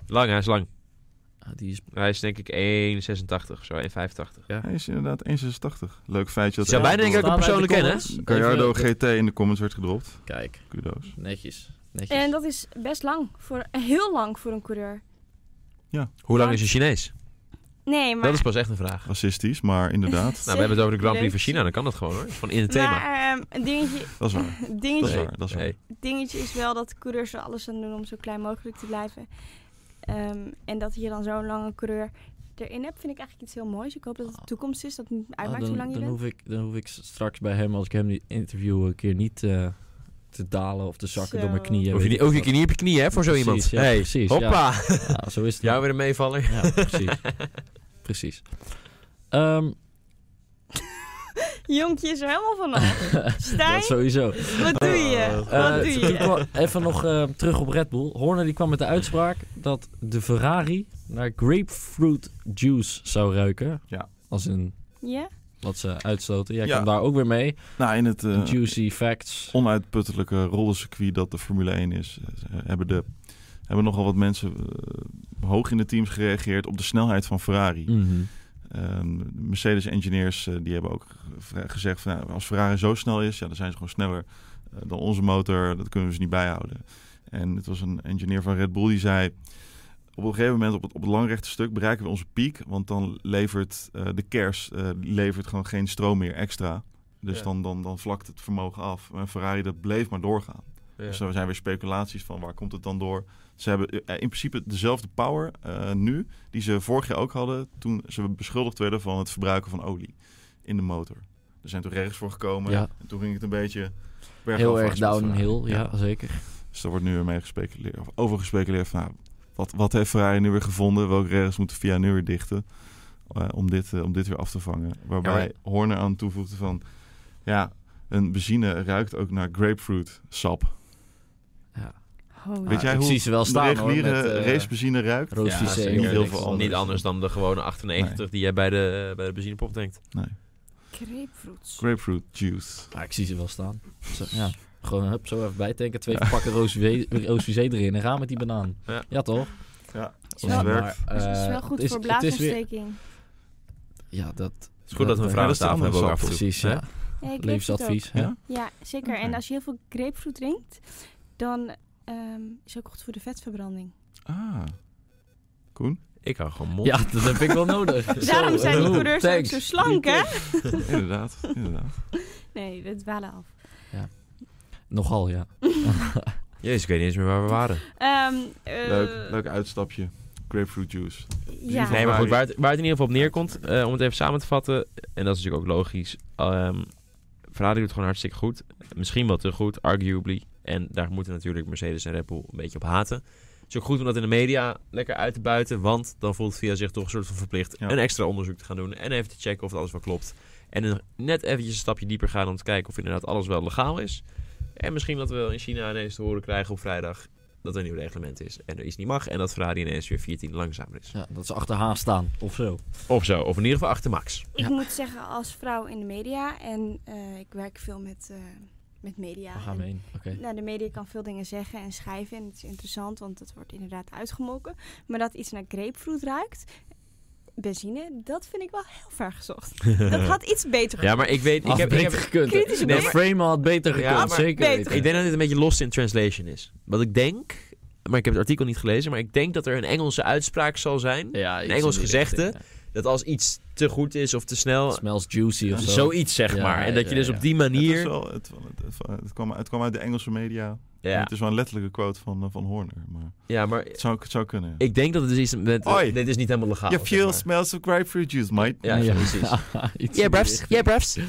[SPEAKER 1] Lang, hij is lang.
[SPEAKER 4] Ah, die is
[SPEAKER 1] Hij is denk ik 1,86, zo 1,85.
[SPEAKER 3] Hij is inderdaad 1,86. Leuk feitje.
[SPEAKER 1] Je
[SPEAKER 3] Dat
[SPEAKER 1] zou bijna denken dat ik
[SPEAKER 4] Staan
[SPEAKER 1] hem
[SPEAKER 4] wij in de
[SPEAKER 1] persoonlijk ken, hè?
[SPEAKER 4] comments?
[SPEAKER 3] Gallardo
[SPEAKER 4] Even-
[SPEAKER 3] GT in de comments werd gedropt.
[SPEAKER 4] Kijk,
[SPEAKER 3] Kudos.
[SPEAKER 4] netjes. netjes.
[SPEAKER 2] En dat is best lang. Voor, heel lang voor een coureur.
[SPEAKER 1] Hoe lang
[SPEAKER 2] Ja.
[SPEAKER 1] is een Chinees?
[SPEAKER 2] Nee, maar...
[SPEAKER 1] Dat is pas echt een vraag.
[SPEAKER 3] Racistisch,
[SPEAKER 1] [laughs]
[SPEAKER 3] maar inderdaad.
[SPEAKER 1] Nou, we hebben het over de Grand
[SPEAKER 2] [laughs]
[SPEAKER 1] Prix van China, dan kan dat gewoon hoor. Van in het thema.
[SPEAKER 2] Maar ehm, een
[SPEAKER 1] [laughs]
[SPEAKER 2] dingetje,
[SPEAKER 3] Dat is waar. Dat is
[SPEAKER 2] dingetje,
[SPEAKER 1] Nee.
[SPEAKER 3] waar. Dat is waar.
[SPEAKER 1] Nee.
[SPEAKER 2] dingetje is wel dat coureurs er alles aan doen om zo klein mogelijk te blijven. Ehm, en dat je dan zo'n lange coureur erin hebt, vind ik eigenlijk iets heel moois. Ik hoop dat het de toekomst is, dat het niet
[SPEAKER 4] Ah,
[SPEAKER 2] uitmaakt
[SPEAKER 4] dan,
[SPEAKER 2] hoe lang je
[SPEAKER 4] dan
[SPEAKER 2] bent.
[SPEAKER 4] hoef ik, dan hoef ik straks bij hem, als ik hem die interview een keer niet eh, te dalen of te zakken
[SPEAKER 2] Zo.
[SPEAKER 4] door mijn knieën.
[SPEAKER 1] Hoef je
[SPEAKER 4] weet
[SPEAKER 1] niet,
[SPEAKER 4] ik
[SPEAKER 1] ook je
[SPEAKER 4] wat.
[SPEAKER 1] knie op je knie, hè, voor zo
[SPEAKER 4] Precies,
[SPEAKER 1] iemand.
[SPEAKER 4] ja,
[SPEAKER 1] hey,
[SPEAKER 4] precies,
[SPEAKER 1] hoppa.
[SPEAKER 4] Ja, zo is het.
[SPEAKER 1] Jou weer een meevaller.
[SPEAKER 4] Ja, precies. [laughs] precies. Ehm, [laughs]
[SPEAKER 2] Jonkje is er helemaal
[SPEAKER 4] [laughs]
[SPEAKER 2] vanaf. Stijn,
[SPEAKER 4] dat sowieso.
[SPEAKER 2] wat doe je? wat
[SPEAKER 4] Eh,
[SPEAKER 2] doe
[SPEAKER 4] toen
[SPEAKER 2] je?
[SPEAKER 4] kwam- even nog eh, terug op Red Bull. Horner die kwam met de uitspraak dat de Ferrari naar grapefruit juice zou ruiken.
[SPEAKER 3] Ja.
[SPEAKER 4] Als in
[SPEAKER 2] Ja?
[SPEAKER 4] wat ze uitstoten. Jij
[SPEAKER 3] Ja.
[SPEAKER 4] kwam daar ook weer mee.
[SPEAKER 3] Nou, in het eh,
[SPEAKER 4] Juicy facts.
[SPEAKER 3] onuitputtelijke rollencircuit dat de Formule 1 is, eh, hebben, de, hebben nogal wat mensen eh, hoog in de teams gereageerd op de snelheid van Ferrari.
[SPEAKER 4] Mhm.
[SPEAKER 3] Ehm, de Mercedes-engineers eh, die hebben ook ge- gezegd: van, nou, als Ferrari zo snel is, ja, dan zijn ze gewoon sneller eh, dan onze motor. Dat kunnen we ze niet bijhouden. En het was een engineer van Red Bull die zei: Op een gegeven moment op het, op het langrechte stuk bereiken we onze piek, want dan levert eh, de kers eh, die levert gewoon geen stroom meer extra. Dus
[SPEAKER 1] Ja.
[SPEAKER 3] dan, dan, dan vlakt het vermogen af. En Ferrari dat bleef maar doorgaan. Dus er zijn weer speculaties van waar komt het dan door. Ze hebben eh, in principe dezelfde power eh, nu die ze vorig jaar ook hadden toen ze beschuldigd werden van het verbruiken van olie in de motor. Er zijn toen regels voor gekomen
[SPEAKER 4] Ja.
[SPEAKER 3] en toen ging het een beetje
[SPEAKER 4] Heel
[SPEAKER 3] bergafwaarts
[SPEAKER 4] erg
[SPEAKER 3] met Ferrari.
[SPEAKER 4] downhill. Ja, zeker.
[SPEAKER 3] Dus Dus daar wordt nu weer mee gespeculeerd, of over gespeculeerd van, nou, wat, wat heeft Ferrari nu weer gevonden? Welke regels moeten VIA nu weer dichten eh, om, dit, eh, om dit weer af te vangen? Waarbij Horner aan toevoegde van, ja, een benzine ruikt ook naar grapefruit sap.
[SPEAKER 2] Oh,
[SPEAKER 3] Weet jij
[SPEAKER 4] ik
[SPEAKER 3] hoe
[SPEAKER 4] zie ze wel
[SPEAKER 3] De
[SPEAKER 4] staan, hoor,
[SPEAKER 3] reguliere
[SPEAKER 4] met, eh,
[SPEAKER 3] racebenzine ruikt?
[SPEAKER 4] Roos
[SPEAKER 1] Ja,
[SPEAKER 4] Vissé
[SPEAKER 1] zeker.
[SPEAKER 4] en
[SPEAKER 3] Niet heel
[SPEAKER 4] niks.
[SPEAKER 3] veel
[SPEAKER 1] Anders. Niet anders dan de gewone 98 die jij bij de, bij de benzinepomp denkt.
[SPEAKER 2] grapefruits.
[SPEAKER 3] Grapefruit juice.
[SPEAKER 4] Ja, ik zie ze wel staan. Zo, ja. Gewoon hup, zo even bijtanken. Twee pakken roos Vissé erin en gaan met die banaan.
[SPEAKER 1] Ja.
[SPEAKER 4] Ja, toch?
[SPEAKER 3] Ja,
[SPEAKER 2] Het
[SPEAKER 3] als het
[SPEAKER 4] Maar,
[SPEAKER 3] werkt.
[SPEAKER 4] eh,
[SPEAKER 2] is, Dus het is wel goed
[SPEAKER 4] het is-
[SPEAKER 2] voor
[SPEAKER 4] het is weer-
[SPEAKER 2] blaasontsteking.
[SPEAKER 4] Ja, dat...
[SPEAKER 1] Het is goed dat we een
[SPEAKER 4] Ja,
[SPEAKER 1] vrouw
[SPEAKER 3] dat
[SPEAKER 1] aan
[SPEAKER 3] is de
[SPEAKER 1] tafel hebben
[SPEAKER 3] andere
[SPEAKER 1] ook af en
[SPEAKER 3] sap,
[SPEAKER 1] toe.
[SPEAKER 4] Precies,
[SPEAKER 1] hè?
[SPEAKER 4] ja.
[SPEAKER 2] Ja, ik lees het ook.
[SPEAKER 4] Levensadvies.
[SPEAKER 3] ook.
[SPEAKER 4] Ja.
[SPEAKER 2] Ja, zeker. En
[SPEAKER 3] Oké.
[SPEAKER 2] als je heel veel grapefruit drinkt, dan ehm, is het ook goed voor de vetverbranding.
[SPEAKER 3] Ah.
[SPEAKER 1] [laughs]
[SPEAKER 3] Koen?
[SPEAKER 1] Ik hou gewoon mond.
[SPEAKER 4] [laughs] ja, dat heb ik wel
[SPEAKER 2] [laughs]
[SPEAKER 4] nodig.
[SPEAKER 2] Daarom
[SPEAKER 4] Zo,
[SPEAKER 2] zijn
[SPEAKER 4] [laughs]
[SPEAKER 2] de
[SPEAKER 4] eh,
[SPEAKER 2] coureurs ook
[SPEAKER 4] thanks.
[SPEAKER 2] zo slank, hè?
[SPEAKER 3] inderdaad, inderdaad.
[SPEAKER 2] Nee, dat dwalen
[SPEAKER 4] [laughs]
[SPEAKER 2] af.
[SPEAKER 4] Nogal, ja.
[SPEAKER 1] Jezus, ik weet niet eens meer waar we waren.
[SPEAKER 2] Ehm, eh,
[SPEAKER 3] Leuk, leuk uitstapje. Grapefruit juice.
[SPEAKER 2] Ja.
[SPEAKER 1] Nee, maar
[SPEAKER 3] Ferrari.
[SPEAKER 1] goed, waar het, waar het in ieder geval op neerkomt, eh, om het even samen te vatten, en dat is natuurlijk ook logisch. ehm Ferrari doet het gewoon hartstikke goed. Misschien wel te goed, arguably. En daar moeten natuurlijk Mercedes en Red Bull een beetje op haten. Het is ook goed om dat in de media lekker uit te buiten, want dan voelt VIA zich toch een soort van verplicht
[SPEAKER 3] Ja.
[SPEAKER 1] een extra onderzoek te gaan doen en even te checken of het alles wel klopt. En een- net eventjes een stapje dieper gaan om te kijken of inderdaad alles wel legaal is. En misschien dat we wel in China ineens te horen krijgen op vrijdag dat er een nieuw reglement is en er iets niet mag en dat Ferrari ineens weer 14 langzamer is.
[SPEAKER 4] ja. Dat ze achter Haas staan, of zo.
[SPEAKER 1] Of zo, of in ieder geval achter Max.
[SPEAKER 2] Ik
[SPEAKER 4] Ja.
[SPEAKER 2] moet zeggen, als vrouw in de media en eh, ik werk veel met, eh, met media.
[SPEAKER 4] We gaan
[SPEAKER 2] en-
[SPEAKER 4] we heen. Oké.
[SPEAKER 2] Nou, de media kan veel dingen zeggen en schrijven en het is interessant, want dat wordt inderdaad uitgemolken. Maar dat iets naar grapefruit ruikt, benzine, dat vind ik wel heel ver gezocht. dat had iets beter
[SPEAKER 1] Ja, maar ik weet... Ik, heb, ik, heb,
[SPEAKER 4] gekund.
[SPEAKER 2] kritische
[SPEAKER 4] Nee,
[SPEAKER 1] blik.
[SPEAKER 4] Frame had beter
[SPEAKER 1] Ja,
[SPEAKER 4] gekund,
[SPEAKER 1] maar
[SPEAKER 4] zeker
[SPEAKER 2] beter.
[SPEAKER 1] ik
[SPEAKER 4] weten.
[SPEAKER 1] denk dat dit een beetje lost in translation is. Wat ik denk, maar ik heb het artikel niet gelezen, maar ik denk dat er een Engelse uitspraak zal zijn.
[SPEAKER 4] Ja,
[SPEAKER 1] Een
[SPEAKER 4] iets
[SPEAKER 1] Engels
[SPEAKER 4] in die richting,
[SPEAKER 1] gezegde. Dat als iets te goed is of te
[SPEAKER 4] ja.
[SPEAKER 1] snel,
[SPEAKER 4] Smells juicy of zo.
[SPEAKER 1] zoiets zeg
[SPEAKER 4] Ja,
[SPEAKER 1] maar. En dat je
[SPEAKER 4] ja,
[SPEAKER 1] dus
[SPEAKER 4] ja.
[SPEAKER 1] op die
[SPEAKER 3] Het, is
[SPEAKER 1] manier...
[SPEAKER 3] wel, het, het, het, kwam, het kwam uit de Engelse media. En
[SPEAKER 1] Ja,
[SPEAKER 3] Het is wel een letterlijke quote van, eh, van Horner. Maar
[SPEAKER 1] ja, maar
[SPEAKER 3] het zou, het zou kunnen. ja.
[SPEAKER 1] ik denk dat het dus iets met...
[SPEAKER 3] Oi.
[SPEAKER 1] Dit is niet helemaal legaal.
[SPEAKER 3] Your
[SPEAKER 1] zeg
[SPEAKER 3] fuel
[SPEAKER 1] maar.
[SPEAKER 3] smells of grapefruit juice, mate.
[SPEAKER 1] Ja,
[SPEAKER 4] Ja. [laughs]
[SPEAKER 1] precies.
[SPEAKER 4] Iets
[SPEAKER 1] Ja,
[SPEAKER 4] in die
[SPEAKER 1] brefs.
[SPEAKER 4] richting.
[SPEAKER 1] Ja, brefs.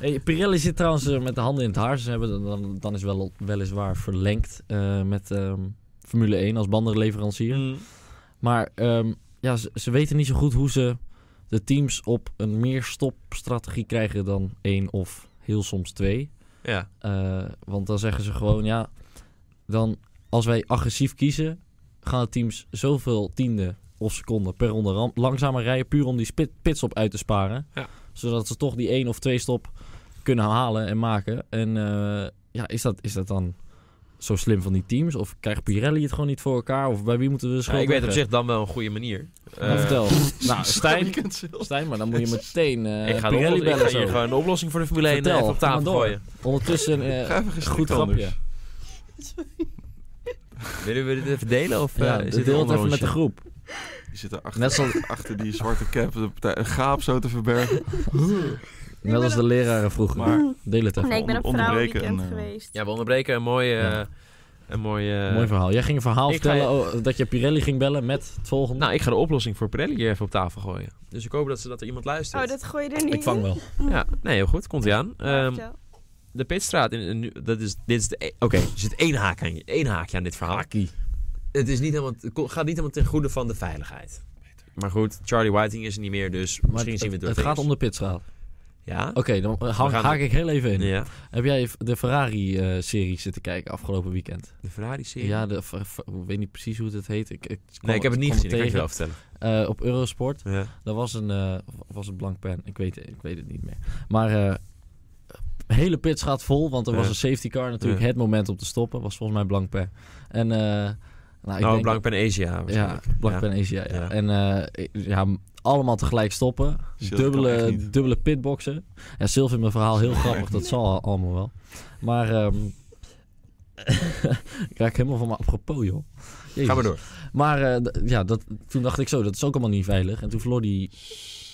[SPEAKER 4] Hey, Pirelli zit trouwens eh, met de handen in het haar. Ze hebben dan, dan is wel weliswaar verlengd eh, met ehm, Formule 1 als bandenleverancier.
[SPEAKER 1] Mm.
[SPEAKER 4] Maar ehm, ja, ze, ze weten niet zo goed hoe ze de teams op een meer stopstrategie krijgen dan één of heel soms twee.
[SPEAKER 1] Ja.
[SPEAKER 4] Eh, want dan zeggen ze gewoon, ja, dan als wij agressief kiezen, gaan de teams zoveel tiende of seconden per ronde ram- langzamer rijden, puur om die spit, pitstop uit te sparen.
[SPEAKER 1] Ja.
[SPEAKER 4] Zodat ze toch die één of twee stop kunnen halen en maken. En eh, ja, is dat, is dat dan zo slim van die teams? Of krijgt Pirelli het gewoon niet voor elkaar? Of bij wie moeten we de
[SPEAKER 1] Ja,
[SPEAKER 4] schuld
[SPEAKER 1] ik weet op
[SPEAKER 4] leggen?
[SPEAKER 1] zich dan wel een goede manier.
[SPEAKER 4] Nou,
[SPEAKER 1] Eh, [laughs]
[SPEAKER 4] vertel.
[SPEAKER 3] [laughs]
[SPEAKER 4] nou, Stijn,
[SPEAKER 3] Je kunt zelfs-
[SPEAKER 4] Stijn, maar dan moet je meteen eh
[SPEAKER 1] Ik ga, de
[SPEAKER 4] Pirelli
[SPEAKER 1] oplos- ik
[SPEAKER 4] bellen.
[SPEAKER 1] ga hier
[SPEAKER 4] zo.
[SPEAKER 1] gewoon de oplossing voor de Formule 1
[SPEAKER 4] Vertel,
[SPEAKER 1] even op
[SPEAKER 4] ga maar
[SPEAKER 1] tafel
[SPEAKER 4] door.
[SPEAKER 1] gooien.
[SPEAKER 4] Ondertussen... eh,
[SPEAKER 3] Ga even geschikt
[SPEAKER 4] Goed
[SPEAKER 3] anders.
[SPEAKER 4] grapje.
[SPEAKER 1] Willen we dit even delen? Of,
[SPEAKER 4] ja,
[SPEAKER 1] eh, is
[SPEAKER 4] deel
[SPEAKER 1] dit een
[SPEAKER 4] het even
[SPEAKER 1] onderrondje?
[SPEAKER 4] met de groep.
[SPEAKER 3] Je zit daar achter,
[SPEAKER 4] Net zoals,
[SPEAKER 3] achter die zwarte cap, de partij, een gaap zo te
[SPEAKER 2] [laughs]
[SPEAKER 3] verbergen.
[SPEAKER 4] net als de leraren vroeger.
[SPEAKER 3] Maar-
[SPEAKER 4] Deel het even.
[SPEAKER 2] Nee, ik ben op
[SPEAKER 3] Onder-
[SPEAKER 2] vrouwenweekend
[SPEAKER 3] onderbreken en, eh,
[SPEAKER 2] geweest.
[SPEAKER 1] Ja, we onderbreken een mooie...
[SPEAKER 4] Ja.
[SPEAKER 1] eh, Een mooie... eh,
[SPEAKER 4] Mooi verhaal. Jij ging een verhaal
[SPEAKER 1] ik ga
[SPEAKER 4] vertellen oh, dat je Pirelli ging bellen met het volgende.
[SPEAKER 1] Nou, ik ga de oplossing voor Pirelli hier even op tafel gooien. Dus ik hoop dat, ze, dat er iemand luistert.
[SPEAKER 2] Oh, dat gooi je er
[SPEAKER 1] Nou,
[SPEAKER 2] niet
[SPEAKER 4] ik vang wel.
[SPEAKER 2] in?
[SPEAKER 1] Ja, nee, heel goed. Komt ie aan.
[SPEAKER 2] Ja,
[SPEAKER 1] Ehm,
[SPEAKER 2] [laughs] vertel.
[SPEAKER 1] de pitstraat. In, in- nu- dat is, dit is de... e- Oké, er zit één, haak aan, één haakje aan dit verhaal.
[SPEAKER 4] Hakkie.
[SPEAKER 1] Het, is niet helemaal, het ko- gaat niet helemaal ten goede van de veiligheid. Maar goed, Charlie Whiting is er niet meer, dus
[SPEAKER 4] Maar
[SPEAKER 1] misschien
[SPEAKER 4] het,
[SPEAKER 1] zien we
[SPEAKER 4] het,
[SPEAKER 1] het door
[SPEAKER 4] gaat om
[SPEAKER 1] vingers.
[SPEAKER 4] de pitstraat.
[SPEAKER 1] Ja?
[SPEAKER 4] Oké, dan eh,
[SPEAKER 1] We
[SPEAKER 4] hang,
[SPEAKER 1] gaan-
[SPEAKER 4] haak ik heel even in.
[SPEAKER 1] Ja,
[SPEAKER 4] Heb jij de Ferrari-serie zitten kijken afgelopen weekend?
[SPEAKER 1] de Ferrari-serie.
[SPEAKER 4] Ja, de, ver- ver- ik weet niet precies hoe het heet. Ik, ik kwam
[SPEAKER 1] nee, ik heb het niet
[SPEAKER 4] kwam
[SPEAKER 1] gezien. Dat kan ik je wel
[SPEAKER 4] tegen.
[SPEAKER 1] vertellen.
[SPEAKER 4] Eh, op Eurosport.
[SPEAKER 1] Ja.
[SPEAKER 4] Dat was een, eh, of was een blank pen. Ik weet, ik weet het niet meer. Maar eh hele pits gaat vol, want er was
[SPEAKER 1] Ja.
[SPEAKER 4] een safety car natuurlijk.
[SPEAKER 1] Ja.
[SPEAKER 4] Het moment om te stoppen was volgens mij blank pen. En eh nou, ik
[SPEAKER 1] nou,
[SPEAKER 4] denk-
[SPEAKER 1] Blank Pan Asia.
[SPEAKER 4] ja,
[SPEAKER 1] waarschijnlijk.
[SPEAKER 4] blank
[SPEAKER 1] Ja.
[SPEAKER 4] pen is ja. ja.
[SPEAKER 1] Ja.
[SPEAKER 4] En eh, ik- ja, m- allemaal tegelijk stoppen.
[SPEAKER 3] Shit, dat kan echt
[SPEAKER 4] dubbele,
[SPEAKER 3] niet.
[SPEAKER 4] dubbele pitboxen. En Sylv vindt mijn verhaal heel grappig. Dat zal al- allemaal wel. Maar ehm, [laughs] ik raak helemaal van me apropos, joh. Jezus.
[SPEAKER 1] Ga maar door.
[SPEAKER 4] Maar eh, d- ja, dat, toen dacht ik zo, dat is ook allemaal niet veilig. En toen verloor die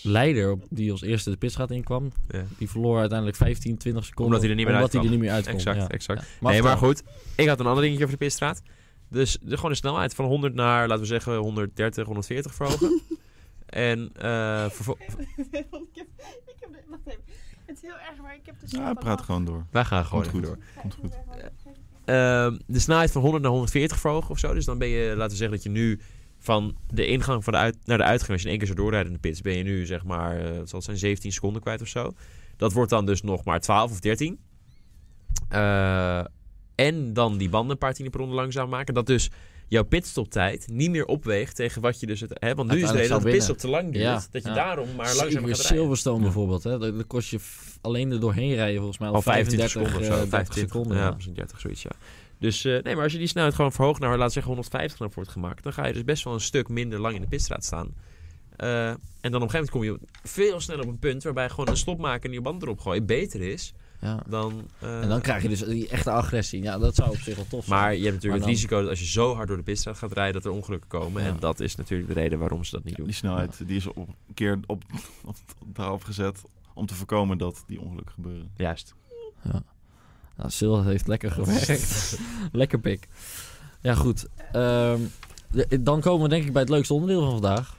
[SPEAKER 4] leider, op- die als eerste de pitstraat inkwam,
[SPEAKER 1] Ja.
[SPEAKER 4] die verloor uiteindelijk 15, 20 seconden.
[SPEAKER 1] Omdat hij er niet meer
[SPEAKER 4] omdat hij
[SPEAKER 1] uitkwam.
[SPEAKER 4] er niet meer uitkwam,
[SPEAKER 1] Exact,
[SPEAKER 4] ja.
[SPEAKER 1] exact.
[SPEAKER 4] Ja.
[SPEAKER 1] nee, maar
[SPEAKER 4] vertel.
[SPEAKER 1] goed. Ik had een ander dingetje over de pitstraat. Dus de, gewoon de snelheid van 100 naar, laten we zeggen, 130, 140 [laughs] verhogen. en eh, vervo-
[SPEAKER 2] ik heb, ik heb de, wacht even. Het is heel erg, maar ik heb dus de
[SPEAKER 3] Ja, praat gewoon door.
[SPEAKER 1] wij gaan gewoon
[SPEAKER 3] Komt
[SPEAKER 1] even
[SPEAKER 3] goed.
[SPEAKER 1] door.
[SPEAKER 3] Komt goed.
[SPEAKER 1] ehm, de snelheid van 100 naar 140 verhogen of zo. Dus dan ben je, laten we zeggen dat je nu van de ingang van de uit, naar de uitgang, als je in één keer zo doorrijdt in de pits, ben je nu zeg maar, eh, het zal zijn 17 seconden kwijt of zo. Dat wordt dan dus nog maar 12 of 13. Eh, en dan die banden een paar tienden per ronde langzaam maken. Dat dus jouw pitstoptijd niet meer opweegt tegen wat je dus... Het, hè, want nu is
[SPEAKER 4] Uiteindelijk
[SPEAKER 1] de hele
[SPEAKER 4] zou
[SPEAKER 1] dat de pitstop
[SPEAKER 4] winnen.
[SPEAKER 1] te lang duurt.
[SPEAKER 4] Ja,
[SPEAKER 1] dat je
[SPEAKER 4] ja.
[SPEAKER 1] daarom maar langzaam gaat
[SPEAKER 4] Zeker,
[SPEAKER 1] rijden.
[SPEAKER 4] Silverstone
[SPEAKER 1] Ja.
[SPEAKER 4] bijvoorbeeld, hè? Dat, dat kost je f- alleen er doorheen rijden volgens mij al,
[SPEAKER 1] Al 25
[SPEAKER 4] 35
[SPEAKER 1] seconden of
[SPEAKER 4] eh,
[SPEAKER 1] zo.
[SPEAKER 4] 30
[SPEAKER 1] 25
[SPEAKER 4] seconden.
[SPEAKER 1] ja.
[SPEAKER 4] Ja.
[SPEAKER 1] misschien 30, zoiets, ja. Dus eh, nee, maar als je die snelheid gewoon verhoogt naar, laten we zeggen, 150 knap wordt gemaakt, dan ga je dus best wel een stuk minder lang in de pitstraat staan. Eh, en dan op een gegeven moment kom je op- veel sneller op een punt waarbij gewoon een stop maken en je band erop gooien beter is
[SPEAKER 4] Ja.
[SPEAKER 1] dan. eh,
[SPEAKER 4] En dan krijg je dus die echte agressie. Ja, dat zou op zich wel tof zijn.
[SPEAKER 1] Maar je hebt natuurlijk
[SPEAKER 4] Maar
[SPEAKER 1] het
[SPEAKER 4] dan-
[SPEAKER 1] risico dat als je zo hard door de pitstraat gaat rijden, dat er ongelukken komen.
[SPEAKER 4] Ja.
[SPEAKER 1] En dat is natuurlijk de reden waarom ze dat niet doen.
[SPEAKER 3] Die snelheid die is op, een keer op, [laughs] op, daarop gezet om te voorkomen dat die ongelukken gebeuren.
[SPEAKER 1] Juist.
[SPEAKER 4] Nou, Sil heeft lekker
[SPEAKER 1] [laughs]
[SPEAKER 4] gewerkt. lekker pik. Ja, goed. Ehm, de- dan komen we denk ik bij het leukste onderdeel van vandaag.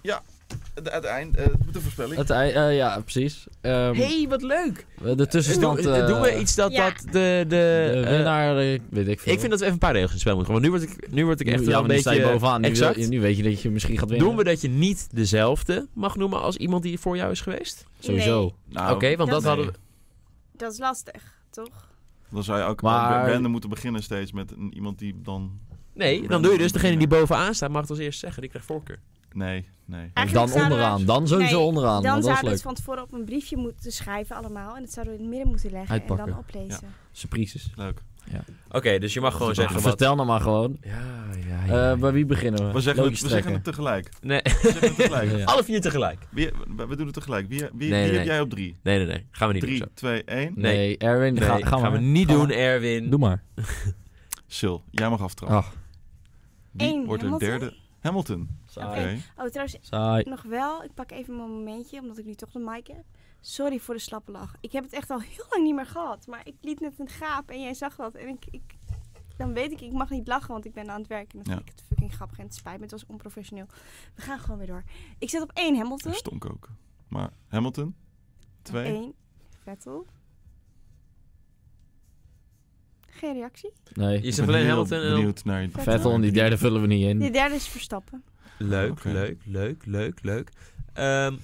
[SPEAKER 3] Het, het eind, eh, de voorspelling.
[SPEAKER 4] Het ei- eh, ja, precies. Ehm,
[SPEAKER 1] wat leuk!
[SPEAKER 4] De tussenstand.
[SPEAKER 1] Dus doen,
[SPEAKER 4] eh,
[SPEAKER 1] doen we iets dat,
[SPEAKER 2] Ja.
[SPEAKER 1] dat de. de,
[SPEAKER 4] de
[SPEAKER 1] eh,
[SPEAKER 4] winnaar, eh, weet ik veel.
[SPEAKER 1] ik vind dat we even een paar regels in het spel moeten gaan. Want nu word ik, nu word ik echt
[SPEAKER 4] Nu-
[SPEAKER 1] wel
[SPEAKER 4] ja,
[SPEAKER 1] een
[SPEAKER 4] maar nu sta je
[SPEAKER 1] beetje. eh,
[SPEAKER 4] bovenaan. Nu,
[SPEAKER 1] exact.
[SPEAKER 4] wil- nu weet je dat je misschien gaat winnen.
[SPEAKER 1] Doen we dat je niet dezelfde mag noemen als iemand die voor jou is geweest?
[SPEAKER 4] Sowieso.
[SPEAKER 2] Nee,
[SPEAKER 3] Nou,
[SPEAKER 1] Oké, want dat
[SPEAKER 2] dat-
[SPEAKER 1] hadden we.
[SPEAKER 2] dat is lastig, toch?
[SPEAKER 3] dan zou je ook
[SPEAKER 4] Maar-
[SPEAKER 3] maar... moeten beginnen steeds met een- iemand die dan...
[SPEAKER 1] Nee, dan doe je dus degene die bovenaan staat mag het als eerste zeggen. Die krijgt voorkeur.
[SPEAKER 3] Nee, nee.
[SPEAKER 4] En
[SPEAKER 2] Eigenlijk
[SPEAKER 4] dan
[SPEAKER 2] zouden we-
[SPEAKER 4] onderaan. Dan sowieso
[SPEAKER 2] Nee,
[SPEAKER 4] onderaan.
[SPEAKER 2] dan
[SPEAKER 4] want Ah, dat is
[SPEAKER 2] zouden we
[SPEAKER 4] leuk.
[SPEAKER 2] het van tevoren op een briefje moeten schrijven allemaal. En dat zouden we in het midden moeten leggen en dan
[SPEAKER 4] Uitpakken.
[SPEAKER 2] oplezen.
[SPEAKER 4] Surprises.
[SPEAKER 3] Leuk.
[SPEAKER 1] Oké, dus je mag gewoon
[SPEAKER 3] Ah,
[SPEAKER 1] zeggen wat.
[SPEAKER 4] Vertel nou maar gewoon.
[SPEAKER 1] Ja, ja,
[SPEAKER 4] Eh, bij wie beginnen we?
[SPEAKER 3] We zeggen, het,
[SPEAKER 4] Logisch
[SPEAKER 3] we zeggen het
[SPEAKER 4] trekken.
[SPEAKER 3] tegelijk.
[SPEAKER 1] Nee.
[SPEAKER 3] We, zeggen het tegelijk.
[SPEAKER 4] Ja.
[SPEAKER 1] Alle vier tegelijk.
[SPEAKER 3] Wie- we, we doen het tegelijk. Wie, wie, wie
[SPEAKER 1] nee,
[SPEAKER 3] heb
[SPEAKER 1] nee.
[SPEAKER 3] jij op drie?
[SPEAKER 1] Nee, nee, nee. Gaan we niet doen.
[SPEAKER 3] Drie,
[SPEAKER 1] zo.
[SPEAKER 3] twee, één.
[SPEAKER 1] Nee.
[SPEAKER 4] Nee, Erwin,
[SPEAKER 1] Nee,
[SPEAKER 4] ga, gaan,
[SPEAKER 1] gaan we
[SPEAKER 4] maar.
[SPEAKER 1] niet
[SPEAKER 4] Gaan
[SPEAKER 1] doen,
[SPEAKER 4] we-
[SPEAKER 1] Erwin.
[SPEAKER 4] Doe maar. Ah.
[SPEAKER 3] Sil, jij mag aftrappen.
[SPEAKER 4] Ach,
[SPEAKER 3] Wie
[SPEAKER 2] Eén,
[SPEAKER 3] wordt
[SPEAKER 2] Hamilton?
[SPEAKER 3] er derde? Hamilton.
[SPEAKER 4] saai.
[SPEAKER 3] Oké.
[SPEAKER 2] Oh, trouwens,
[SPEAKER 4] Saai.
[SPEAKER 2] nog wel. Ik pak even mijn momentje, omdat ik nu toch de mic heb. Sorry voor de slappe lach. Ik heb het echt al heel lang niet meer gehad. Maar ik liet net een gaap en jij zag dat. En ik, ik, dan weet ik, ik mag niet lachen, want ik ben aan het werken. En dat
[SPEAKER 3] Ja.
[SPEAKER 2] vind ik het fucking grappig. En het spijt me, het was onprofessioneel. We gaan gewoon weer door. Ik zet op één Hamilton.
[SPEAKER 3] Dat stonk ook. Maar Hamilton? Twee?
[SPEAKER 2] Eén Vettel. Geen reactie.
[SPEAKER 4] Nee.
[SPEAKER 1] Je
[SPEAKER 3] Ik
[SPEAKER 1] zegt
[SPEAKER 3] ben
[SPEAKER 1] alleen
[SPEAKER 3] heel
[SPEAKER 1] Hamilton en dan...
[SPEAKER 3] benieuwd naar je-
[SPEAKER 2] Vettel.
[SPEAKER 4] Vettel en die derde vullen we niet
[SPEAKER 2] De
[SPEAKER 1] Hm.
[SPEAKER 4] in.
[SPEAKER 2] derde is Verstappen.
[SPEAKER 1] Leuk,
[SPEAKER 3] Oké.
[SPEAKER 1] leuk, leuk, leuk, leuk. Ehm,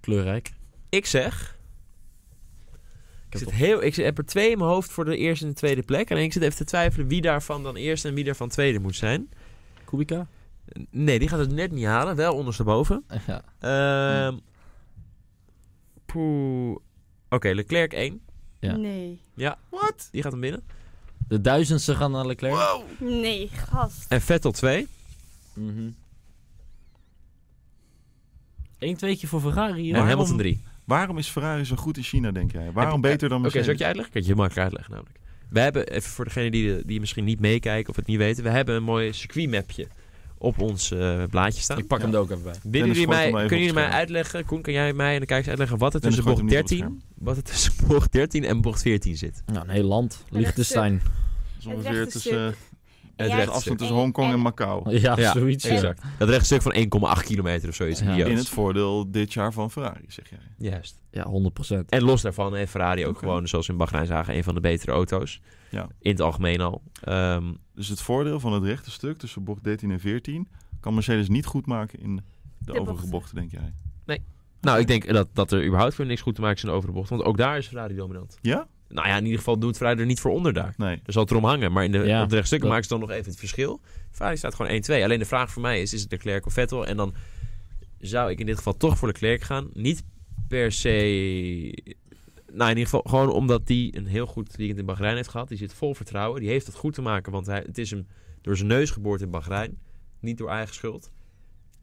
[SPEAKER 4] Kleurrijk.
[SPEAKER 1] ik zeg... Ik,
[SPEAKER 4] heb
[SPEAKER 1] zit heel, ik heb er twee in mijn hoofd voor de eerste en de tweede plek. Alleen ik zit even te twijfelen wie daarvan dan eerste en wie daarvan tweede moet zijn.
[SPEAKER 4] Kubica?
[SPEAKER 1] Nee, die gaat het net niet halen. Wel ondersteboven.
[SPEAKER 4] Ja.
[SPEAKER 1] Ehm poeh. Oké, Leclerc 1.
[SPEAKER 4] Ja.
[SPEAKER 2] Nee.
[SPEAKER 1] Die gaat hem binnen.
[SPEAKER 4] De duizendste gaan naar Leclerc.
[SPEAKER 2] Nee, gast.
[SPEAKER 1] En Vettel 2. Mhm.
[SPEAKER 4] Eén tweetje voor Ferrari. joh.
[SPEAKER 1] En
[SPEAKER 3] Waarom?
[SPEAKER 1] Hamilton 3.
[SPEAKER 3] Waarom is Ferrari zo goed in China, denk jij? Waarom
[SPEAKER 1] Heb-
[SPEAKER 3] beter dan
[SPEAKER 1] Oké, zal ik
[SPEAKER 3] Mercedes?
[SPEAKER 1] je uitleggen? Kijk, je makkelijk uitleggen namelijk. We hebben, even voor degenen die, de- die misschien niet meekijken of het niet weten, we hebben een mooi circuitmapje op ons eh, blaadje staan.
[SPEAKER 4] Ik pak hem er ook even bij.
[SPEAKER 1] Willen jullie
[SPEAKER 3] gooit
[SPEAKER 1] mij,
[SPEAKER 3] hem
[SPEAKER 1] kunnen
[SPEAKER 3] even op
[SPEAKER 1] jullie mij
[SPEAKER 3] het scherm.
[SPEAKER 1] uitleggen, Koen, kan jij mij en de kijkers uitleggen wat er
[SPEAKER 3] Dennis
[SPEAKER 1] tussen
[SPEAKER 3] gooit
[SPEAKER 1] bocht
[SPEAKER 3] hem niet op
[SPEAKER 1] 13, wat er tussen bocht 13 en bocht 14 zit?
[SPEAKER 4] Nou, een heel land. Liechtenstein.
[SPEAKER 3] Het is
[SPEAKER 2] Het
[SPEAKER 3] ongeveer
[SPEAKER 2] rechte
[SPEAKER 3] tussen eh,
[SPEAKER 1] Het Oh,
[SPEAKER 3] de afstand tussen Hongkong en Macau.
[SPEAKER 4] Ja,
[SPEAKER 1] Ja,
[SPEAKER 4] zoiets. ja.
[SPEAKER 1] Exact. Dat rechtstuk van 1,8 kilometer of zoiets.
[SPEAKER 4] Ja.
[SPEAKER 1] idioot.
[SPEAKER 3] In het voordeel dit jaar van Ferrari, zeg jij.
[SPEAKER 1] Juist.
[SPEAKER 4] Ja, 100%.
[SPEAKER 1] En los daarvan heeft Ferrari ook
[SPEAKER 3] Oké.
[SPEAKER 1] gewoon, zoals we in Bahrein zagen, een van de betere auto's.
[SPEAKER 3] Ja.
[SPEAKER 1] In het algemeen al. Ehm,
[SPEAKER 3] Dus het voordeel van het rechte stuk tussen bocht 13 en 14 kan Mercedes niet goed maken in de, overige
[SPEAKER 2] bochten.
[SPEAKER 3] bochten, denk jij.
[SPEAKER 1] nou, ik denk dat, dat er überhaupt weer niks goed te maken is in de overbocht. Want ook daar is Ferrari dominant.
[SPEAKER 3] Ja?
[SPEAKER 1] Nou ja, in ieder geval doet Ferrari er niet voor onder daar.
[SPEAKER 3] Nee.
[SPEAKER 1] Er zal het erom hangen. Maar in de,
[SPEAKER 4] Ja,
[SPEAKER 1] op de rechtstukken
[SPEAKER 4] dat-
[SPEAKER 1] maken ze dan nog even het verschil. Ferrari staat gewoon 1-2. Alleen de vraag voor mij is, is het Leclerc of Vettel? En dan zou ik in dit geval toch voor Leclerc gaan. Niet per se... Nou, in ieder geval gewoon omdat die een heel goed weekend in Bahrein heeft gehad. Die zit vol vertrouwen. Die heeft het goed te maken, want hij, het is hem door zijn neus geboord in Bahrein. Niet door eigen schuld.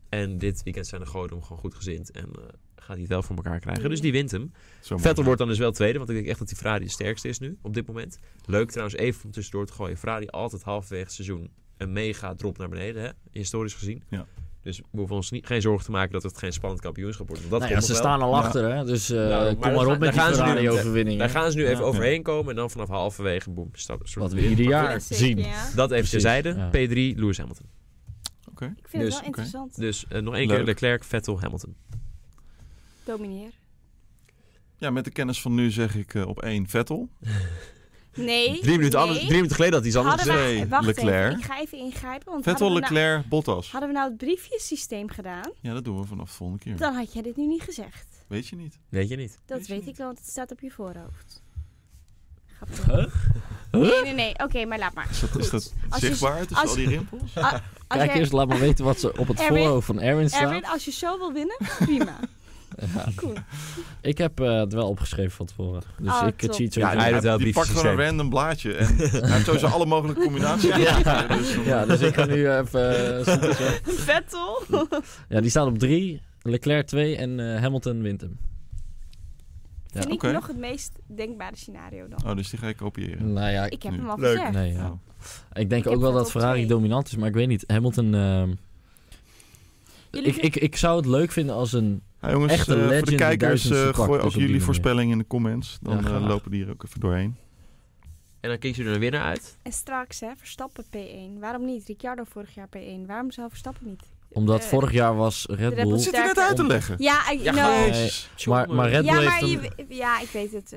[SPEAKER 1] En dit weekend zijn de goden hem gewoon goed gezind. En eh, gaat hij het wel voor elkaar krijgen. Dus die wint hem.
[SPEAKER 3] Zo mooi.
[SPEAKER 1] Vettel wordt dan dus wel tweede, want ik denk echt dat die Ferrari de sterkste is nu, op dit moment. Leuk trouwens, even om tussendoor te gooien. Ferrari altijd halverwege het seizoen een mega drop naar beneden, hè? historisch gezien.
[SPEAKER 3] Ja.
[SPEAKER 1] Dus we hoeven ons niet, geen zorgen te maken dat het geen spannend kampioenschap wordt. Want dat
[SPEAKER 4] Nou ja,
[SPEAKER 1] komt nog
[SPEAKER 4] ze
[SPEAKER 1] wel.
[SPEAKER 4] staan al achter, hè. Dus eh,
[SPEAKER 1] Ja, Nou, maar dat
[SPEAKER 4] kom maar
[SPEAKER 1] ga-
[SPEAKER 4] op
[SPEAKER 1] daar
[SPEAKER 4] met die
[SPEAKER 1] gaan ze nu-
[SPEAKER 4] Ferrari-overwinning.
[SPEAKER 1] Daar gaan ze nu even
[SPEAKER 4] Ja.
[SPEAKER 1] overheen komen en dan vanaf halverwege, boem, stap. soort-
[SPEAKER 4] Wat we ieder jaar
[SPEAKER 2] Classic,
[SPEAKER 4] zien.
[SPEAKER 2] ja.
[SPEAKER 1] Dat even
[SPEAKER 4] Precies,
[SPEAKER 1] terzijde.
[SPEAKER 4] ja.
[SPEAKER 1] P3, Lewis Hamilton.
[SPEAKER 2] Ik vind
[SPEAKER 1] Dus,
[SPEAKER 2] het wel interessant.
[SPEAKER 1] Dus eh, nog één
[SPEAKER 3] Leuk.
[SPEAKER 1] keer Leclerc, Vettel, Hamilton.
[SPEAKER 2] Domineer.
[SPEAKER 3] Ja, met de kennis van nu zeg ik eh, op één Vettel.
[SPEAKER 2] Nee.
[SPEAKER 1] Drie minuten,
[SPEAKER 2] nee.
[SPEAKER 1] anders, drie minuten geleden had hij iets anders
[SPEAKER 2] Hadden
[SPEAKER 1] gezegd.
[SPEAKER 2] wij,
[SPEAKER 3] Nee,
[SPEAKER 2] wacht
[SPEAKER 3] Leclerc.
[SPEAKER 2] even, ik ga even ingrijpen. Want
[SPEAKER 3] Vettel,
[SPEAKER 2] hadden we nou-
[SPEAKER 3] Leclerc, Bottas.
[SPEAKER 2] hadden we nou het briefjesysteem gedaan,
[SPEAKER 4] Hm.
[SPEAKER 3] Ja, dat doen we vanaf de volgende keer.
[SPEAKER 2] dan had jij dit nu niet gezegd.
[SPEAKER 3] Weet je niet.
[SPEAKER 1] Weet je niet.
[SPEAKER 2] Dat weet,
[SPEAKER 3] Weet je niet.
[SPEAKER 2] ik wel, want het staat op je voorhoofd. Grappig.
[SPEAKER 4] Huh?
[SPEAKER 2] Nee, nee, nee. Oké, maar laat maar.
[SPEAKER 3] Is dat, is dat
[SPEAKER 2] Als je-
[SPEAKER 3] zichtbaar tussen
[SPEAKER 2] als-
[SPEAKER 3] al die rimpels?
[SPEAKER 2] Als
[SPEAKER 4] Kijk
[SPEAKER 2] jij-
[SPEAKER 4] eerst, laat me weten wat ze op het
[SPEAKER 2] Erwin-
[SPEAKER 4] voorhoofd van
[SPEAKER 2] Erwin,
[SPEAKER 4] Erwin staat.
[SPEAKER 2] als je zo wil winnen,
[SPEAKER 3] [laughs]
[SPEAKER 2] prima.
[SPEAKER 4] Ja,
[SPEAKER 2] Cool.
[SPEAKER 4] ik heb eh, het wel opgeschreven van tevoren. Dus
[SPEAKER 2] Oh,
[SPEAKER 4] ik
[SPEAKER 2] top.
[SPEAKER 4] cheat zo.
[SPEAKER 1] Ja,
[SPEAKER 4] Ja,
[SPEAKER 1] hij doet wel
[SPEAKER 3] die
[SPEAKER 1] briefjes
[SPEAKER 3] pakt gewoon een
[SPEAKER 1] systeem.
[SPEAKER 3] random blaadje.
[SPEAKER 4] [laughs]
[SPEAKER 3] En hij heeft sowieso alle mogelijke combinaties.
[SPEAKER 4] Ja.
[SPEAKER 3] Dus dan-
[SPEAKER 4] dus ik ga nu even... eh,
[SPEAKER 1] [laughs]
[SPEAKER 4] zoeken zo.
[SPEAKER 2] Vettel.
[SPEAKER 4] ja, die staan op drie. Leclerc 2 en eh, Hamilton wint hem. Ja,
[SPEAKER 2] Vind ik
[SPEAKER 3] oké.
[SPEAKER 2] nog het meest denkbare scenario dan.
[SPEAKER 3] Oh, dus die ga ik kopiëren.
[SPEAKER 4] Nou ja, ik,
[SPEAKER 2] Ik heb
[SPEAKER 3] nu.
[SPEAKER 2] hem al
[SPEAKER 1] Leuk.
[SPEAKER 2] gezegd.
[SPEAKER 4] nee, ja.
[SPEAKER 3] Oh.
[SPEAKER 4] ik denk
[SPEAKER 2] Ik heb
[SPEAKER 4] ook wel
[SPEAKER 2] dat
[SPEAKER 4] dat
[SPEAKER 2] op
[SPEAKER 4] Ferrari
[SPEAKER 2] twee.
[SPEAKER 4] dominant is, maar ik weet niet. Hamilton... ehm,
[SPEAKER 2] Jullie
[SPEAKER 4] ik, ik, ik zou het leuk vinden als een...
[SPEAKER 3] Ja, jongens,
[SPEAKER 4] Echt een
[SPEAKER 3] eh, voor
[SPEAKER 4] legend
[SPEAKER 3] de
[SPEAKER 4] die
[SPEAKER 3] kijkers
[SPEAKER 4] duizendste
[SPEAKER 3] eh,
[SPEAKER 4] pakt,
[SPEAKER 3] gooi
[SPEAKER 4] dus
[SPEAKER 3] ook
[SPEAKER 4] op die
[SPEAKER 3] jullie
[SPEAKER 4] manier.
[SPEAKER 3] voorspellingen in de comments. Dan
[SPEAKER 4] Ja,
[SPEAKER 3] eh,
[SPEAKER 4] graag.
[SPEAKER 3] lopen die er ook even doorheen.
[SPEAKER 1] En dan kiezen jullie een winnaar uit.
[SPEAKER 2] En straks, hè, Verstappen P1. Waarom niet? Ricciardo vorig jaar P1. Waarom zou Verstappen niet?
[SPEAKER 4] Omdat
[SPEAKER 2] Eh,
[SPEAKER 4] vorig jaar was Red
[SPEAKER 2] Red
[SPEAKER 4] Bull...
[SPEAKER 2] Bull
[SPEAKER 3] Dat zit er net
[SPEAKER 2] Sterker.
[SPEAKER 3] uit te leggen. Nou,
[SPEAKER 2] Ja, ik,
[SPEAKER 1] Ja,
[SPEAKER 2] no.
[SPEAKER 1] gewoon-
[SPEAKER 4] Nee,
[SPEAKER 1] Tjonge.
[SPEAKER 4] maar, maar Red Bull
[SPEAKER 2] ja, maar
[SPEAKER 4] heeft hem...
[SPEAKER 2] je- ja, ik weet het.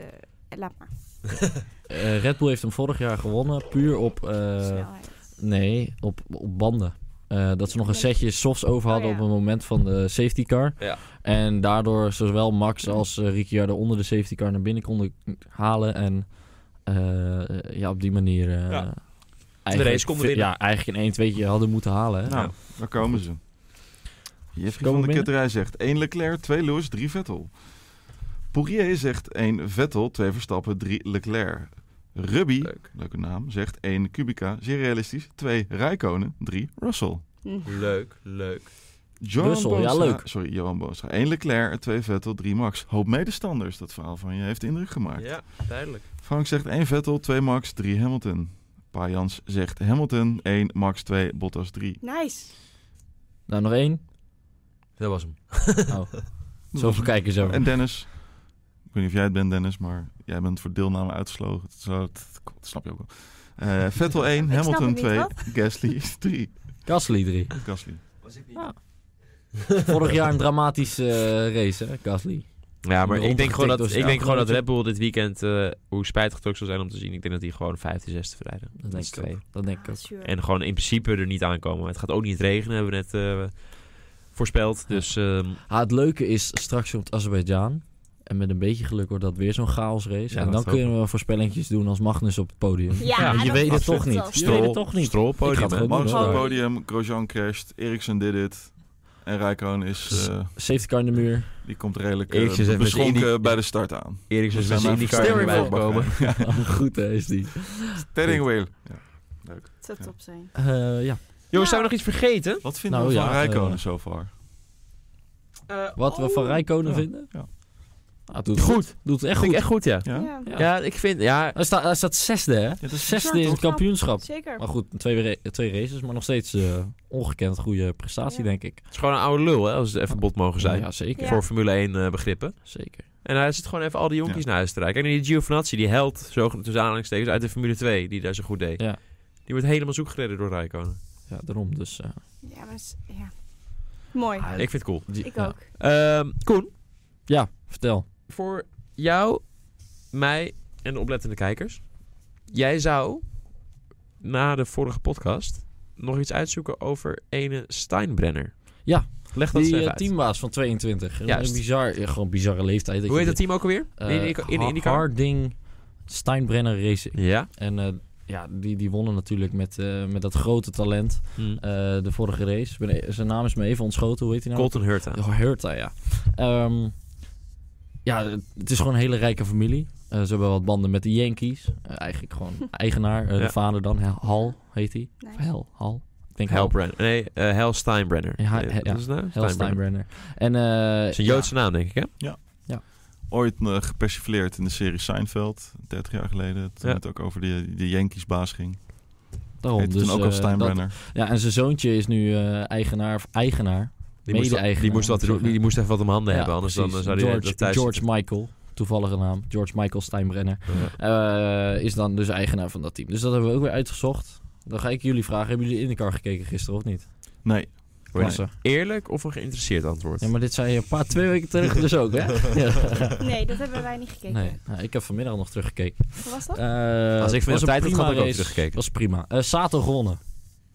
[SPEAKER 2] eh, laat maar.
[SPEAKER 4] Eh, Red Bull heeft hem vorig jaar gewonnen puur op... eh,
[SPEAKER 2] Snelheid.
[SPEAKER 4] nee, op, op banden. Eh, dat ze nog een
[SPEAKER 2] Ja.
[SPEAKER 4] setje softs over hadden
[SPEAKER 2] Oh, ja.
[SPEAKER 4] op het moment van de safety car.
[SPEAKER 1] Ja.
[SPEAKER 4] En daardoor zowel Max als eh, Ricciardo onder de safety car naar binnen konden halen. En eh, ja, op die manier... eh,
[SPEAKER 1] Ja.
[SPEAKER 4] eigenlijk
[SPEAKER 1] race konden
[SPEAKER 4] vi-
[SPEAKER 1] winnen.
[SPEAKER 4] Ja, eigenlijk in 1 2 hadden moeten halen. hè.
[SPEAKER 3] Nou, daar komen ze. Jeffrey
[SPEAKER 4] Komen
[SPEAKER 3] van
[SPEAKER 4] we
[SPEAKER 3] de
[SPEAKER 4] binnen?
[SPEAKER 3] Ketterij zegt 1 Leclerc, 2 Lewis, 3 Vettel. Poirier zegt 1 Vettel, 2 Verstappen, 3 Leclerc. Ruby,
[SPEAKER 1] Leuk.
[SPEAKER 3] leuke naam, zegt 1 Kubica, zeer realistisch, 2 Rijkonen, 3 Russell.
[SPEAKER 1] Leuk, leuk.
[SPEAKER 3] Johan
[SPEAKER 4] Russell, ja,
[SPEAKER 3] Boonstra-
[SPEAKER 4] leuk.
[SPEAKER 3] Sorry, Johan Boonstra. 1 Leclerc, 2 Vettel, 3 Max. Hoop medestanders, dat verhaal van je heeft indruk gemaakt.
[SPEAKER 1] Ja, duidelijk.
[SPEAKER 3] Frank zegt 1 Vettel, 2 Max, 3 Hamilton. Pa Jans zegt Hamilton, 1 Max, 2 Bottas, 3.
[SPEAKER 2] Mm. Nice.
[SPEAKER 4] Nou, nog één.
[SPEAKER 1] Dat was hem. [laughs]
[SPEAKER 4] Oh. Zoveel kijkers hebben we.
[SPEAKER 3] En Dennis. Ik weet niet of jij het bent, Dennis, maar jij bent voor deelname uitgesloten. Dat, zou- dat- dat snap je ook wel.
[SPEAKER 4] [laughs]
[SPEAKER 3] Eh, Vettel 1,
[SPEAKER 2] snap
[SPEAKER 3] Hamilton
[SPEAKER 2] het niet,
[SPEAKER 3] 2,
[SPEAKER 2] wat?
[SPEAKER 3] Gasly [laughs] 3.
[SPEAKER 4] Gasly 3.
[SPEAKER 3] Gasly.
[SPEAKER 4] [laughs] Vorig jaar een dramatische eh, race, hè, Gasly.
[SPEAKER 1] Ja, maar
[SPEAKER 4] Rondgetikt
[SPEAKER 1] ik denk gewoon dat,
[SPEAKER 4] door zijn
[SPEAKER 1] ik denk gewoon dat
[SPEAKER 4] autootje.
[SPEAKER 1] Red Bull dit weekend, eh, hoe spijtig het ook zal zijn om te zien, ik denk dat die gewoon 5e, 6e verrijden.
[SPEAKER 4] Dat denk ik ook. Dat denk ik ook.
[SPEAKER 2] Sure.
[SPEAKER 1] En gewoon in principe er niet aankomen. Het gaat ook niet regenen, hebben we net eh, voorspeld. Dus ehm,
[SPEAKER 4] Ah, het leuke is straks op het Azerbeidzjan. En met een beetje geluk wordt dat weer zo'n chaosrace.
[SPEAKER 1] Ja,
[SPEAKER 4] en dan
[SPEAKER 1] dat
[SPEAKER 4] kunnen we voorspellingjes doen als Magnus op het podium.
[SPEAKER 2] Ja,
[SPEAKER 4] Want je
[SPEAKER 2] dat
[SPEAKER 4] weet
[SPEAKER 2] was
[SPEAKER 4] het toch
[SPEAKER 2] fantastisch.
[SPEAKER 4] niet. Je
[SPEAKER 1] Stroll,
[SPEAKER 4] weet het toch niet.
[SPEAKER 1] Stroll
[SPEAKER 4] Ik ga
[SPEAKER 1] podium,
[SPEAKER 4] het
[SPEAKER 1] hè?
[SPEAKER 4] gewoon
[SPEAKER 3] Eh, Max
[SPEAKER 4] doen,
[SPEAKER 3] op het
[SPEAKER 4] hoor.
[SPEAKER 3] podium, Grosjean crasht, Ericsson did it. En Rijkoon
[SPEAKER 4] Dus
[SPEAKER 3] is, eh,
[SPEAKER 4] Safety car in de muur.
[SPEAKER 3] die komt redelijk eh,
[SPEAKER 1] Eertjes even met zijn
[SPEAKER 3] beschonken
[SPEAKER 1] Indy-
[SPEAKER 3] bij de start aan.
[SPEAKER 1] Eriksen is
[SPEAKER 3] Dat
[SPEAKER 1] met
[SPEAKER 3] zijn
[SPEAKER 1] zijn
[SPEAKER 3] mijn
[SPEAKER 1] IndyCar
[SPEAKER 4] voorspellingen.
[SPEAKER 1] erbij gekomen.
[SPEAKER 4] [laughs] Goed hè, is die.
[SPEAKER 3] Steering wheel. Ja.
[SPEAKER 2] Het zou top zijn.
[SPEAKER 4] Eh, ja.
[SPEAKER 1] Jongens,
[SPEAKER 2] Nou.
[SPEAKER 1] zijn we nog iets vergeten?
[SPEAKER 3] Wat vinden
[SPEAKER 4] Nou
[SPEAKER 3] we van
[SPEAKER 4] ja,
[SPEAKER 3] Rijkonen
[SPEAKER 4] eh,
[SPEAKER 3] so far?
[SPEAKER 4] Wat we van
[SPEAKER 2] Oh.
[SPEAKER 4] Rijkonen
[SPEAKER 3] Ja,
[SPEAKER 4] vinden?
[SPEAKER 3] ja.
[SPEAKER 4] Ah, het doet het goed. Doet het
[SPEAKER 1] Vind
[SPEAKER 4] echt goed.
[SPEAKER 1] ik echt goed, ja.
[SPEAKER 3] Ja?
[SPEAKER 2] Ja.
[SPEAKER 4] Ja.
[SPEAKER 1] Ja, ik vind, ja,
[SPEAKER 4] Hij, staat, hij staat zesde hè.
[SPEAKER 3] dat is
[SPEAKER 4] zesde
[SPEAKER 3] bizar,
[SPEAKER 4] in het
[SPEAKER 3] toch?
[SPEAKER 4] kampioenschap.
[SPEAKER 2] Zeker.
[SPEAKER 4] Maar goed, twee, ra- twee races. Maar nog steeds eh, ongekend goede prestatie
[SPEAKER 2] Ja.
[SPEAKER 4] denk ik.
[SPEAKER 1] het is gewoon een oude lul, hè, als het even bot mogen zijn.
[SPEAKER 4] Ja, zeker.
[SPEAKER 2] Ja.
[SPEAKER 1] Voor Formule 1 eh, begrippen.
[SPEAKER 4] Zeker.
[SPEAKER 1] En hij zit gewoon even al die jonkies naar huis te rijden. Kijk, en die Giovinazzi, die held, zo tussen aanhalingstekens, uit de Formule 2, die daar zo goed deed.
[SPEAKER 4] Ja.
[SPEAKER 1] Die wordt helemaal zoek gereden door Rijkonen.
[SPEAKER 4] Ja, daarom. Dus, eh,
[SPEAKER 2] Ja, maar s- ja. Mooi.
[SPEAKER 4] Ah,
[SPEAKER 1] Ik vind het cool.
[SPEAKER 4] die-
[SPEAKER 2] Ik
[SPEAKER 4] ja.
[SPEAKER 2] ook.
[SPEAKER 1] Ehm, Koen,
[SPEAKER 4] Ja, vertel.
[SPEAKER 1] voor jou, mij en de oplettende kijkers. Jij zou na de vorige podcast nog iets uitzoeken over ene Steinbrenner.
[SPEAKER 4] Ja.
[SPEAKER 1] Leg dat eens
[SPEAKER 4] die
[SPEAKER 1] even
[SPEAKER 4] eh,
[SPEAKER 1] uit.
[SPEAKER 4] teambaas van 22. Een-
[SPEAKER 1] Juist.
[SPEAKER 4] Een bizar, ja, gewoon bizarre leeftijd.
[SPEAKER 1] Hoe heet dat
[SPEAKER 4] je
[SPEAKER 1] team ook alweer?
[SPEAKER 4] dit-
[SPEAKER 1] in,
[SPEAKER 4] eh,
[SPEAKER 1] in, in,
[SPEAKER 4] Ha-
[SPEAKER 1] IndyCar?
[SPEAKER 4] Harding Steinbrenner Racing.
[SPEAKER 1] Ja.
[SPEAKER 4] En eh, ja, die, die wonnen natuurlijk met, eh, met dat grote talent
[SPEAKER 1] Hm.
[SPEAKER 4] eh, de vorige race. Ik ben e- zijn naam is me even ontschoten. Hoe heet hij nou?
[SPEAKER 1] Colton Hurta.
[SPEAKER 4] Herta, ja. Ehm, ja, het- het is gewoon een hele rijke familie. Eh, ze hebben wat banden met de Yankees. Eh, eigenlijk
[SPEAKER 1] [laughs]
[SPEAKER 4] gewoon eigenaar.
[SPEAKER 1] Ja.
[SPEAKER 4] eh, De vader dan, Hal- Hal heet hij. Of
[SPEAKER 2] Nice.
[SPEAKER 4] Hel, Hal. Ik denk Hal.
[SPEAKER 1] Helbrenner. Nee, eh, Hel Steinbrenner.
[SPEAKER 4] Ja,
[SPEAKER 1] Eh,
[SPEAKER 4] ja.
[SPEAKER 1] Wat is het nou?
[SPEAKER 4] Hel Steinbrenner. En, eh,
[SPEAKER 1] Dat is een Joodse naam, denk ik, hè?
[SPEAKER 3] ooit eh, gepersifleerd in de serie Seinfeld, 30 jaar geleden. Toen
[SPEAKER 1] Ja.
[SPEAKER 3] het ook over de, de Yankees baas ging.
[SPEAKER 4] ja, daarom.
[SPEAKER 3] Heette
[SPEAKER 4] Dus,
[SPEAKER 3] toen ook al
[SPEAKER 4] eh, dat-
[SPEAKER 3] Steinbrenner.
[SPEAKER 4] Ja, en zijn zoontje is nu eh, eigenaar of eigenaar.
[SPEAKER 1] Die moest, wat-
[SPEAKER 4] Mede-eigenaar,
[SPEAKER 1] die, moest wat,
[SPEAKER 4] moet ik zeggen.
[SPEAKER 1] die moest even wat om handen
[SPEAKER 4] Ja,
[SPEAKER 1] hebben, anders dan, eh,
[SPEAKER 4] precies.
[SPEAKER 1] zou hij
[SPEAKER 4] George,
[SPEAKER 1] dat thuis
[SPEAKER 4] George Michael, toevallige naam. George Michael Steinbrenner. eh, is dan dus eigenaar van dat team. Dus dat hebben we ook weer uitgezocht. Dan ga ik jullie vragen, hebben jullie in de car gekeken gisteren of niet?
[SPEAKER 3] Nee,
[SPEAKER 1] zitten. Voor een
[SPEAKER 4] klasse.
[SPEAKER 1] eerlijk of een geïnteresseerd antwoord?
[SPEAKER 4] Ja, maar dit zei je een paar twee weken terug dus ook,
[SPEAKER 1] [laughs]
[SPEAKER 4] hè? Ja.
[SPEAKER 2] Nee, dat hebben wij niet gekeken.
[SPEAKER 4] Nee, nou, ik heb vanmiddag nog teruggekeken.
[SPEAKER 2] Hoe was dat?
[SPEAKER 4] Eh,
[SPEAKER 1] Als ik vanmiddag
[SPEAKER 4] was een
[SPEAKER 1] tijd had,
[SPEAKER 4] prima
[SPEAKER 1] had ik ook
[SPEAKER 4] race.
[SPEAKER 1] teruggekeken.
[SPEAKER 4] Was prima. Eh, Sato gewonnen.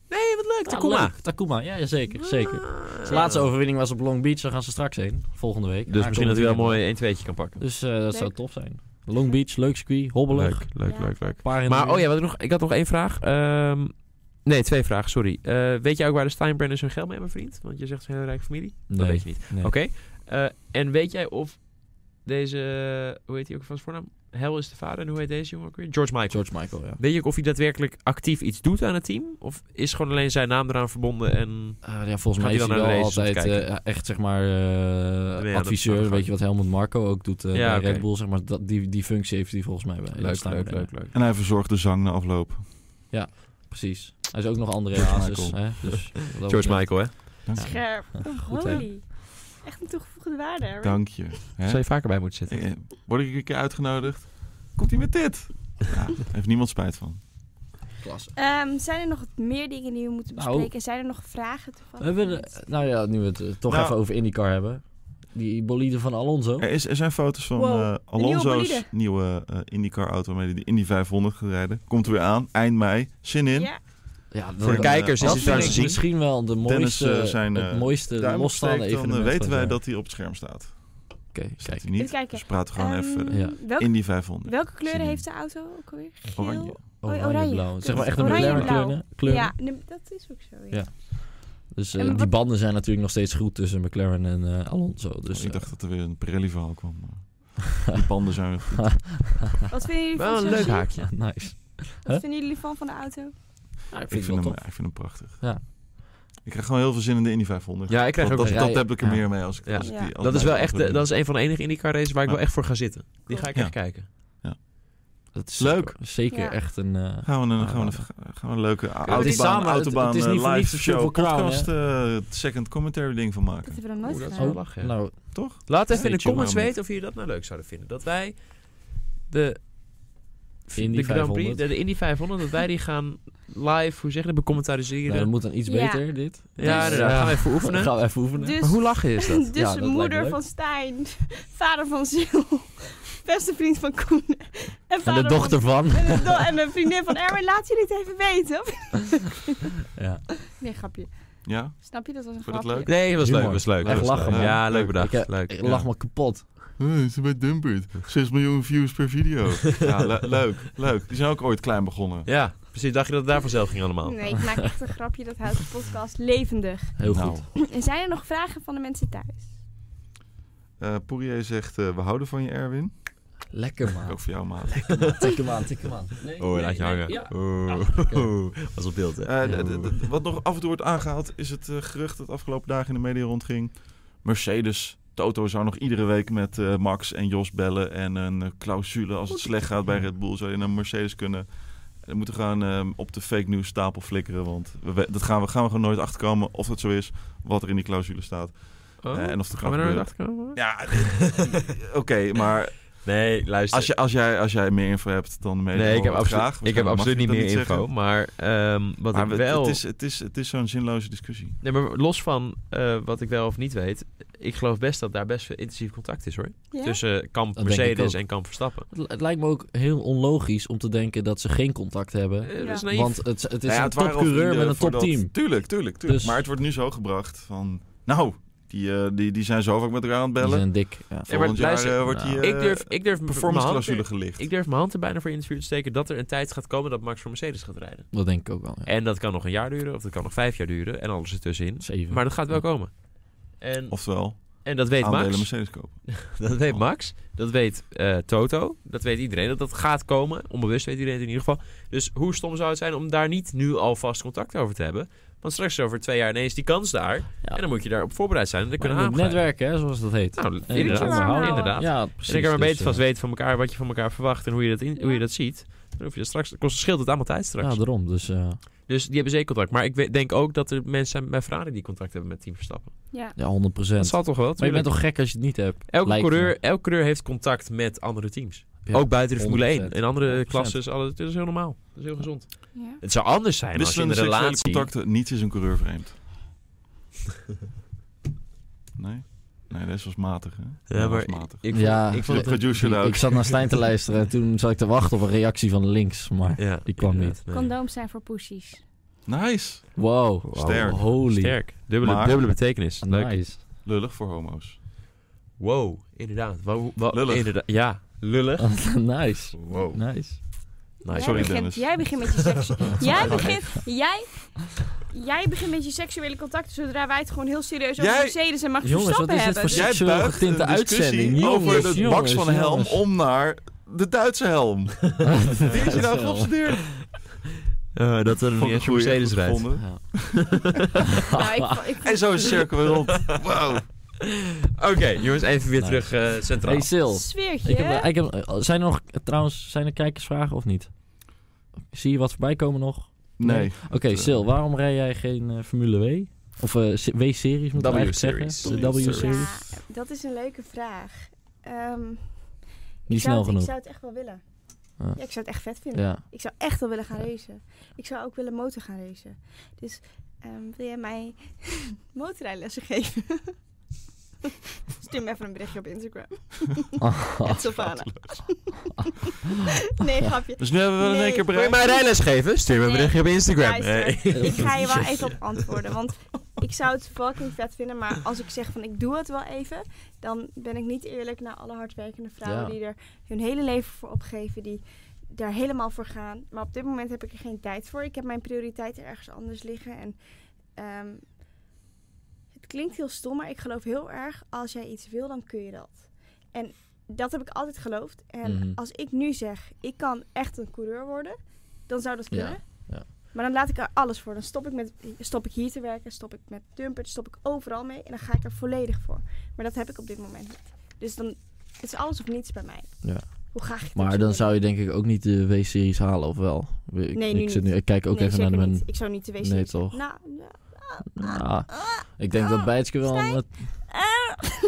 [SPEAKER 1] Nee, wat leuk.
[SPEAKER 4] Ja, leuk. Takuma, ja, ja, zeker, zeker. Dus
[SPEAKER 1] Ah.
[SPEAKER 4] Zijn laatste overwinning was op Long Beach, daar gaan ze straks heen. Volgende week.
[SPEAKER 1] Dus
[SPEAKER 4] Aankomend
[SPEAKER 1] misschien dat hij wel een
[SPEAKER 4] weekend.
[SPEAKER 1] mooi 1-2'tje kan pakken.
[SPEAKER 4] Dus eh, dat zou
[SPEAKER 2] Leuk.
[SPEAKER 4] top zijn. Long Beach, leuk circuit, hobbelig.
[SPEAKER 1] Leuk, leuk,
[SPEAKER 2] Ja.
[SPEAKER 1] leuk, leuk.
[SPEAKER 4] Paar in de
[SPEAKER 1] Maar,
[SPEAKER 4] muur.
[SPEAKER 1] oh ja, wat ik, nog, ik had nog één vraag. Ehm, nee, twee vragen, sorry. Eh, weet jij ook waar de Steinbrenners hun geld mee hebben verdiend? Want je zegt ze zijn een hele rijke familie. Dat
[SPEAKER 4] Nee,
[SPEAKER 1] weet je niet.
[SPEAKER 4] nee.
[SPEAKER 1] Oké. Eh, en weet jij of deze, hoe heet hij ook van zijn voornaam? Hel is de vader en hoe heet deze jongen ook weer? George Michael.
[SPEAKER 4] George Michael, ja.
[SPEAKER 1] Weet je ook of hij daadwerkelijk actief iets doet aan het team? Of is gewoon alleen zijn naam eraan verbonden en...
[SPEAKER 4] Eh, ja, volgens mij
[SPEAKER 1] Gaat hij
[SPEAKER 4] is hij
[SPEAKER 1] dan naar
[SPEAKER 4] wel
[SPEAKER 1] de races
[SPEAKER 4] altijd
[SPEAKER 1] kijken?
[SPEAKER 4] eh, echt, zeg maar,
[SPEAKER 1] aan
[SPEAKER 4] eh,
[SPEAKER 1] de- aan de
[SPEAKER 4] adviseur.
[SPEAKER 1] gang.
[SPEAKER 4] Weet je wat Helmut Marco ook doet eh,
[SPEAKER 1] Ja,
[SPEAKER 4] bij
[SPEAKER 1] oké.
[SPEAKER 4] Red Bull, zeg maar. Dat, die, die functie heeft hij volgens mij bij bij Steinbrenner.
[SPEAKER 1] leuk.
[SPEAKER 3] En hij verzorgt de zang na afloop.
[SPEAKER 4] Precies. Hij is ook nog andere
[SPEAKER 3] George
[SPEAKER 4] hazes.
[SPEAKER 3] Michael.
[SPEAKER 4] hè,
[SPEAKER 1] [laughs]
[SPEAKER 4] Dus, wat dat
[SPEAKER 1] George
[SPEAKER 4] betreft-
[SPEAKER 1] Michael, hè?
[SPEAKER 2] Scherp.
[SPEAKER 4] Goed, hè?
[SPEAKER 2] Holy. Echt een toegevoegde waarde. hè?
[SPEAKER 3] Dank je. Hè?
[SPEAKER 1] Zou je vaker bij moeten zitten?
[SPEAKER 3] Eh, eh, Word ik een keer uitgenodigd? Komt hij met dit? Ja, heeft niemand spijt van.
[SPEAKER 4] Klasse.
[SPEAKER 2] Ehm, zijn er nog meer dingen die we moeten
[SPEAKER 4] Nou.
[SPEAKER 2] bespreken? zijn er nog vragen
[SPEAKER 4] We
[SPEAKER 2] toevallig?
[SPEAKER 4] hebben, de- nou ja, nu we het eh, toch
[SPEAKER 3] Nou.
[SPEAKER 4] even over IndyCar hebben. Die bolide van Alonso.
[SPEAKER 3] Er, is, er zijn foto's van
[SPEAKER 2] Oh. Wow,
[SPEAKER 3] eh,
[SPEAKER 2] een
[SPEAKER 3] Alonso's
[SPEAKER 2] nieuwe bolide.
[SPEAKER 3] nieuwe, eh, IndyCar-auto waarmee hij de Indy 500 gaat rijden. Komt er weer aan, eind mei. Zin in.
[SPEAKER 2] Ja,
[SPEAKER 4] Ja,
[SPEAKER 3] Voor de
[SPEAKER 4] dan-
[SPEAKER 1] kijkers is
[SPEAKER 4] dat vind
[SPEAKER 1] het daar
[SPEAKER 4] ik
[SPEAKER 1] te zien.
[SPEAKER 4] Misschien wel de
[SPEAKER 3] Dennis,
[SPEAKER 4] mooiste,
[SPEAKER 3] eh, zijn, eh,
[SPEAKER 4] het mooiste
[SPEAKER 3] Duim opsteekt,
[SPEAKER 4] losstaande
[SPEAKER 3] dan eh,
[SPEAKER 4] evenement.
[SPEAKER 3] weten
[SPEAKER 4] van
[SPEAKER 3] wij
[SPEAKER 4] het jaar.
[SPEAKER 3] dat hij op het scherm staat.
[SPEAKER 4] Oké,
[SPEAKER 3] Staat
[SPEAKER 4] kijk.
[SPEAKER 3] hij
[SPEAKER 2] even
[SPEAKER 3] niet?
[SPEAKER 2] kijken.
[SPEAKER 3] Dus praten we gewoon
[SPEAKER 2] Ehm,
[SPEAKER 3] even
[SPEAKER 1] eh,
[SPEAKER 3] verder.
[SPEAKER 4] Ja.
[SPEAKER 2] welke,
[SPEAKER 3] Indy 500.
[SPEAKER 2] welke kleuren
[SPEAKER 3] Zin in.
[SPEAKER 2] heeft de auto ook alweer? Geel?
[SPEAKER 3] Oranje. Oh,
[SPEAKER 2] Oh, Oranje,
[SPEAKER 4] Oranje-blauw. Zeg maar echt een
[SPEAKER 2] Oranje-blauw.
[SPEAKER 4] McLaren kleuren. kleuren.
[SPEAKER 2] Ja, nee, dat is ook zo. Ja.
[SPEAKER 4] Ja. Dus eh,
[SPEAKER 2] En wat-
[SPEAKER 4] die banden zijn natuurlijk nog steeds goed tussen McLaren en eh, Alonso. Dus,
[SPEAKER 3] ik
[SPEAKER 4] eh, [laughs]
[SPEAKER 3] dacht dat er weer een Pirelli-verhaal kwam. maar Die panden zijn weer goed.
[SPEAKER 2] Wat vinden jullie van
[SPEAKER 1] Wel een
[SPEAKER 2] zo'n
[SPEAKER 1] leuk
[SPEAKER 2] zie-
[SPEAKER 1] haakje.
[SPEAKER 4] nice.
[SPEAKER 2] Wat vinden jullie van van de auto?
[SPEAKER 4] Ja, ik
[SPEAKER 3] Ik
[SPEAKER 4] vind
[SPEAKER 3] vind,
[SPEAKER 4] het wel
[SPEAKER 3] hem,
[SPEAKER 4] top.
[SPEAKER 3] ik vind hem prachtig.
[SPEAKER 4] Ja.
[SPEAKER 3] Ik krijg gewoon heel veel zin in de Indy 500.
[SPEAKER 1] Ja, ik krijg
[SPEAKER 3] dat,
[SPEAKER 1] ook...
[SPEAKER 3] dat,
[SPEAKER 4] een
[SPEAKER 3] dat
[SPEAKER 4] rij-
[SPEAKER 3] heb ik er
[SPEAKER 4] ja.
[SPEAKER 3] meer mee als ik, als ik
[SPEAKER 2] Ja.
[SPEAKER 3] die
[SPEAKER 1] Dat is wel echt, de-
[SPEAKER 3] andere-
[SPEAKER 1] dat is een van de enige IndyCar races waar ik
[SPEAKER 3] Ja.
[SPEAKER 1] wel echt voor ga zitten. Die ga ik echt
[SPEAKER 3] Ja.
[SPEAKER 1] kijken.
[SPEAKER 4] Dat is
[SPEAKER 3] Leuk.
[SPEAKER 4] zeker- Zeker
[SPEAKER 2] Ja.
[SPEAKER 4] echt een... eh,
[SPEAKER 3] Gaan we een,
[SPEAKER 4] Ah,
[SPEAKER 3] gaan we een, gaan we een leuke autobaan,
[SPEAKER 1] is
[SPEAKER 4] samen- het-
[SPEAKER 3] autobaan
[SPEAKER 4] het is niet
[SPEAKER 3] eh,
[SPEAKER 4] voor
[SPEAKER 3] live
[SPEAKER 4] niets de
[SPEAKER 3] show
[SPEAKER 4] Silver Crown,
[SPEAKER 3] podcast eh, second commentary ding van
[SPEAKER 2] Dat
[SPEAKER 3] maken.
[SPEAKER 2] hebben we nog nooit
[SPEAKER 1] Oeh, dat is
[SPEAKER 2] gedaan.
[SPEAKER 1] wel lachen. ja.
[SPEAKER 4] Nou,
[SPEAKER 3] Toch?
[SPEAKER 1] Laat even
[SPEAKER 3] Stay
[SPEAKER 1] in de
[SPEAKER 3] tuned,
[SPEAKER 1] comments
[SPEAKER 3] man.
[SPEAKER 1] weten of jullie dat nou leuk zouden vinden. Dat wij de,
[SPEAKER 4] Indy
[SPEAKER 1] de Grand Prix,
[SPEAKER 4] 500.
[SPEAKER 1] de, de Indy 500, dat wij die gaan live, hoe zeg je dat,
[SPEAKER 4] nou,
[SPEAKER 1] becommentariëren.
[SPEAKER 4] dat moet dan iets
[SPEAKER 2] Ja.
[SPEAKER 4] beter, dit.
[SPEAKER 1] ja, inderdaad. Gaan
[SPEAKER 4] [laughs]
[SPEAKER 1] we even oefenen.
[SPEAKER 4] Gaan we even oefenen.
[SPEAKER 2] Dus-
[SPEAKER 1] Maar
[SPEAKER 2] [laughs]
[SPEAKER 1] hoe lachen is dat?
[SPEAKER 2] Dus
[SPEAKER 4] Ja, dat lijkt me
[SPEAKER 2] moeder
[SPEAKER 4] leuk.
[SPEAKER 2] van Stijn, vader van Sil, beste vriend van Koen. En,
[SPEAKER 4] en de
[SPEAKER 2] vader
[SPEAKER 4] dochter van.
[SPEAKER 2] Van, en, de do- en een vriendin van Erwin, laat jullie het even weten.
[SPEAKER 4] Ja.
[SPEAKER 2] Nee, grapje.
[SPEAKER 3] Ja?
[SPEAKER 2] Snap je? Dat was een
[SPEAKER 3] Vond je dat
[SPEAKER 2] grapje.
[SPEAKER 3] leuk?
[SPEAKER 1] Nee, het was
[SPEAKER 4] Humor.
[SPEAKER 1] leuk. was leuk.
[SPEAKER 4] Echt
[SPEAKER 1] was leuk.
[SPEAKER 4] lachen, man.
[SPEAKER 1] Ja, leuk
[SPEAKER 3] Leuk.
[SPEAKER 1] bedacht.
[SPEAKER 4] Ik, eh,
[SPEAKER 1] leuk.
[SPEAKER 4] ik lach
[SPEAKER 1] ja.
[SPEAKER 4] me kapot.
[SPEAKER 3] Hey, ze bij Dumpert. 6 miljoen views per video. [laughs] ja, le- leuk, leuk. Die zijn ook ooit klein begonnen.
[SPEAKER 1] Ja, precies. Dacht je dat het daar vanzelf ging allemaal?
[SPEAKER 2] Nee, ik maak echt een grapje. Dat houdt de podcast levendig.
[SPEAKER 4] Heel
[SPEAKER 3] Nou,
[SPEAKER 4] goed.
[SPEAKER 2] En zijn er nog vragen van de mensen thuis?
[SPEAKER 3] eh, Poirier zegt, eh, we houden van je Erwin.
[SPEAKER 4] Lekker, man.
[SPEAKER 3] Ook voor jou, maat.
[SPEAKER 4] Tik hem aan, tik hem aan. Nee,
[SPEAKER 1] Oh,
[SPEAKER 4] nee,
[SPEAKER 1] laat je
[SPEAKER 4] nee,
[SPEAKER 1] hangen.
[SPEAKER 4] ja.
[SPEAKER 1] [laughs] Oh, was op beeld, hè?
[SPEAKER 3] Eh, d- d- d- wat nog af en toe wordt aangehaald is het eh, gerucht dat afgelopen dagen in de media rondging. Mercedes. Toto zou nog iedere week met eh, Max en Jos bellen en een eh, clausule als het slecht gaat bij Red Bull zou je naar Mercedes kunnen. We moeten gewoon eh, op de fake news stapel flikkeren, want we, we- dat gaan we, gaan we gewoon nooit achterkomen of dat zo is, wat er in die clausule staat.
[SPEAKER 1] Oh,
[SPEAKER 3] Eh, en of het
[SPEAKER 1] gaan we
[SPEAKER 3] kan
[SPEAKER 1] daar
[SPEAKER 3] gebeuren.
[SPEAKER 1] achter komen? [laughs]
[SPEAKER 3] Ja, oké, maar
[SPEAKER 1] Nee, luister.
[SPEAKER 3] als, je, als, jij, als jij meer info hebt dan de media,
[SPEAKER 1] nee, ik heb,
[SPEAKER 3] horen we het
[SPEAKER 1] absolu-
[SPEAKER 3] graag.
[SPEAKER 1] ik heb
[SPEAKER 3] Mag
[SPEAKER 1] absoluut
[SPEAKER 3] je
[SPEAKER 1] niet
[SPEAKER 3] dat
[SPEAKER 1] meer info.
[SPEAKER 3] zeggen?
[SPEAKER 1] Maar ehm, wat
[SPEAKER 3] Maar
[SPEAKER 1] ik
[SPEAKER 3] we-
[SPEAKER 1] wel...
[SPEAKER 3] het, is, het, is, het is zo'n zinloze discussie.
[SPEAKER 1] Nee, maar los van eh, wat ik wel of niet weet... Ik geloof best dat daar best veel intensief contact is, hoor.
[SPEAKER 2] Ja?
[SPEAKER 1] Tussen eh, kamp
[SPEAKER 4] Dat denk ik
[SPEAKER 1] Mercedes
[SPEAKER 4] ook.
[SPEAKER 1] en kamp Verstappen.
[SPEAKER 4] Het, het lijkt me ook heel onlogisch om te denken dat ze geen contact hebben.
[SPEAKER 1] Eh,
[SPEAKER 2] Ja.
[SPEAKER 1] Dat is naïef.
[SPEAKER 4] Want het, het is
[SPEAKER 3] Nou ja,
[SPEAKER 4] een
[SPEAKER 3] het waren al
[SPEAKER 4] topcoureur
[SPEAKER 3] vrienden
[SPEAKER 4] met een
[SPEAKER 3] voordat-
[SPEAKER 4] topteam.
[SPEAKER 3] Tuurlijk, tuurlijk, tuurlijk.
[SPEAKER 4] Dus-
[SPEAKER 3] Maar het wordt nu zo gebracht van... Nou, die, eh, die, die zijn zo vaak met elkaar aan het
[SPEAKER 4] Die
[SPEAKER 3] bellen.
[SPEAKER 4] zijn dik. Ja.
[SPEAKER 1] Ja, maar
[SPEAKER 3] Volgend jaar
[SPEAKER 1] luister,
[SPEAKER 3] eh, wordt die
[SPEAKER 4] nou,
[SPEAKER 3] eh,
[SPEAKER 1] ik durf, ik durf
[SPEAKER 3] performance
[SPEAKER 1] mijn hand
[SPEAKER 3] clausule
[SPEAKER 1] er-
[SPEAKER 3] gelicht.
[SPEAKER 1] ik durf mijn hand er bijna voor in het vuur te steken dat er een tijd gaat komen dat Max voor Mercedes gaat rijden.
[SPEAKER 4] Dat denk ik ook wel. Ja.
[SPEAKER 1] En dat kan nog een jaar duren, of dat kan nog vijf jaar duren en alles ertussenin.
[SPEAKER 4] Zeven.
[SPEAKER 1] Maar dat gaat wel
[SPEAKER 4] Ja.
[SPEAKER 1] komen. En,
[SPEAKER 3] Oftewel,
[SPEAKER 1] en dat weet
[SPEAKER 3] aandelen
[SPEAKER 1] Max.
[SPEAKER 3] Mercedes kopen.
[SPEAKER 1] Dat
[SPEAKER 4] Oh.
[SPEAKER 1] weet Max. Dat weet eh, Toto. Dat weet iedereen. Dat dat gaat komen. Onbewust weet iedereen het in ieder geval. Dus hoe stom zou het zijn om daar niet nu alvast contact over te hebben? Want straks is over twee jaar ineens die kans daar. En dan moet je daarop voorbereid zijn. En dan
[SPEAKER 4] Maar
[SPEAKER 1] kunnen
[SPEAKER 4] je moet
[SPEAKER 1] aangaan.
[SPEAKER 4] netwerken, hè, zoals dat heet.
[SPEAKER 1] Nou,
[SPEAKER 4] Inderdaad.
[SPEAKER 1] inderdaad.
[SPEAKER 2] Onderhouden.
[SPEAKER 1] inderdaad.
[SPEAKER 4] Ja, precies.
[SPEAKER 1] en ik kan maar
[SPEAKER 4] dus,
[SPEAKER 1] beter vast
[SPEAKER 4] eh,
[SPEAKER 1] weten van elkaar wat je van elkaar verwacht en hoe je dat, in, hoe je dat ziet. Dan hoef je dat straks, dat kost, scheelt het allemaal tijd straks.
[SPEAKER 4] Ja, daarom. Dus, eh,
[SPEAKER 1] Dus die hebben zeker contact. Maar ik weet- denk ook dat er mensen zijn bij Ferrari die contact hebben met Team Verstappen.
[SPEAKER 2] Ja.
[SPEAKER 4] ja, 100
[SPEAKER 1] Dat zal toch wel?
[SPEAKER 4] Maar je bent
[SPEAKER 1] tuurlijk.
[SPEAKER 4] toch gek als je het niet hebt?
[SPEAKER 1] elke,
[SPEAKER 4] lijkt me.
[SPEAKER 1] coureur, elke coureur heeft contact met andere teams.
[SPEAKER 4] Ja,
[SPEAKER 1] ook buiten de Formule 1.
[SPEAKER 4] 100%.
[SPEAKER 1] In andere
[SPEAKER 4] 100%.
[SPEAKER 1] klasses. alle- Dat is heel normaal. Dat is heel gezond.
[SPEAKER 2] Ja.
[SPEAKER 1] Het zou anders zijn als je in
[SPEAKER 3] Wisselende
[SPEAKER 1] een
[SPEAKER 3] seksuele
[SPEAKER 1] relatie...
[SPEAKER 4] [laughs]
[SPEAKER 3] contacten, niets is een coureur vreemd. Nee? Nee, deze was matig, hè?
[SPEAKER 1] Ja, maar
[SPEAKER 3] was matig.
[SPEAKER 1] ik,
[SPEAKER 4] Ja.
[SPEAKER 1] ik
[SPEAKER 3] Voor
[SPEAKER 1] vond
[SPEAKER 3] de
[SPEAKER 1] het...
[SPEAKER 3] producer daar ook.
[SPEAKER 4] Ik zat naar Stijn te luisteren en toen zat ik te wachten op een reactie van links.
[SPEAKER 1] [laughs]
[SPEAKER 4] Maar
[SPEAKER 1] Ja,
[SPEAKER 4] Die kwam
[SPEAKER 1] inderdaad, nee.
[SPEAKER 2] Condooms zijn voor poesies.
[SPEAKER 3] Nice.
[SPEAKER 4] wow.
[SPEAKER 3] Sterk.
[SPEAKER 4] Holy.
[SPEAKER 1] Sterk. Dubbele,
[SPEAKER 3] Maar-
[SPEAKER 1] dubbele betekenis. Leuk.
[SPEAKER 4] Nice. [laughs]
[SPEAKER 3] Lullig voor homo's.
[SPEAKER 1] Wow, inderdaad. Wow, wow,
[SPEAKER 3] Lullig.
[SPEAKER 1] inderdaad. Ja, lullig.
[SPEAKER 4] nice.
[SPEAKER 3] Wow.
[SPEAKER 4] Nice.
[SPEAKER 1] Nice.
[SPEAKER 3] Ah, Sorry,
[SPEAKER 2] jij begint,
[SPEAKER 3] Dennis.
[SPEAKER 2] Jij begint met je
[SPEAKER 3] [laughs]
[SPEAKER 2] seks. jij begint. Jij. Jij begint met je seksuele contacten zodra wij het gewoon heel serieus over
[SPEAKER 3] Jij-
[SPEAKER 2] Mercedes en Max
[SPEAKER 4] Jongens, wat
[SPEAKER 2] Verstappen
[SPEAKER 4] is dit
[SPEAKER 2] hebben.
[SPEAKER 4] voor
[SPEAKER 2] Dus-
[SPEAKER 3] Jij
[SPEAKER 4] Seksueel
[SPEAKER 3] buigt
[SPEAKER 4] getinte
[SPEAKER 3] de discussie
[SPEAKER 4] uitzending.
[SPEAKER 3] over
[SPEAKER 4] Jongens,
[SPEAKER 3] de Max van
[SPEAKER 4] jongens,
[SPEAKER 3] Helm
[SPEAKER 4] jongens.
[SPEAKER 3] om naar de Duitse helm. Wie is je
[SPEAKER 4] [laughs]
[SPEAKER 3] nou geobsedeerd?
[SPEAKER 1] Eh, dat er
[SPEAKER 3] Vond ik
[SPEAKER 1] niet
[SPEAKER 3] een
[SPEAKER 1] echt een
[SPEAKER 3] goeie,
[SPEAKER 1] Mercedes
[SPEAKER 3] goed
[SPEAKER 1] rijdt.
[SPEAKER 3] gevonden.
[SPEAKER 2] Nou, ik, vond- ik vond-
[SPEAKER 3] En zo is de cirkel weer rond. Wauw.
[SPEAKER 1] Oké, jongens, even weer
[SPEAKER 4] Nice.
[SPEAKER 1] terug eh, centraal.
[SPEAKER 4] Hey Sil.
[SPEAKER 2] Sfeertje.
[SPEAKER 4] Ik
[SPEAKER 2] hè?
[SPEAKER 4] heb, ik heb, eh, zijn er nog, trouwens, zijn er kijkersvragen of niet? Zie je wat voorbij komen nog?
[SPEAKER 3] Nee.
[SPEAKER 4] Oké, Sil, waarom rij jij geen eh, Formule W? Of eh, C- W-series moet ik eigenlijk
[SPEAKER 1] W-series.
[SPEAKER 4] zeggen. De W-series.
[SPEAKER 2] Ja, dat is een leuke vraag. Ehm,
[SPEAKER 4] Niet
[SPEAKER 2] ik zou
[SPEAKER 4] snel
[SPEAKER 2] het, Ik
[SPEAKER 4] genoeg.
[SPEAKER 2] zou het echt wel willen.
[SPEAKER 4] Ja.
[SPEAKER 2] Ja. ik zou het echt vet vinden.
[SPEAKER 4] Ja.
[SPEAKER 2] Ik zou echt wel willen gaan racen. Ik zou ook willen motor gaan racen. Dus ehm, wil jij mij [laughs] motorrijlessen geven? [laughs] Stuur me even een berichtje op Instagram. Het Savannah. [laughs] nee, grapje.
[SPEAKER 3] Dus nu hebben we wel in één
[SPEAKER 2] Nee.
[SPEAKER 3] keer
[SPEAKER 1] Wil je
[SPEAKER 3] bereikt.
[SPEAKER 1] mij rijles geven? Stuur me een
[SPEAKER 2] Nee.
[SPEAKER 1] berichtje op Instagram.
[SPEAKER 2] Luister.
[SPEAKER 1] Hey.
[SPEAKER 2] [laughs] Ik ga je wel even op antwoorden. Want ik zou het fucking vet vinden. Maar als ik zeg van ik doe het wel even. Dan ben ik niet eerlijk naar alle hardwerkende vrouwen
[SPEAKER 4] Ja.
[SPEAKER 2] die er hun hele leven voor opgeven. Die daar helemaal voor gaan. Maar op dit moment heb ik er geen tijd voor. Ik heb mijn prioriteiten ergens anders liggen. En ehm, het klinkt heel stom. Maar ik geloof heel erg als jij iets wil dan kun je dat. En dat heb ik altijd geloofd. En
[SPEAKER 4] Mhm.
[SPEAKER 2] als ik nu zeg ik kan echt een coureur worden. Dan zou dat
[SPEAKER 4] Ja.
[SPEAKER 2] kunnen. Maar dan laat ik er alles voor. Dan stop ik, met, stop ik hier te werken, stop ik met dumper, stop ik overal mee. En dan ga ik er volledig voor. Maar dat heb ik op dit moment niet. Dus dan het is alles of niets bij mij.
[SPEAKER 4] Ja.
[SPEAKER 2] Hoe graag ik het
[SPEAKER 4] Maar
[SPEAKER 2] ook
[SPEAKER 4] dan
[SPEAKER 2] willen.
[SPEAKER 4] zou je denk ik ook niet de W-series halen, of wel? Ik,
[SPEAKER 2] Nee,
[SPEAKER 4] ik,
[SPEAKER 2] nu
[SPEAKER 4] zit
[SPEAKER 2] niet.
[SPEAKER 4] nu, ik kijk ook
[SPEAKER 2] Nee,
[SPEAKER 4] even naar de
[SPEAKER 2] zeker
[SPEAKER 4] men.
[SPEAKER 2] niet. Ik zou niet te wezen.
[SPEAKER 4] Nee, toch?
[SPEAKER 2] Nou, nou, ah,
[SPEAKER 4] Ja. ik denk dat Bijtske wel
[SPEAKER 2] Oh, Stijn?
[SPEAKER 4] met-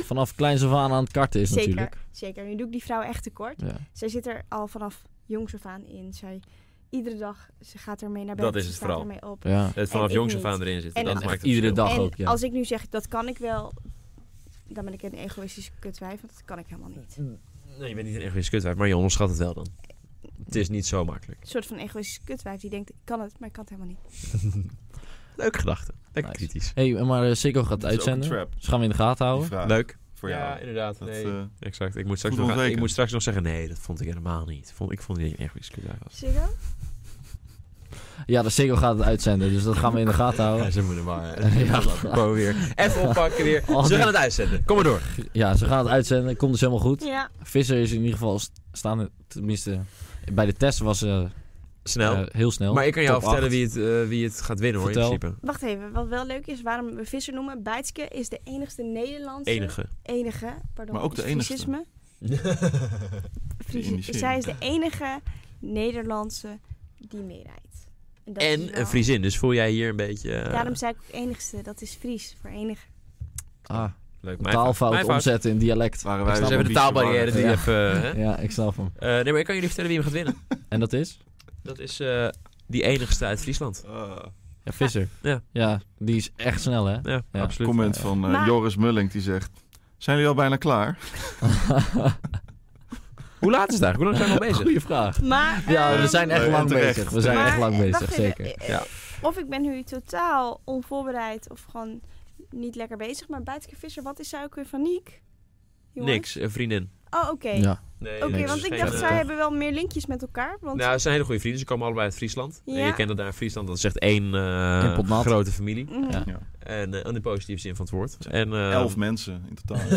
[SPEAKER 4] [laughs] vanaf kleins af aan aan het karten is
[SPEAKER 2] ah. zeker,
[SPEAKER 4] natuurlijk.
[SPEAKER 2] zeker. Nu doe ik die vrouw echt tekort.
[SPEAKER 4] Ja.
[SPEAKER 2] Zij zit er al vanaf jongs af aan in. Zij, iedere dag, ze gaat ermee naar
[SPEAKER 1] Dat
[SPEAKER 2] bed.
[SPEAKER 1] is
[SPEAKER 2] ze
[SPEAKER 1] het
[SPEAKER 2] staat
[SPEAKER 1] vooral.
[SPEAKER 2] ermee op.
[SPEAKER 4] Ja.
[SPEAKER 1] Het
[SPEAKER 2] En
[SPEAKER 1] vanaf
[SPEAKER 2] ik
[SPEAKER 1] jongs af
[SPEAKER 2] niet.
[SPEAKER 1] aan erin zitten.
[SPEAKER 2] En
[SPEAKER 1] dat
[SPEAKER 4] echt
[SPEAKER 1] maakt het
[SPEAKER 4] iedere
[SPEAKER 1] verschil.
[SPEAKER 4] dag
[SPEAKER 2] en
[SPEAKER 4] ook, ja.
[SPEAKER 2] als ik nu zeg, dat kan ik wel, dan ben ik een egoïstische kutwijf. Want dat kan ik helemaal niet.
[SPEAKER 1] Nee, je bent niet een egoïst kutwijf, maar je onderschat het wel dan. Het is niet zo makkelijk.
[SPEAKER 2] Een soort van egoïstische kutwijf die denkt, ik kan het, maar ik kan het helemaal niet.
[SPEAKER 1] Leuke gedachte. Lekker
[SPEAKER 4] Nice.
[SPEAKER 1] kritisch.
[SPEAKER 4] Hey, maar eh, Siggo gaat
[SPEAKER 3] Dat is ook een
[SPEAKER 4] uitzenden.
[SPEAKER 3] trap,
[SPEAKER 4] Dus gaan we in de gaten
[SPEAKER 3] die
[SPEAKER 4] houden.
[SPEAKER 3] vraag.
[SPEAKER 1] Leuk.
[SPEAKER 3] Voor jou.
[SPEAKER 1] ja, inderdaad.
[SPEAKER 3] Dat,
[SPEAKER 1] nee.
[SPEAKER 3] eh,
[SPEAKER 1] exact. Ik moet, straks
[SPEAKER 3] goed
[SPEAKER 1] nog, ik
[SPEAKER 3] ontweken.
[SPEAKER 1] moet straks nog zeggen, nee, dat vond ik helemaal niet. Vond, ik vond niet dat je een egoïst kutwijf was.
[SPEAKER 2] Ziggo?
[SPEAKER 4] Ja, de Siggo gaat het uitzenden, dus dat gaan we in de
[SPEAKER 1] [laughs]
[SPEAKER 4] gaten
[SPEAKER 1] Ja,
[SPEAKER 4] houden.
[SPEAKER 1] ze moeten maar. eh,
[SPEAKER 4] Ja.
[SPEAKER 1] apropos weer. Even oppakken weer.
[SPEAKER 4] Oh,
[SPEAKER 1] Ze
[SPEAKER 4] nee.
[SPEAKER 1] gaan het uitzenden. Kom maar door.
[SPEAKER 4] Ja, ze gaan het uitzenden. Komt dus helemaal goed.
[SPEAKER 2] Ja.
[SPEAKER 4] Visser is in ieder geval st- staan, tenminste bij de test was ze
[SPEAKER 1] Snel.
[SPEAKER 4] heel snel.
[SPEAKER 1] maar ik kan jou
[SPEAKER 4] Top
[SPEAKER 1] vertellen
[SPEAKER 4] acht.
[SPEAKER 1] wie het, eh, wie het gaat winnen hoor,
[SPEAKER 4] Vertel.
[SPEAKER 1] in principe.
[SPEAKER 2] Wacht even, wat wel leuk is, waarom we Visser noemen. Bijtske is de enigste Nederlandse...
[SPEAKER 1] Enige.
[SPEAKER 2] Enige, pardon.
[SPEAKER 3] Maar ook
[SPEAKER 2] is
[SPEAKER 3] de enigste. [laughs]
[SPEAKER 2] Friesisme. Fries-
[SPEAKER 3] Die in die serie.
[SPEAKER 2] zij is de enige Nederlandse die meerijdt. dat is
[SPEAKER 1] en
[SPEAKER 2] wel-
[SPEAKER 1] een Friesin, dus voel jij hier een beetje... eh,
[SPEAKER 2] Daarom zei ik ook enigste, dat is Fries voor enige.
[SPEAKER 4] Ah,
[SPEAKER 1] leuk. Mijn fout.
[SPEAKER 4] taalfout
[SPEAKER 1] Mijn fout.
[SPEAKER 4] omzetten in dialect.
[SPEAKER 3] Waren
[SPEAKER 1] Dus
[SPEAKER 3] wij
[SPEAKER 1] we hebben de taalbarrière die
[SPEAKER 4] Ja.
[SPEAKER 1] even... eh, hè?
[SPEAKER 4] Ja, ik snap hem.
[SPEAKER 1] Eh, nee, maar ik kan jullie vertellen wie hem gaat winnen.
[SPEAKER 4] En dat is?
[SPEAKER 1] Dat is eh, die enigste uit Friesland.
[SPEAKER 3] Eh,
[SPEAKER 4] Ja, Visser.
[SPEAKER 1] Ja.
[SPEAKER 4] Ja, die is echt snel
[SPEAKER 1] [laughs]
[SPEAKER 4] hè.
[SPEAKER 1] Ja,
[SPEAKER 4] Ja.
[SPEAKER 1] absoluut.
[SPEAKER 3] comment van eh,
[SPEAKER 2] Maar-
[SPEAKER 3] Joris Mulling die zegt... Zijn jullie al bijna klaar?
[SPEAKER 1] Hoe laat is het eigenlijk? Hoe lang zijn we al bezig?
[SPEAKER 4] Goeie vraag.
[SPEAKER 2] Maar...
[SPEAKER 4] Ja, we
[SPEAKER 2] ehm,
[SPEAKER 4] zijn echt
[SPEAKER 3] Nee,
[SPEAKER 4] lang
[SPEAKER 3] terecht.
[SPEAKER 4] bezig. We zijn
[SPEAKER 2] maar,
[SPEAKER 4] echt lang
[SPEAKER 2] eh,
[SPEAKER 4] bezig,
[SPEAKER 2] wacht even,
[SPEAKER 4] zeker.
[SPEAKER 2] eh,
[SPEAKER 1] Ja.
[SPEAKER 2] Of ik ben nu totaal onvoorbereid of gewoon niet lekker bezig. Maar Bijtske Visser, wat is zij ook weer van Niek? Jongens?
[SPEAKER 1] Niks, een vriendin.
[SPEAKER 2] Oh, oké.
[SPEAKER 4] Ja.
[SPEAKER 1] Nee,
[SPEAKER 2] Oké,
[SPEAKER 1] niks.
[SPEAKER 2] want ik
[SPEAKER 1] Geen,
[SPEAKER 2] dacht,
[SPEAKER 1] eh,
[SPEAKER 2] zij hebben wel meer linkjes met elkaar. Want
[SPEAKER 1] Nou, ze zijn hele goede vrienden. Ze komen allebei uit Friesland. En
[SPEAKER 2] Ja.
[SPEAKER 1] je kent dat daar in Friesland. Dat is echt één eh,
[SPEAKER 4] Eén pot nat.
[SPEAKER 1] grote familie.
[SPEAKER 2] Mhm.
[SPEAKER 4] Ja.
[SPEAKER 1] En eh, in de positieve zin van het woord. En, eh,
[SPEAKER 3] Elf mensen in totaal.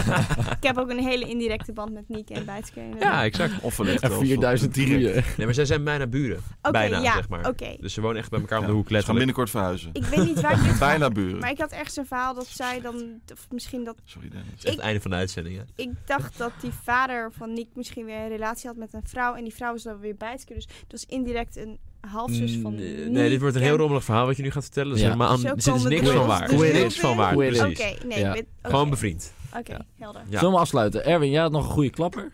[SPEAKER 3] [laughs]
[SPEAKER 2] Ik heb ook een hele indirecte band met Nieke en Bijtske.
[SPEAKER 1] [laughs] Ja, exact.
[SPEAKER 3] of wellicht
[SPEAKER 4] En
[SPEAKER 3] zelfs wel
[SPEAKER 4] 4000
[SPEAKER 3] direct.
[SPEAKER 4] drieën.
[SPEAKER 1] Nee, maar zij zijn bijna buren.
[SPEAKER 2] Oké,
[SPEAKER 1] bijna,
[SPEAKER 2] ja,
[SPEAKER 1] zeg maar.
[SPEAKER 2] Oké,
[SPEAKER 1] Dus ze wonen echt bij elkaar om de
[SPEAKER 3] Ja,
[SPEAKER 1] hoek,
[SPEAKER 3] Ze gaan
[SPEAKER 1] letterlijk.
[SPEAKER 3] binnenkort verhuizen.
[SPEAKER 2] ik weet niet waar ik dit
[SPEAKER 1] [laughs]
[SPEAKER 2] verhaal-
[SPEAKER 3] Bijna buren.
[SPEAKER 2] Maar ik had ergens een verhaal dat zij dan... Of misschien dat...
[SPEAKER 3] Sorry Dennis.
[SPEAKER 1] Het einde van de uitzending, hè?
[SPEAKER 2] Ik dacht dat die vader van Niek misschien weer een relatie had met een vrouw. En die vrouw is dan weer Bijtske. Dus het was indirect een halfzus van
[SPEAKER 1] Nee,
[SPEAKER 2] Niek.
[SPEAKER 1] nee, dit wordt een heel
[SPEAKER 2] en-
[SPEAKER 1] rommelig verhaal wat je nu gaat vertellen. Dus
[SPEAKER 4] Ja.
[SPEAKER 1] helemaal,
[SPEAKER 2] Zo
[SPEAKER 1] er zit dus
[SPEAKER 2] komen
[SPEAKER 1] niks
[SPEAKER 2] de
[SPEAKER 1] van
[SPEAKER 2] rommels
[SPEAKER 1] waar.
[SPEAKER 2] dus
[SPEAKER 1] Er is
[SPEAKER 2] heel
[SPEAKER 1] niks van
[SPEAKER 2] veel.
[SPEAKER 1] waar,
[SPEAKER 4] Quit it.
[SPEAKER 1] precies.
[SPEAKER 2] Oké, nee,
[SPEAKER 4] Ja.
[SPEAKER 2] ik weet- oké.
[SPEAKER 1] Gewoon bevriend.
[SPEAKER 2] Oké,
[SPEAKER 1] Ja.
[SPEAKER 2] helder.
[SPEAKER 1] Ja.
[SPEAKER 4] Zullen we afsluiten? Erwin, jij had nog een goede klapper.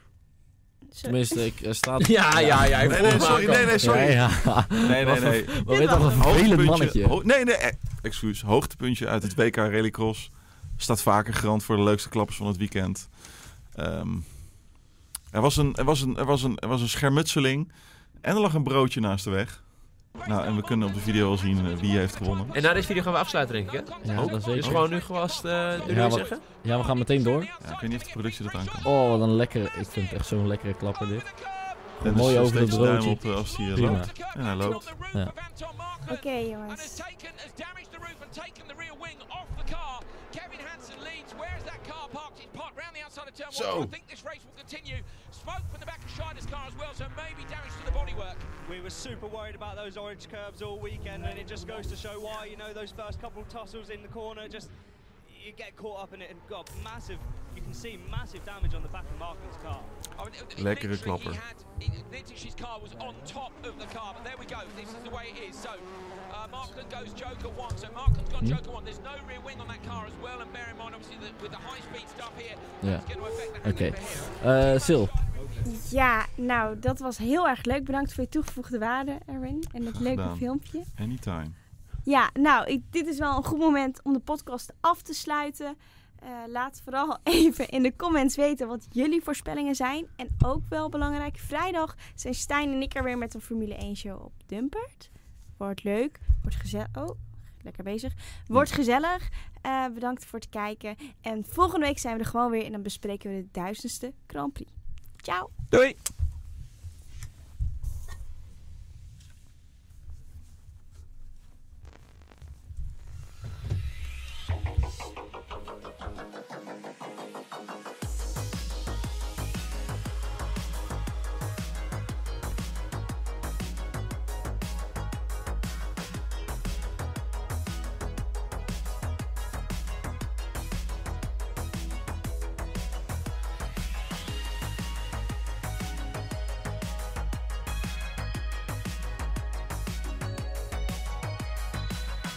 [SPEAKER 2] Zo-
[SPEAKER 4] Tenminste, ik eh, sta...
[SPEAKER 1] [laughs] Ja, ja, ja. ik
[SPEAKER 3] Nee,
[SPEAKER 1] voel
[SPEAKER 3] nee,
[SPEAKER 1] me
[SPEAKER 3] sorry,
[SPEAKER 1] ook al.
[SPEAKER 3] nee, nee, sorry.
[SPEAKER 4] Ja, ja.
[SPEAKER 3] Nee, nee, nee.
[SPEAKER 4] Wat weet dat een vervelend
[SPEAKER 3] Hoogtepuntje-
[SPEAKER 4] mannetje.
[SPEAKER 3] ho- nee, nee, eh, excuus. Hoogtepuntje uit het WK Rallycross. Staat vaker garant voor de leukste klappers van het weekend. Ehm, er, was een, er, was een, er, was een, er was een schermutseling. En er lag een broodje naast de weg. Nou, en we kunnen op de video al zien eh, wie heeft gewonnen.
[SPEAKER 1] En na deze video gaan we afsluiten, denk ik, hè?
[SPEAKER 4] Ja, dat zeker.
[SPEAKER 1] Dus gewoon nu gewoon als het, eh, de
[SPEAKER 4] Ja,
[SPEAKER 1] deur
[SPEAKER 4] wat-
[SPEAKER 1] zeggen?
[SPEAKER 4] Ja, we gaan meteen door.
[SPEAKER 3] Ja, ik weet niet of de productie dat aan kan.
[SPEAKER 4] Oh, wat een lekkere... Ik vind het echt zo'n lekkere klapper dit. Gewoon
[SPEAKER 3] Dennis
[SPEAKER 4] mooi
[SPEAKER 3] steekt
[SPEAKER 4] over de
[SPEAKER 3] zijn duim
[SPEAKER 4] broodje.
[SPEAKER 3] op eh, als hij eh,
[SPEAKER 4] Prima.
[SPEAKER 3] loopt. En hij loopt.
[SPEAKER 4] Ja.
[SPEAKER 2] Oké, jongens.
[SPEAKER 3] Zo.
[SPEAKER 5] Zo.
[SPEAKER 6] We were super worried about those orange curbs all weekend, and it just goes to show why. You know, those first couple of tussles in the corner, just you get caught up in it and got massive. You can see massive damage on the back of Markham's car.
[SPEAKER 3] Lekkere klapper.
[SPEAKER 4] Ja.
[SPEAKER 5] Oké.
[SPEAKER 4] Oké. Eh, Sil.
[SPEAKER 2] Ja, nou, dat was heel erg leuk. Bedankt voor je toegevoegde waarde, Erwin. En het leuke
[SPEAKER 3] gedaan.
[SPEAKER 2] filmpje.
[SPEAKER 3] Anytime.
[SPEAKER 2] Ja, nou, ik- dit is wel een goed moment om de podcast af te sluiten. Eh, laat vooral [laughs] even in de comments weten wat jullie voorspellingen zijn. En ook wel belangrijk, vrijdag zijn Stijn en ik er weer met een Formule 1 show op Dumpert. Wordt leuk, wordt gezellig. Oh, lekker bezig. Wordt gezellig. Eh, bedankt voor het kijken. En volgende week zijn we er gewoon weer en dan bespreken we de duizendste Grand Prix. Ciao!
[SPEAKER 1] Doei!